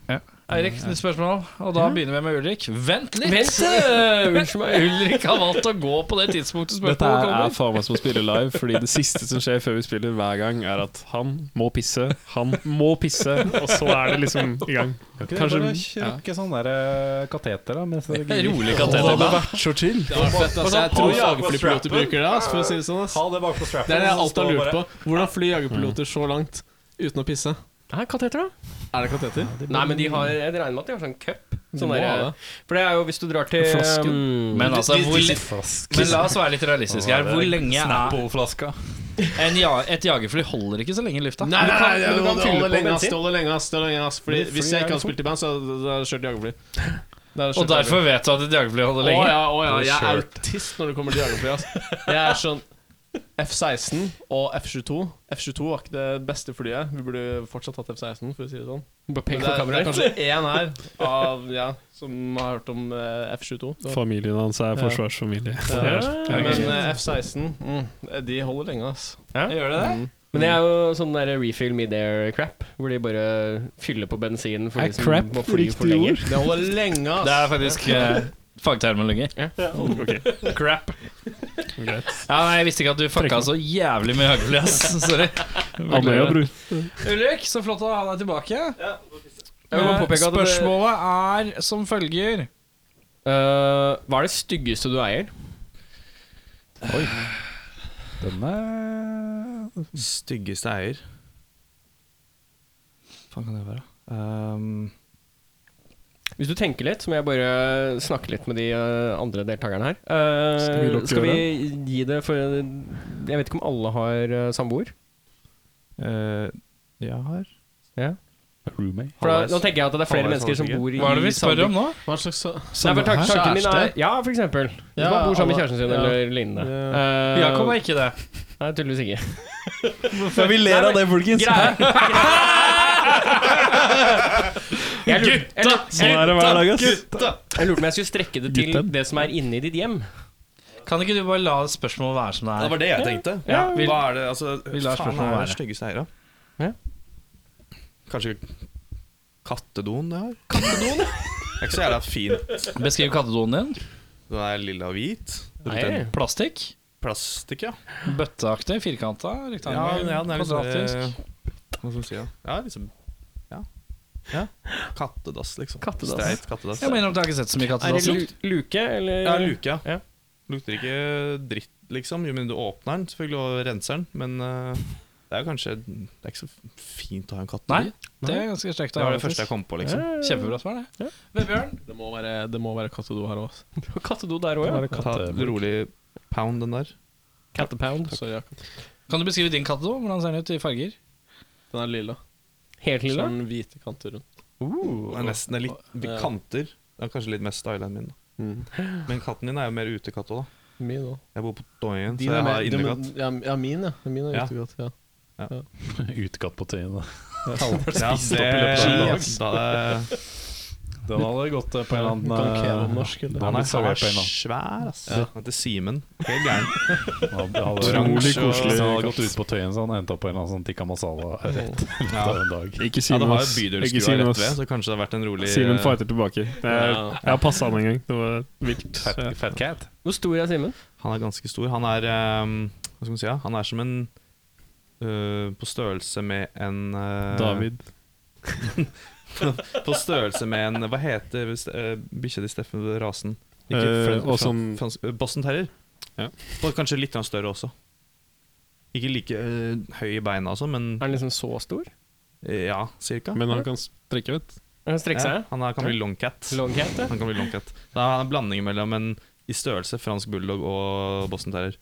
S2: Eirik, nytt spørsmål. Og da begynner vi med Ulrik. Vent litt! (laughs)
S1: Vent, eh, unnskyld meg.
S2: Ulrik har valgt å gå på det tidspunktet
S17: Dette
S2: spørsmålet
S17: er, er
S2: kommer.
S17: faen meg som å spille live, fordi det siste som skjer før vi spiller hver gang, er at han må pisse, han må pisse, og så er det liksom i gang.
S3: Kan ikke
S17: Kanskje-
S3: Kanskje, bare kjøkke sånn der eh, kateter, da? Mens det gir.
S2: Rolig kateter.
S17: vært så chill.
S7: Det var fett, ass. Altså, Jeg tror jagerflypiloter bruker det. Ass, for å si det sånn, ass.
S3: det bak på strappen.
S7: Det er det jeg alltid har lurt på. Hvordan flyr jagerpiloter så langt?
S3: uten å pisse.
S1: Hæ, kateter, da?
S3: Er det kateter?
S1: Nei, men de har, jeg regner med at de har sånn cup. Sånn
S3: må
S1: der-
S3: ha det.
S1: For det er jo hvis du drar til
S3: Flasken.
S1: um,
S2: Men altså,
S1: de- de-
S2: hvor
S1: de-
S2: Men la oss være litt realistiske her. Hvor lenge er
S18: Snapple-flaska.
S2: en ja, Et jagerfly holder ikke så lenge i lufta.
S7: Nei, nei, nei,
S1: men du kan
S7: du kan
S1: fylle
S7: holde
S1: på
S7: lenge, ass.
S1: bensin.
S7: Det holder lenge, ass. Det holder lenge, ass. Fordi
S3: Men fly
S7: hvis
S3: er
S7: jeg ikke
S3: jo
S7: hadde spilt i band, så hadde da hadde jeg kjørt jagerfly. Da hadde jeg
S2: Og
S7: kjørt
S2: derfor
S7: jagerfly.
S2: vet du at et jagerfly holder
S7: Å
S2: lenge.
S7: ja, å ja. Jeg er autist når det kommer til jagerfly, ass. (laughs) Jeg er sånn F-16 og F-22. F-22 var ikke det beste flyet. Vi burde fortsatt hatt F-16, for å si det sånn.
S1: Bare
S7: Men
S1: pek på
S7: det er, det er
S1: kameraet.
S7: kanskje én her av, ja, som har hørt om eh, F-22. så-
S3: Familien hans er
S7: Ja.
S3: forsvarsfamilie.
S7: Ja, Men eh, F-16, mm, de holder lenge, ass.
S1: Ja.
S7: Gjør det det? Mm.
S1: Men det er jo sånn der refill midair-crap, hvor de bare fyller på bensin for
S3: Er
S1: de som
S3: crap
S1: må fly for
S3: riktig
S1: lenge.
S3: ord?
S7: Det holder lenge, ass.
S2: Det er faktisk eh, fagtermologi. Crap. Ja, nei, Jeg visste ikke at du
S1: (laughs)
S2: fucka så jævlig med jagerfly, ass. Sorry.
S3: Andøya, bror.
S2: Ulrik, så flott å ha deg tilbake.
S1: Jeg vil bare
S2: Eh,
S1: påpeke at det-
S2: Spørsmålet er som følger
S1: Eh, hva er det styggeste du eier?
S19: Denne
S5: Styggeste eier Hva faen kan det være? Ehm,
S1: Hvis du tenker litt, så må jeg bare snakke litt med de eh, andre deltakerne her. Eh,
S3: Skal vi lukke
S1: skal vi gi det for Jeg vet ikke om alle har eh, samboer.
S5: eh, jeg har
S19: roommate.
S1: For da, nå tenker jeg at det er flere
S5: Halvveis,
S1: mennesker som
S5: halvvis
S1: bor i
S2: Hva er det vi spør om nå?
S7: Hva slags
S1: Nei, for tanken, tanken min er
S7: Kjæreste?
S1: Ja, for eksempel. Hvis
S7: Ja,
S1: man bor sammen med
S7: alle-
S1: kjæresten sin
S7: ja.
S1: eller lignende. Eh,
S2: Jakob er ikke det.
S1: Nei, tydeligvis ikke.
S18: Vi ler av det, folkens.
S1: Jeg lurte, jeg, lurte,
S3: Sånn er det hver dag, ass.
S1: jeg lurte på om jeg skulle strekke det til
S3: Gutten.
S1: det som er inni ditt hjem.
S2: Kan ikke du bare la spørsmålet være som det
S5: Det
S2: er?
S5: var det jeg tenkte.
S2: Ja, vi-
S5: Hva er det altså,
S2: vi lar
S5: Faen,
S2: spørsmålet
S5: hva er
S2: være.
S5: det styggeste eier, da?
S1: Ja.
S5: Kanskje kattedoen jeg har? Kattedoen? det er ikke så jævla fin.
S2: Beskriv kattedoen din.
S5: Den er lilla og hvit.
S1: Nei.
S5: Rundt en
S2: Plastikk.
S5: plastikk, ja.
S2: Bøtteaktig. Firkanta. Rektangel. kvadratisk.
S5: sånn, eh, Hva skal man si, da? Ja, liksom Ja. ja. Kattedass, liksom.
S1: Kattedass.
S5: Streit kattedass.
S2: Jeg mener at jeg har ikke sett så mye
S1: Er det
S2: kattedass.
S1: lu- luke, eller?
S5: Ja, luke, ja.
S1: Ja.
S5: Lukter ikke dritt, liksom. Jo mindre du åpner den, selvfølgelig, og renser den, men eh, det er jo kanskje Det er ikke så fint å ha en
S2: Nei,
S5: kattedo.
S2: det er ganske sterkt.
S5: Det var det første jeg kom på, liksom.
S2: Kjempebra svar, det.
S7: Det må være, det må være kattedo her òg.
S1: Kattedo der òg, ja.
S5: Ta
S3: eh,
S5: rolig pound, den der.
S1: Cattepound.
S7: Sorry, Jakob.
S2: Kan du beskrive din kattedo? Hvordan ser den ut i farger?
S7: Den er lilla.
S1: Helt lilla.
S7: Sånn hvite kanter rundt.
S5: Den er nesten litt
S7: Ja.
S5: kanter. Den er kanskje litt mest styla enn min. Da. Men katten din er jo mer utekatt òg, da.
S7: Min òg.
S5: Jeg bor på Doyen, så jeg har innekatt.
S7: Ja, ja, min, ja. Min er
S5: Ja.
S7: riktig godt. Ja.
S3: (laughs)
S18: Utkatt på tøyene.
S5: Ja, det, da, da,
S18: (laughs) Den hadde gått eh, på en eller
S7: Kan ikke jeg være
S18: annen eh,
S7: norsk, eller?
S18: Da
S5: den
S18: blir
S5: er så
S18: servert på en
S5: svær, ass. Den heter Simen. Helt gæren.
S18: annen. Den hadde-
S3: Utrolig
S5: Oransje og-
S3: koselig.
S18: Den hadde gått ut på tøyen, så han endte opp på en eller annen sånn tikka
S3: (laughs)
S18: masala-rett en dag.
S3: Ikke
S5: Ja,
S3: si
S5: det
S3: noe,
S5: har jo
S3: ass. Ikke si
S5: bydelskua
S3: noe,
S5: rett ved,
S3: ass.
S5: så kanskje det har vært en rolig
S3: Simen fighter tilbake. Jeg, jeg har passa han en gang. Det var vilt. Ja.
S18: Fat cat.
S1: Hvor stor er Simen?
S5: Han er ganske stor. Han er ehm, Hva skal man si? Ja? Han er som en øh, På størrelse med en øh,
S3: David.
S5: (laughs) På størrelse med en Hva heter uh, bikkja til Steffen Rasen? Ikke
S3: Eh,
S5: Fran-
S3: og
S5: Fran-
S3: som-
S5: Frans- eh, Boston Terrier.
S3: Ja.
S5: Og kanskje litt grann større også. Ikke like eh, høy i beina og sånn, men
S1: Er han liksom så stor?
S5: eh, ja, cirka.
S3: Men han kan strekke, vet du.
S1: Han strekker
S5: ja,
S1: seg?
S5: han er, kan bli longcat.
S1: Longcat, ja.
S5: Han kan bli longcat. Så han er en blanding mellom en i størrelse fransk bulldog og Boston Terrier.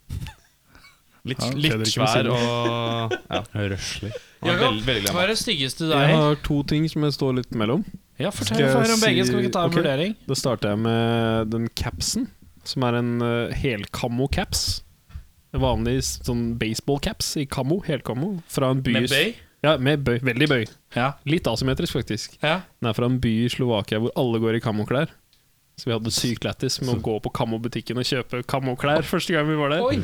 S5: Litt,
S3: Ja,
S5: litt
S3: Fredrik
S5: svær
S3: Musil.
S5: og ja,
S18: Røslig.
S5: han er
S2: Jakob,
S5: veldig, veldig
S2: Hva
S5: glad.
S2: er det styggeste du
S3: Jeg
S2: eier?
S3: har to ting som jeg står litt mellom.
S2: Ja, fortell
S3: Skal jeg
S2: for om begge. Skal vi ikke ta en
S3: si- ok.
S2: vurdering?
S3: Da starter jeg med den capsen, som er en eh, helkammo caps. En Vanlig sånn baseball-caps i kammo, helkammo. Fra en by i- Ja, med bøy. Veldig bøy.
S2: Ja.
S3: Litt asymmetrisk, faktisk.
S2: ja.
S3: Den er fra en by i Slovakia hvor alle går i kammoklær. Så vi hadde det sykt lættis med å gå på kammobutikken og kjøpe kammoklær første gang vi var der.
S2: Oi!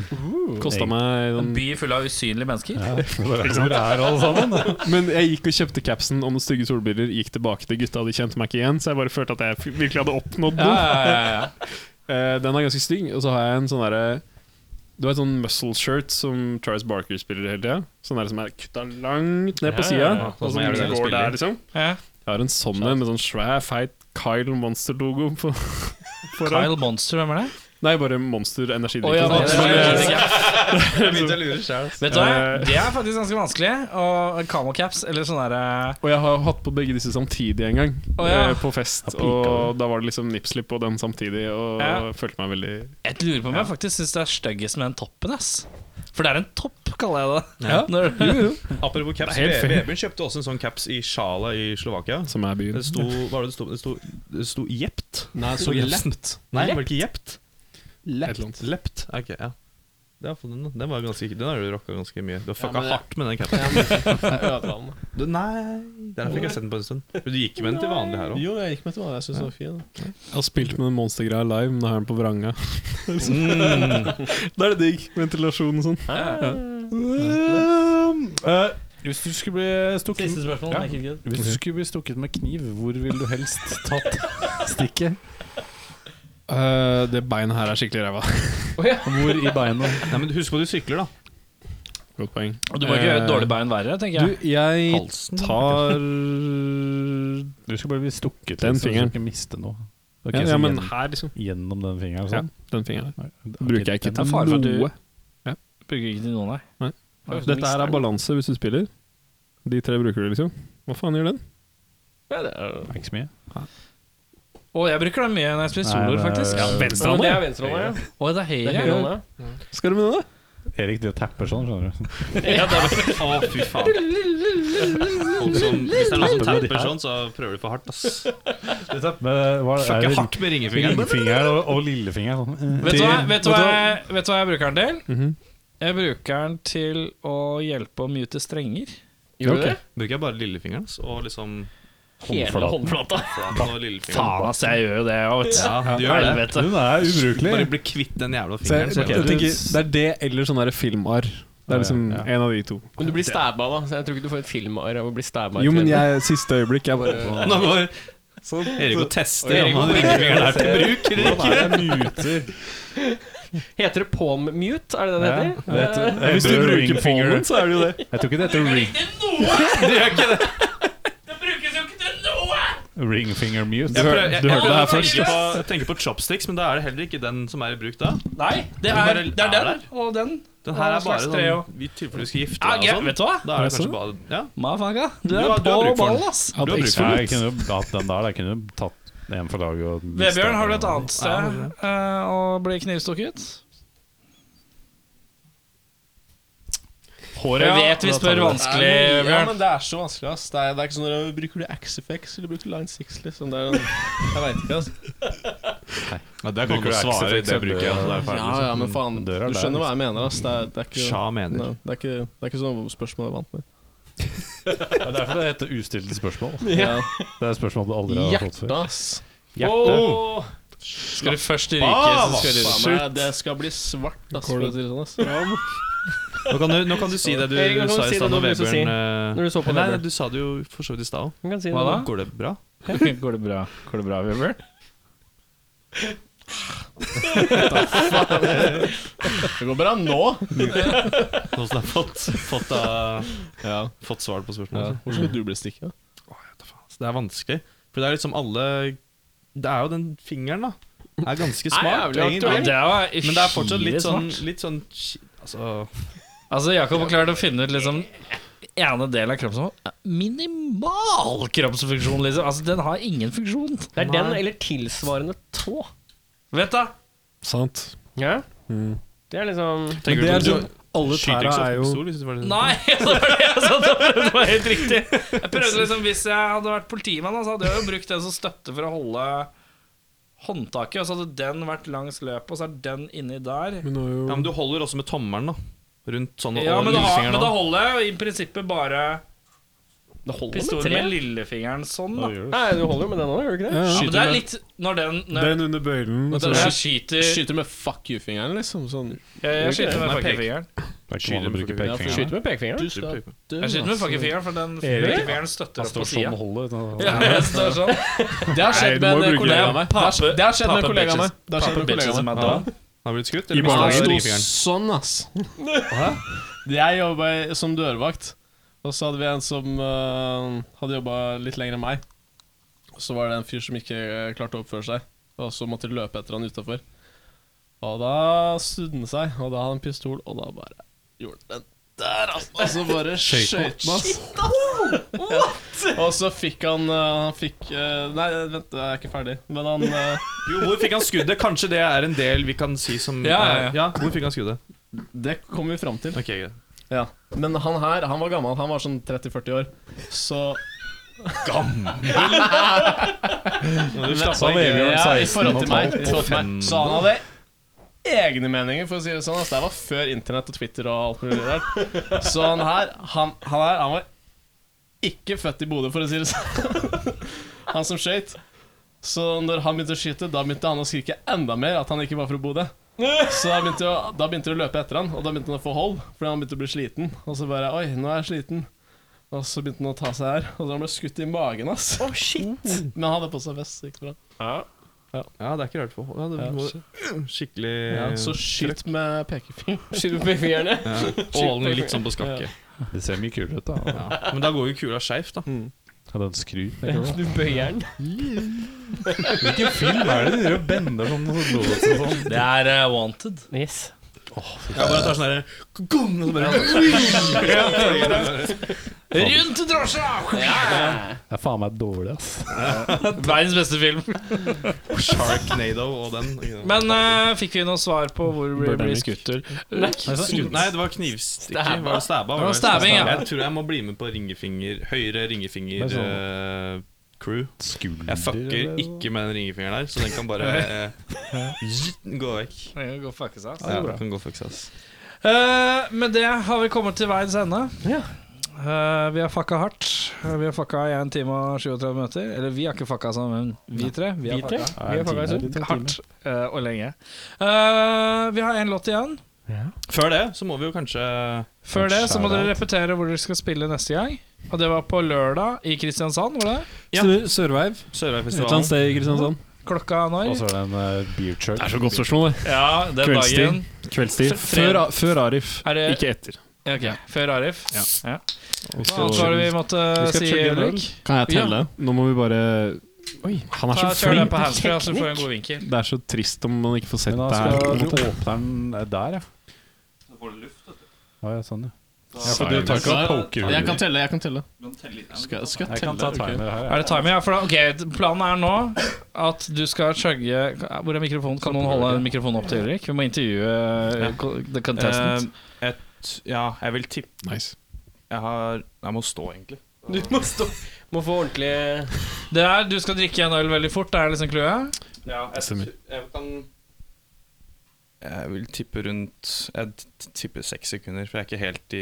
S3: Kosta meg
S2: En
S3: noen
S2: by full av usynlige mennesker.
S18: Ja, det er som det er, alle sammen.
S3: Men jeg gikk og kjøpte capsen om stygge solbriller, gikk tilbake til gutta, de kjente meg ikke igjen, så jeg bare følte at jeg f- virkelig hadde oppnådd
S2: Ja,
S3: noe.
S2: ja, ja, ja.
S3: (laughs) Eh, den er ganske stygg, og så har jeg en sånn derre Du vet sånn muscle shirt som Charles Barker spiller hele tida? Sånn der som er kutta langt ned
S1: Ja,
S3: på
S1: ja,
S3: sida,
S1: ja.
S3: og
S5: Sånn som
S3: som
S5: er det
S3: går
S5: spiller.
S3: der, liksom.
S2: ja.
S3: Jeg har en sånn en med sånn svær, feit Kyle Monster-logo på foran.
S2: Kyle Monster, hvem er det?
S3: Nei, bare Monster energidrikk.
S2: Å, ja,
S3: og sånt.
S2: Monster.
S3: Men,
S2: (laughs)
S3: eh,
S5: begynte jeg å lure sjæl.
S2: Vet du hva? Det er faktisk ganske vanskelig. Og camel caps eller sånn derre
S6: Og jeg har hatt på begge disse samtidig en gang,
S2: Å, ja.
S6: eh, på fest. Og da var det liksom nippslip på den samtidig, og
S2: Ja.
S6: følte meg veldig
S2: Jeg lurer på om jeg faktisk syns det er styggest med den toppen, ass. For det er en topp, kaller jeg det.
S5: Ja.
S2: (laughs) Når,
S5: Apropos caps,
S6: Det er helt
S5: Ve-
S6: fair.
S5: Vebjørn kjøpte også en sånn caps i Sjala i Slovakia.
S6: Som er byen.
S5: Det sto hva var det det sto? Det sto, det sto Jept.
S6: Nei,
S5: det sto Lept. Nei, var det ikke Jept?
S6: Et eller annet.
S5: Lept. Ok, ja. Ja, for den, den, var ganske, den har du rocka ganske mye. Du har fucka
S7: men det-
S5: hardt med den capsen. Du- Nei Den fikk jeg sett den på en stund. Men du gikk med den til vanlig her òg.
S7: Jo, jeg gikk med til hva jeg syntes var fin.
S6: Jeg har spilt med den monstergreia live, men nå har jeg den på vranga. da er det digg. Ventilasjon og sånn.
S3: Eh, hvis du skulle bli stukket
S2: Siste spørsmål.
S3: Ja.
S2: Michael Kidd.
S3: Hvis du skulle bli stukket med kniv, hvor ville du helst tatt (laughs) stikket?
S6: Eh, det beinet her er skikkelig ræva.
S3: Hvor i (laughs) beinet?
S5: Nei, men Husk på at du sykler, da.
S6: Godt poeng.
S2: Og du må ikke gjøre
S6: Eh,
S2: et dårlig bein verre, tenker jeg.
S3: Du, jeg
S20: Halsen?
S3: tar Du skal bare bli stukket
S6: Den
S3: liksom, så du
S6: fingeren.
S3: skal ikke miste noe. Ok,
S6: ja,
S3: så
S6: ja, men
S3: gjennom,
S6: her, liksom.
S3: gjennom den fingeren og
S6: Ja,
S3: sånn?
S6: den fingeren.
S3: Nei, ok,
S6: Bruker jeg ikke
S3: den-
S6: til
S2: er fare for at du-
S6: noe.
S2: Bruker ikke til noen, nei.
S6: Dette her er balanse hvis du spiller. De tre bruker du, liksom. Hva faen gjør den?
S3: Det er ikke så mye.
S2: Og jeg bruker den mye når jeg spiller
S3: Nei,
S2: soloer,
S3: det er-
S2: faktisk.
S3: Ja,
S7: Ja, men det er venstrehånda, ja.
S2: Og det er høyre.
S7: Det er høyrehånda.
S6: Skal du med den, da?
S3: Erik driver og tapper sånn, skjønner du.
S5: Å, fy faen. Folk som, hvis det er noen som tapper sånn, så prøver du for hardt, ass.
S3: Men hva er
S5: Fucker
S3: det?
S5: hardt med ringefingeren.
S3: Ringfingeren og, og lillefingeren sånn.
S2: Vet du, hva, vet, du hva jeg, vet du hva jeg bruker den til? Jeg bruker den til å hjelpe å mute strenger.
S7: Gjorde du det?
S5: Bruker jeg bare lillefingeren ass, og liksom
S2: Hele håndflata.
S5: flaten og lillefingeren.
S2: Faen, ass, jeg gjør jo det. Vet.
S5: Ja, du gjør det.
S2: Helvete.
S3: Den er ubrukelig.
S5: Bare bli kvitt den jævla
S6: Så jeg,
S5: fingeren.
S6: jeg,
S5: så gjør du det.
S6: tenker, det er det eller sånn derre filmarr. Det er liksom
S3: Ja, ja.
S6: en av de to.
S7: Men du blir stabba, da. Så jeg tror ikke du får et filmarr av å bli stabba. i
S6: Jo, men
S7: trynet.
S6: jeg, siste øyeblikk Jeg bare
S5: Nå går Erik og tester
S7: Erik
S5: om han
S7: går-
S5: ringefingeren er til bruk eller ikke.
S7: Heter det palm-mute? Er det det det
S3: Ja, det
S7: heter?
S1: Eh,
S3: heter- det
S6: Hvis du
S3: heter
S6: bruker
S3: ring finger.
S6: palmen, så er det jo det.
S3: Jeg tror ikke det heter ring, (laughs) ring finger mute.
S5: Jeg prøver- jeg-
S6: du hørte det her
S5: jeg
S6: først,
S5: tenker på- Jeg tenker på chopsticks, men da er det heller ikke den som er i bruk da.
S2: Nei, det
S5: bare
S2: er, det er
S5: er
S2: den og den.
S5: Den her er
S2: Og
S5: bare
S2: slags tre
S5: sånn i tilfelle du skal gifte
S2: Ah,
S5: deg
S2: gøy,
S5: og sånn.
S2: vet du hva?
S5: Da er det kanskje bare Ja,
S2: Mafaka, du
S5: Du
S2: er
S5: har- du
S2: på
S5: har bruk for den.
S2: ball, ass.
S5: du har bruk for
S3: Nei,
S5: den.
S3: jeg kunne jo hatt den der. Jeg kunne jo tatt en for laget og
S2: Vebjørn, har du et annet sted eh, å bli knivstukket? Håret Jeg vet vi spør vanskelig,
S7: Ja,
S2: Bjørn.
S7: men det er så vanskelig, ass. Det er, det er ikke sånn der, Bruker du XFX eller bruker du Line 6, liksom? Det er, jeg veit ikke, ass.
S5: Ja, det kan du svare i, det bruker jeg. altså, det er ferdig.
S7: Ja, ja, men faen. Du
S3: Døra der,
S7: skjønner hva jeg mener, ass. Det er, det er ikke
S5: Sja mener.
S7: Nei, det, er ikke, det er ikke sånn spørsmål jeg
S2: (laughs)
S7: er vant med.
S3: Det er derfor det heter ustilte spørsmål. Det er spørsmål du aldri har fått før.
S7: Hjerte, ass. Ah,
S5: Åh,
S2: Skal du først i riket, så skal du
S7: Faen, meg, det skal bli svart, ass. For å si det sånn, ass.
S5: Nå kan du, nå kan du si det du
S7: Erik, nå kan
S5: sa
S7: du
S5: i
S7: si
S5: stad
S7: det
S5: når
S7: du vil si.
S5: Vebjørn eh,
S7: Når du så på
S5: Nei, nei,
S7: Vebjørn.
S5: du sa det jo for så vidt i stad òg.
S7: Du kan si
S2: Hva da?
S5: Går det bra?
S2: (laughs) Går det bra? Går det bra, Bjørn?
S7: Det går bra nå.
S5: Nå som du har fått, fått, eh, fått svar på spørsmålet.
S7: Hvor skulle du bli stikka?
S5: Så det er vanskelig. For det er liksom alle Det er jo den fingeren, da. Er ganske
S7: Nei,
S5: smart,
S7: jævlig
S5: egentlig.
S7: aktuell.
S2: Det var
S5: Men det er fortsatt litt
S2: skive
S5: sånn,
S2: smart.
S5: litt sånn ki- Altså
S2: Altså, Jakob har klart å finne ut liksom ene delen av kroppen som har minimal kroppsfunksjon, liksom. Altså, den har ingen funksjon.
S1: Det er den eller tilsvarende tå.
S2: Vet da!
S6: Sant.
S1: Ja? Det er liksom
S5: Tenker
S6: det
S5: du på
S6: er sånn- Alle tæra
S5: skytings-
S6: er jo
S5: pistol, hvis du var det-
S2: Nei! (laughs) altså, Det var det jeg sa, det var- (laughs) det var helt riktig. Jeg prøvde liksom, Hvis jeg hadde vært politimann, da, så hadde jeg jo brukt den som støtte for å holde håndtaket. Og så hadde den vært langs løpet, og så er den inni der.
S6: Hun har jo
S5: Ja, men du holder også med tommelen, da. Rundt sånn og
S2: Ja, men da,
S5: lillefingeren
S2: men da
S5: da.
S2: holder jeg jo i prinsippet bare
S7: Det holder med
S2: pistolen
S7: tre.
S2: med lillefingeren sånn, da.
S1: Nei, du holder jo med den òg, gjør du ikke det?
S6: ja,
S2: Ja,
S6: ja.
S2: men det er litt Når den Når,
S6: Den under bøylen.
S2: når jeg skyter
S7: Altså, Skyter med fuck you-fingeren, liksom. Sånn.
S2: Jeg, jeg skyter med
S5: Nei, pek.
S2: fuckefingeren.
S3: Det er ikke vanlig å bruke
S7: Ja, for-
S3: pekefingeren.
S1: Skyter med pekefingeren.
S7: Du skal dø.
S2: Jeg skyter med fuckefingeren, for den fuckefingeren støtter opp på sida. (laughs) Ja,
S3: holdet.
S2: jeg står sånn.
S7: (laughs) Det har skjedd
S6: Nei, du må
S7: med en
S6: bruke
S7: kollega
S6: det.
S7: av meg. Det har skjedd- det har skjedd med en
S2: Pape
S7: kollega av meg.
S2: bitches.
S7: Det har skjedd med en kollega av meg.
S5: Ja. Har du blitt skutt?
S6: I
S5: mistet
S6: barnehagen.
S5: du
S7: Han sto
S5: ringefingeren?
S7: sånn, ass. Jeg jobba som dørvakt, og så hadde vi en som eh, hadde jobba litt lenger enn meg. Og så var det en fyr som ikke eh, klarte å oppføre seg, og så måtte de løpe etter han utafor. Og da snudde han seg, og da hadde han pistol, og da bare gjorde han den der, altså. Og så bare
S21: Skøyt han.
S7: skøyt han, altså.
S21: Shit, ass.
S7: (laughs) Ja. Og så fikk han eh, Han fikk eh, Nei, vent, jeg er ikke ferdig. Men han eh,
S5: Jo, hvor fikk han skuddet? Kanskje det er en del vi kan si som
S7: Ja, ja, ja.
S5: ja hvor fikk han skuddet?
S7: Det kommer vi fram til.
S5: Ok, greit.
S7: Ja. Men han her, han var gammel. Han var sånn 30-40 år. Så Gammel?
S5: du slapp av med en gang,
S7: ja, i forhold til
S5: 16 og
S7: meg.
S5: tolv.
S7: I forhold til meg. Så han hadde egne meninger, for å si det sånn. Altså, det var før internett og Twitter og alt mulig der. Så han her, han, han her, han var ikke født i Bodø, for å si det sånn. (laughs) Han som skøyt. Så når han begynte å skyte, da begynte han å skrike enda mer at han ikke var fra Bodø. Så da begynte, jeg, da begynte jeg å løpe etter han, og da begynte han å få hold. Fordi han begynte å bli sliten. Og så bare Oi, nå er jeg sliten. Og så begynte han å ta seg her, og da ble han skutt i magen, ass. Oh,
S2: (laughs)
S7: shit. Men han hadde på seg vest, så det gikk bra. Ja. Ja.
S5: det er ikke rart for ja, det
S7: Ja,
S5: må,
S7: shit.
S5: Skikkelig
S7: så skyt med pekefingeren.
S5: Skyt med pekefingerne. Ja.
S7: Skyt med
S5: Og holden litt sånn på
S7: pekefingeren.
S5: skakke.
S3: Det ser mye kulere ut, da.
S5: Ja. Men da går jo kula skeivt, da.
S3: Hadde en skru.
S5: Du bøyer den.
S3: Hvilken film er det de driver og bender sånn? og så låser det sånn?
S2: Det er eh, Wanted.
S1: Yes.
S5: Ja, bare tar sånn derre
S21: Gong!
S5: og så bare- (laughs) Ja,
S2: Rundt drosja!
S3: Det er faen meg dårlig, ass.
S2: Verdens beste film.
S5: Sharknado og den.
S2: Men eh, fikk vi noe svar på hvor vi blir skutt?
S5: Nei,
S2: skutt.
S5: Nei, det var knivstikker.
S2: Stabba.
S5: Var det stabba?
S2: Det var stabbing, ja.
S5: Jeg tror jeg må bli med på ringefinger høyre ringefinger
S3: Det er
S5: eh, crew. Jeg fucker
S3: eller noe?
S5: ikke med den ringefingeren der, så den kan bare eh, gå vekk.
S2: Den kan gå fuck seg, ass.
S5: Ja, kan gå fuck seg, ass.
S2: Eh, med det har vi kommet til veis ende. Eh, vi har fucka hardt. Eh, Vi har fucka i 1 time og 37 minutter. Eller vi har ikke fucka sammen, men vi tre. Vi har
S1: Vi tre?
S2: fucka,
S1: Ja,
S2: vi
S1: en
S2: har fucka i
S1: time,
S2: stund.
S1: en
S2: hardt eh, og lenge. Eh, vi har én låt igjen.
S5: Før det så må vi jo kanskje
S2: Før det så må dere repetere hvor dere skal spille neste gang. Og det var på lørdag i Kristiansand. Var det?
S5: Ja.
S6: Stemmer. Sørveiv. Et eller
S5: Sørveifestivalen.
S6: annet sted i Kristiansand.
S2: Klokka når?
S3: Og så er det en eh, beer church.
S6: Det er så godt spørsmål, det.
S2: Ja, det er
S6: Altså, Kveldstid.
S2: dagen.
S6: Kveldstid.
S2: Fre-
S6: Før, A- før Arif,
S2: Er det-
S6: ikke etter.
S2: Ja, ok. Før Arif.
S6: Ja.
S2: Ja.
S6: Og
S2: Hva annet var det vi måtte
S6: Vi skal
S2: si,
S6: chugge en øl.
S2: Ulrik?
S6: Kan jeg telle? Nå må vi bare Oi, han er
S2: Ta-
S6: så
S2: Kjør den
S6: flink.
S2: på handsfree, så får vi en god vinkel.
S6: Det er så trist om man ikke får sett
S3: Men da
S6: det her. på
S3: skal
S6: en
S3: du
S6: måte.
S3: åpne den eh, der, ja. Å ja, sånn, ja.
S7: Ja,
S3: for du tar ikke og poker
S7: Jeg kan telle, jeg kan telle. Skal, skal jeg
S3: Jeg
S7: telle?
S3: kan ta
S7: Ok.
S3: timer her.
S2: Er det timer? Ja, for da, ok, Planen er nå at du skal chugge Hvor er mikrofonen? Kan noen holde mikrofonen opp til Ulrik? Vi må intervjue uh, co- the contestant.
S5: Eh, et, ja, jeg vil tippe
S6: Nice.
S5: Jeg har Jeg må stå, egentlig.
S1: Du må stå Må få ordentlig
S2: Det er, Du skal drikke en øl veldig fort, det er liksom clouet?
S5: Ja,
S6: Stemmer.
S5: jeg kan Jeg vil tippe rundt Jeg t- tipper seks sekunder, for jeg er ikke helt i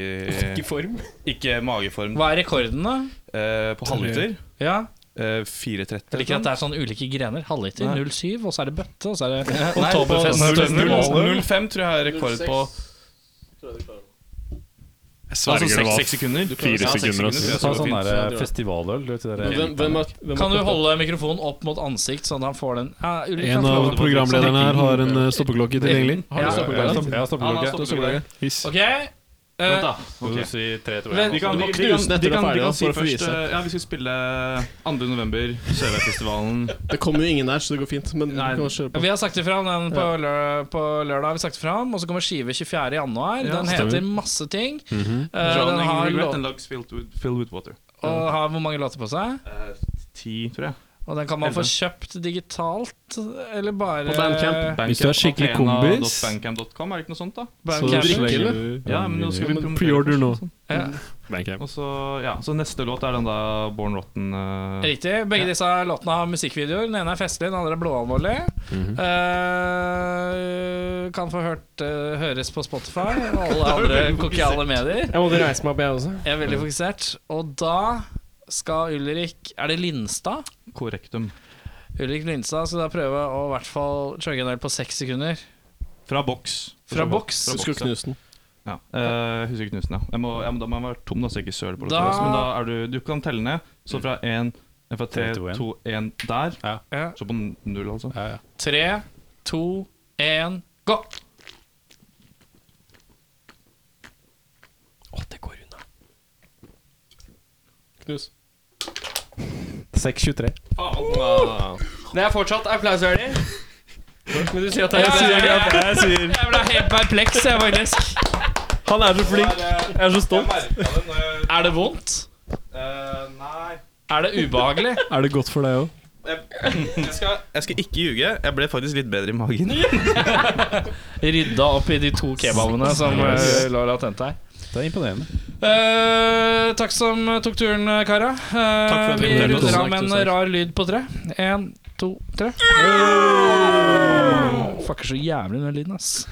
S1: Ikke form.
S5: Ikke mageform.
S2: Hva er rekorden, da?
S5: Eh, på halvliter
S2: Ja,
S5: eh, 4,30.
S2: Jeg liker at det er sånn ulike grener. Halvliter,
S5: Nei.
S2: 07, og så er det bøtte, og så er det
S5: Nei, på
S2: Oktoberfest.
S5: null-
S2: Støvler.
S5: null- 05 tror jeg er rekord på
S6: Jeg
S5: Altså
S6: sverger det
S5: seks
S6: var
S5: seks sekunder. Du klarer-
S6: fire
S5: ja, seks
S6: sekunder, ass.
S5: tror jeg
S3: Ta
S5: skal gå
S3: sånn
S5: fint.
S3: der eh, festivaløl. Du vet, det der
S7: Hvem, hvem er, hvem er
S2: Kan du
S7: toppen?
S2: holde mikrofonen opp mot ansikt, sånn at han får den ja, Ulrik,
S6: En
S2: kan få
S6: av
S2: lov til å-
S6: programlederne her har en eh, stoppeklokke tilgjengelig.
S7: Har du
S2: Ja.
S7: stoppeklokke?
S3: Jeg har stoppeklokke.
S6: Hiss.
S2: Ok. eh,
S3: Skal du si tre, tror
S2: Vent.
S3: jeg?
S5: Vi kan, vi, vi,
S7: Knust
S5: kan,
S7: etter
S5: vi,
S7: det er
S5: kan, vi
S7: ferdig, da,
S5: kan si
S7: for å få
S5: først
S7: vise.
S5: eh, Ja, vi skal spille 2. november, Sørveifestivalen.
S7: Det kommer jo ingen der, så det går fint. Men
S5: Nei.
S7: du kan kjøre på.
S2: vi har sagt ifra om den på, lø på lørdag, har vi sagt ifra om, og så kommer skive 24. januar.
S5: Ja,
S2: den
S6: stemmer.
S2: heter masse ting.
S6: Mhm.
S2: Eh, den
S5: Drowning,
S2: har,
S5: regret
S2: lå-
S5: and lugs filled with, filled with water.
S2: og har hvor mange låter på seg?
S5: Eh, Ti, tror jeg.
S2: Og den kan man få
S5: Elleve.
S2: kjøpt digitalt, eller bare
S7: På Bandcamp.
S5: Bandcamp,
S6: Hvis du er skikkelig kompis.
S5: Athena.bandcamp.com, er det ikke noe sånt, da?
S6: Så
S2: Bandcamp.
S6: slenger
S7: eller?
S6: du
S5: Ja, men nå skal vi promotere sånn.
S6: Preorder nå.
S2: Ja.
S6: Bandcamp.
S5: Og så, ja, så neste låt er den da Born Rotten eh,
S2: Riktig. Begge disse låtene har musikkvideoer. Den ene er festlig, den andre er blåalvorlig.
S6: Mhm.
S2: Eh, kan få hørt, eh, høres på Spotify og
S6: (laughs)
S2: alle andre kokiale medier.
S1: Jeg måtte reise meg opp, jeg også.
S2: Jeg er veldig fokusert. Og da skal Ulrik Er det Lindstad?
S5: Correctum.
S2: Ulrik Lindstad skal da prøve å i hvert fall chugge en del på seks sekunder.
S5: Fra boks.
S2: Fra boks?
S5: Fra
S7: Du skulle knuse den.
S5: Ja. Eh, husker ikke knusen, ja. Jeg må, jeg må, da må jeg være tom, da, så jeg ikke søler på det.
S2: Da-
S5: Men da er du Du kan telle ned. Så fra én Fra tre,
S3: Tre, to, en.
S5: to, én der.
S2: Ja.
S5: Så på null, altså.
S3: Ja, ja.
S2: Tre, to, én, gå!
S1: Å, det går unna.
S7: Knus.
S3: 6.23.
S1: Det er fortsatt applausverdig.
S22: Men du sier at det er
S2: Jeg sier at det er- jeg sier-
S22: Jeg ble helt perpleks, jeg, faktisk.
S2: Han er så flink. Jeg er så stolt.
S23: Er
S2: det Eh, vondt?
S5: nei
S2: Er det ubehagelig?
S24: Er det godt for deg òg?
S5: jeg, jeg, skal, jeg skal ikke ljuge. Jeg ble faktisk litt bedre i magen.
S25: Rydda opp i de to kebabene som eh, Laura tente her.
S3: Det er imponerende.
S2: Eh, takk som tok turen, kara. Eh,
S25: for at
S2: vi
S25: dere inviterte oss.
S2: runder
S25: Takk,
S2: av med en
S25: tusen takk.
S2: rar lyd på tre. Én, to, tre. Fucker så jævlig med den lyden, ass.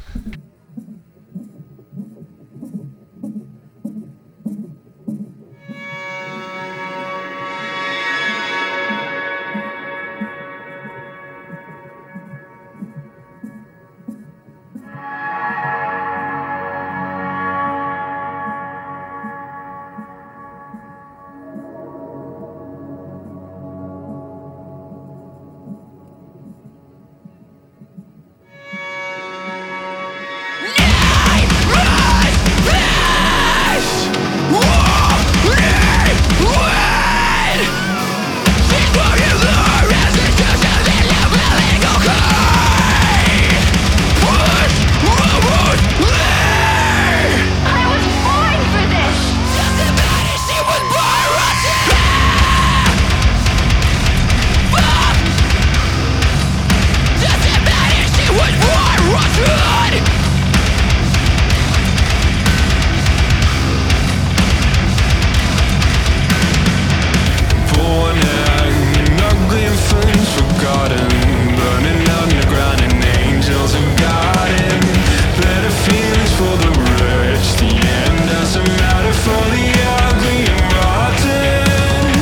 S26: Russian!
S11: Born out in ugly and friends forgotten, burning underground and angels have gotten better feelings for the rich. The end doesn't matter for the ugly and rotten.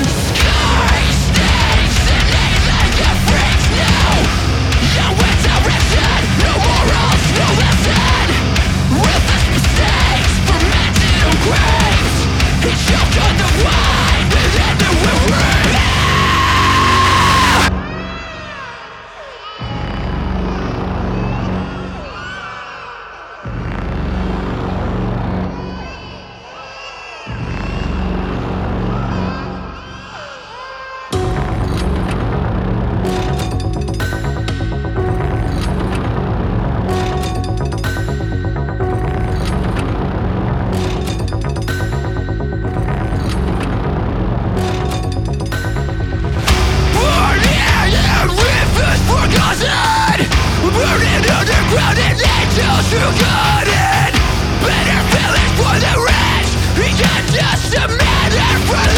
S11: Better feelings for the rich, it's just a matter for the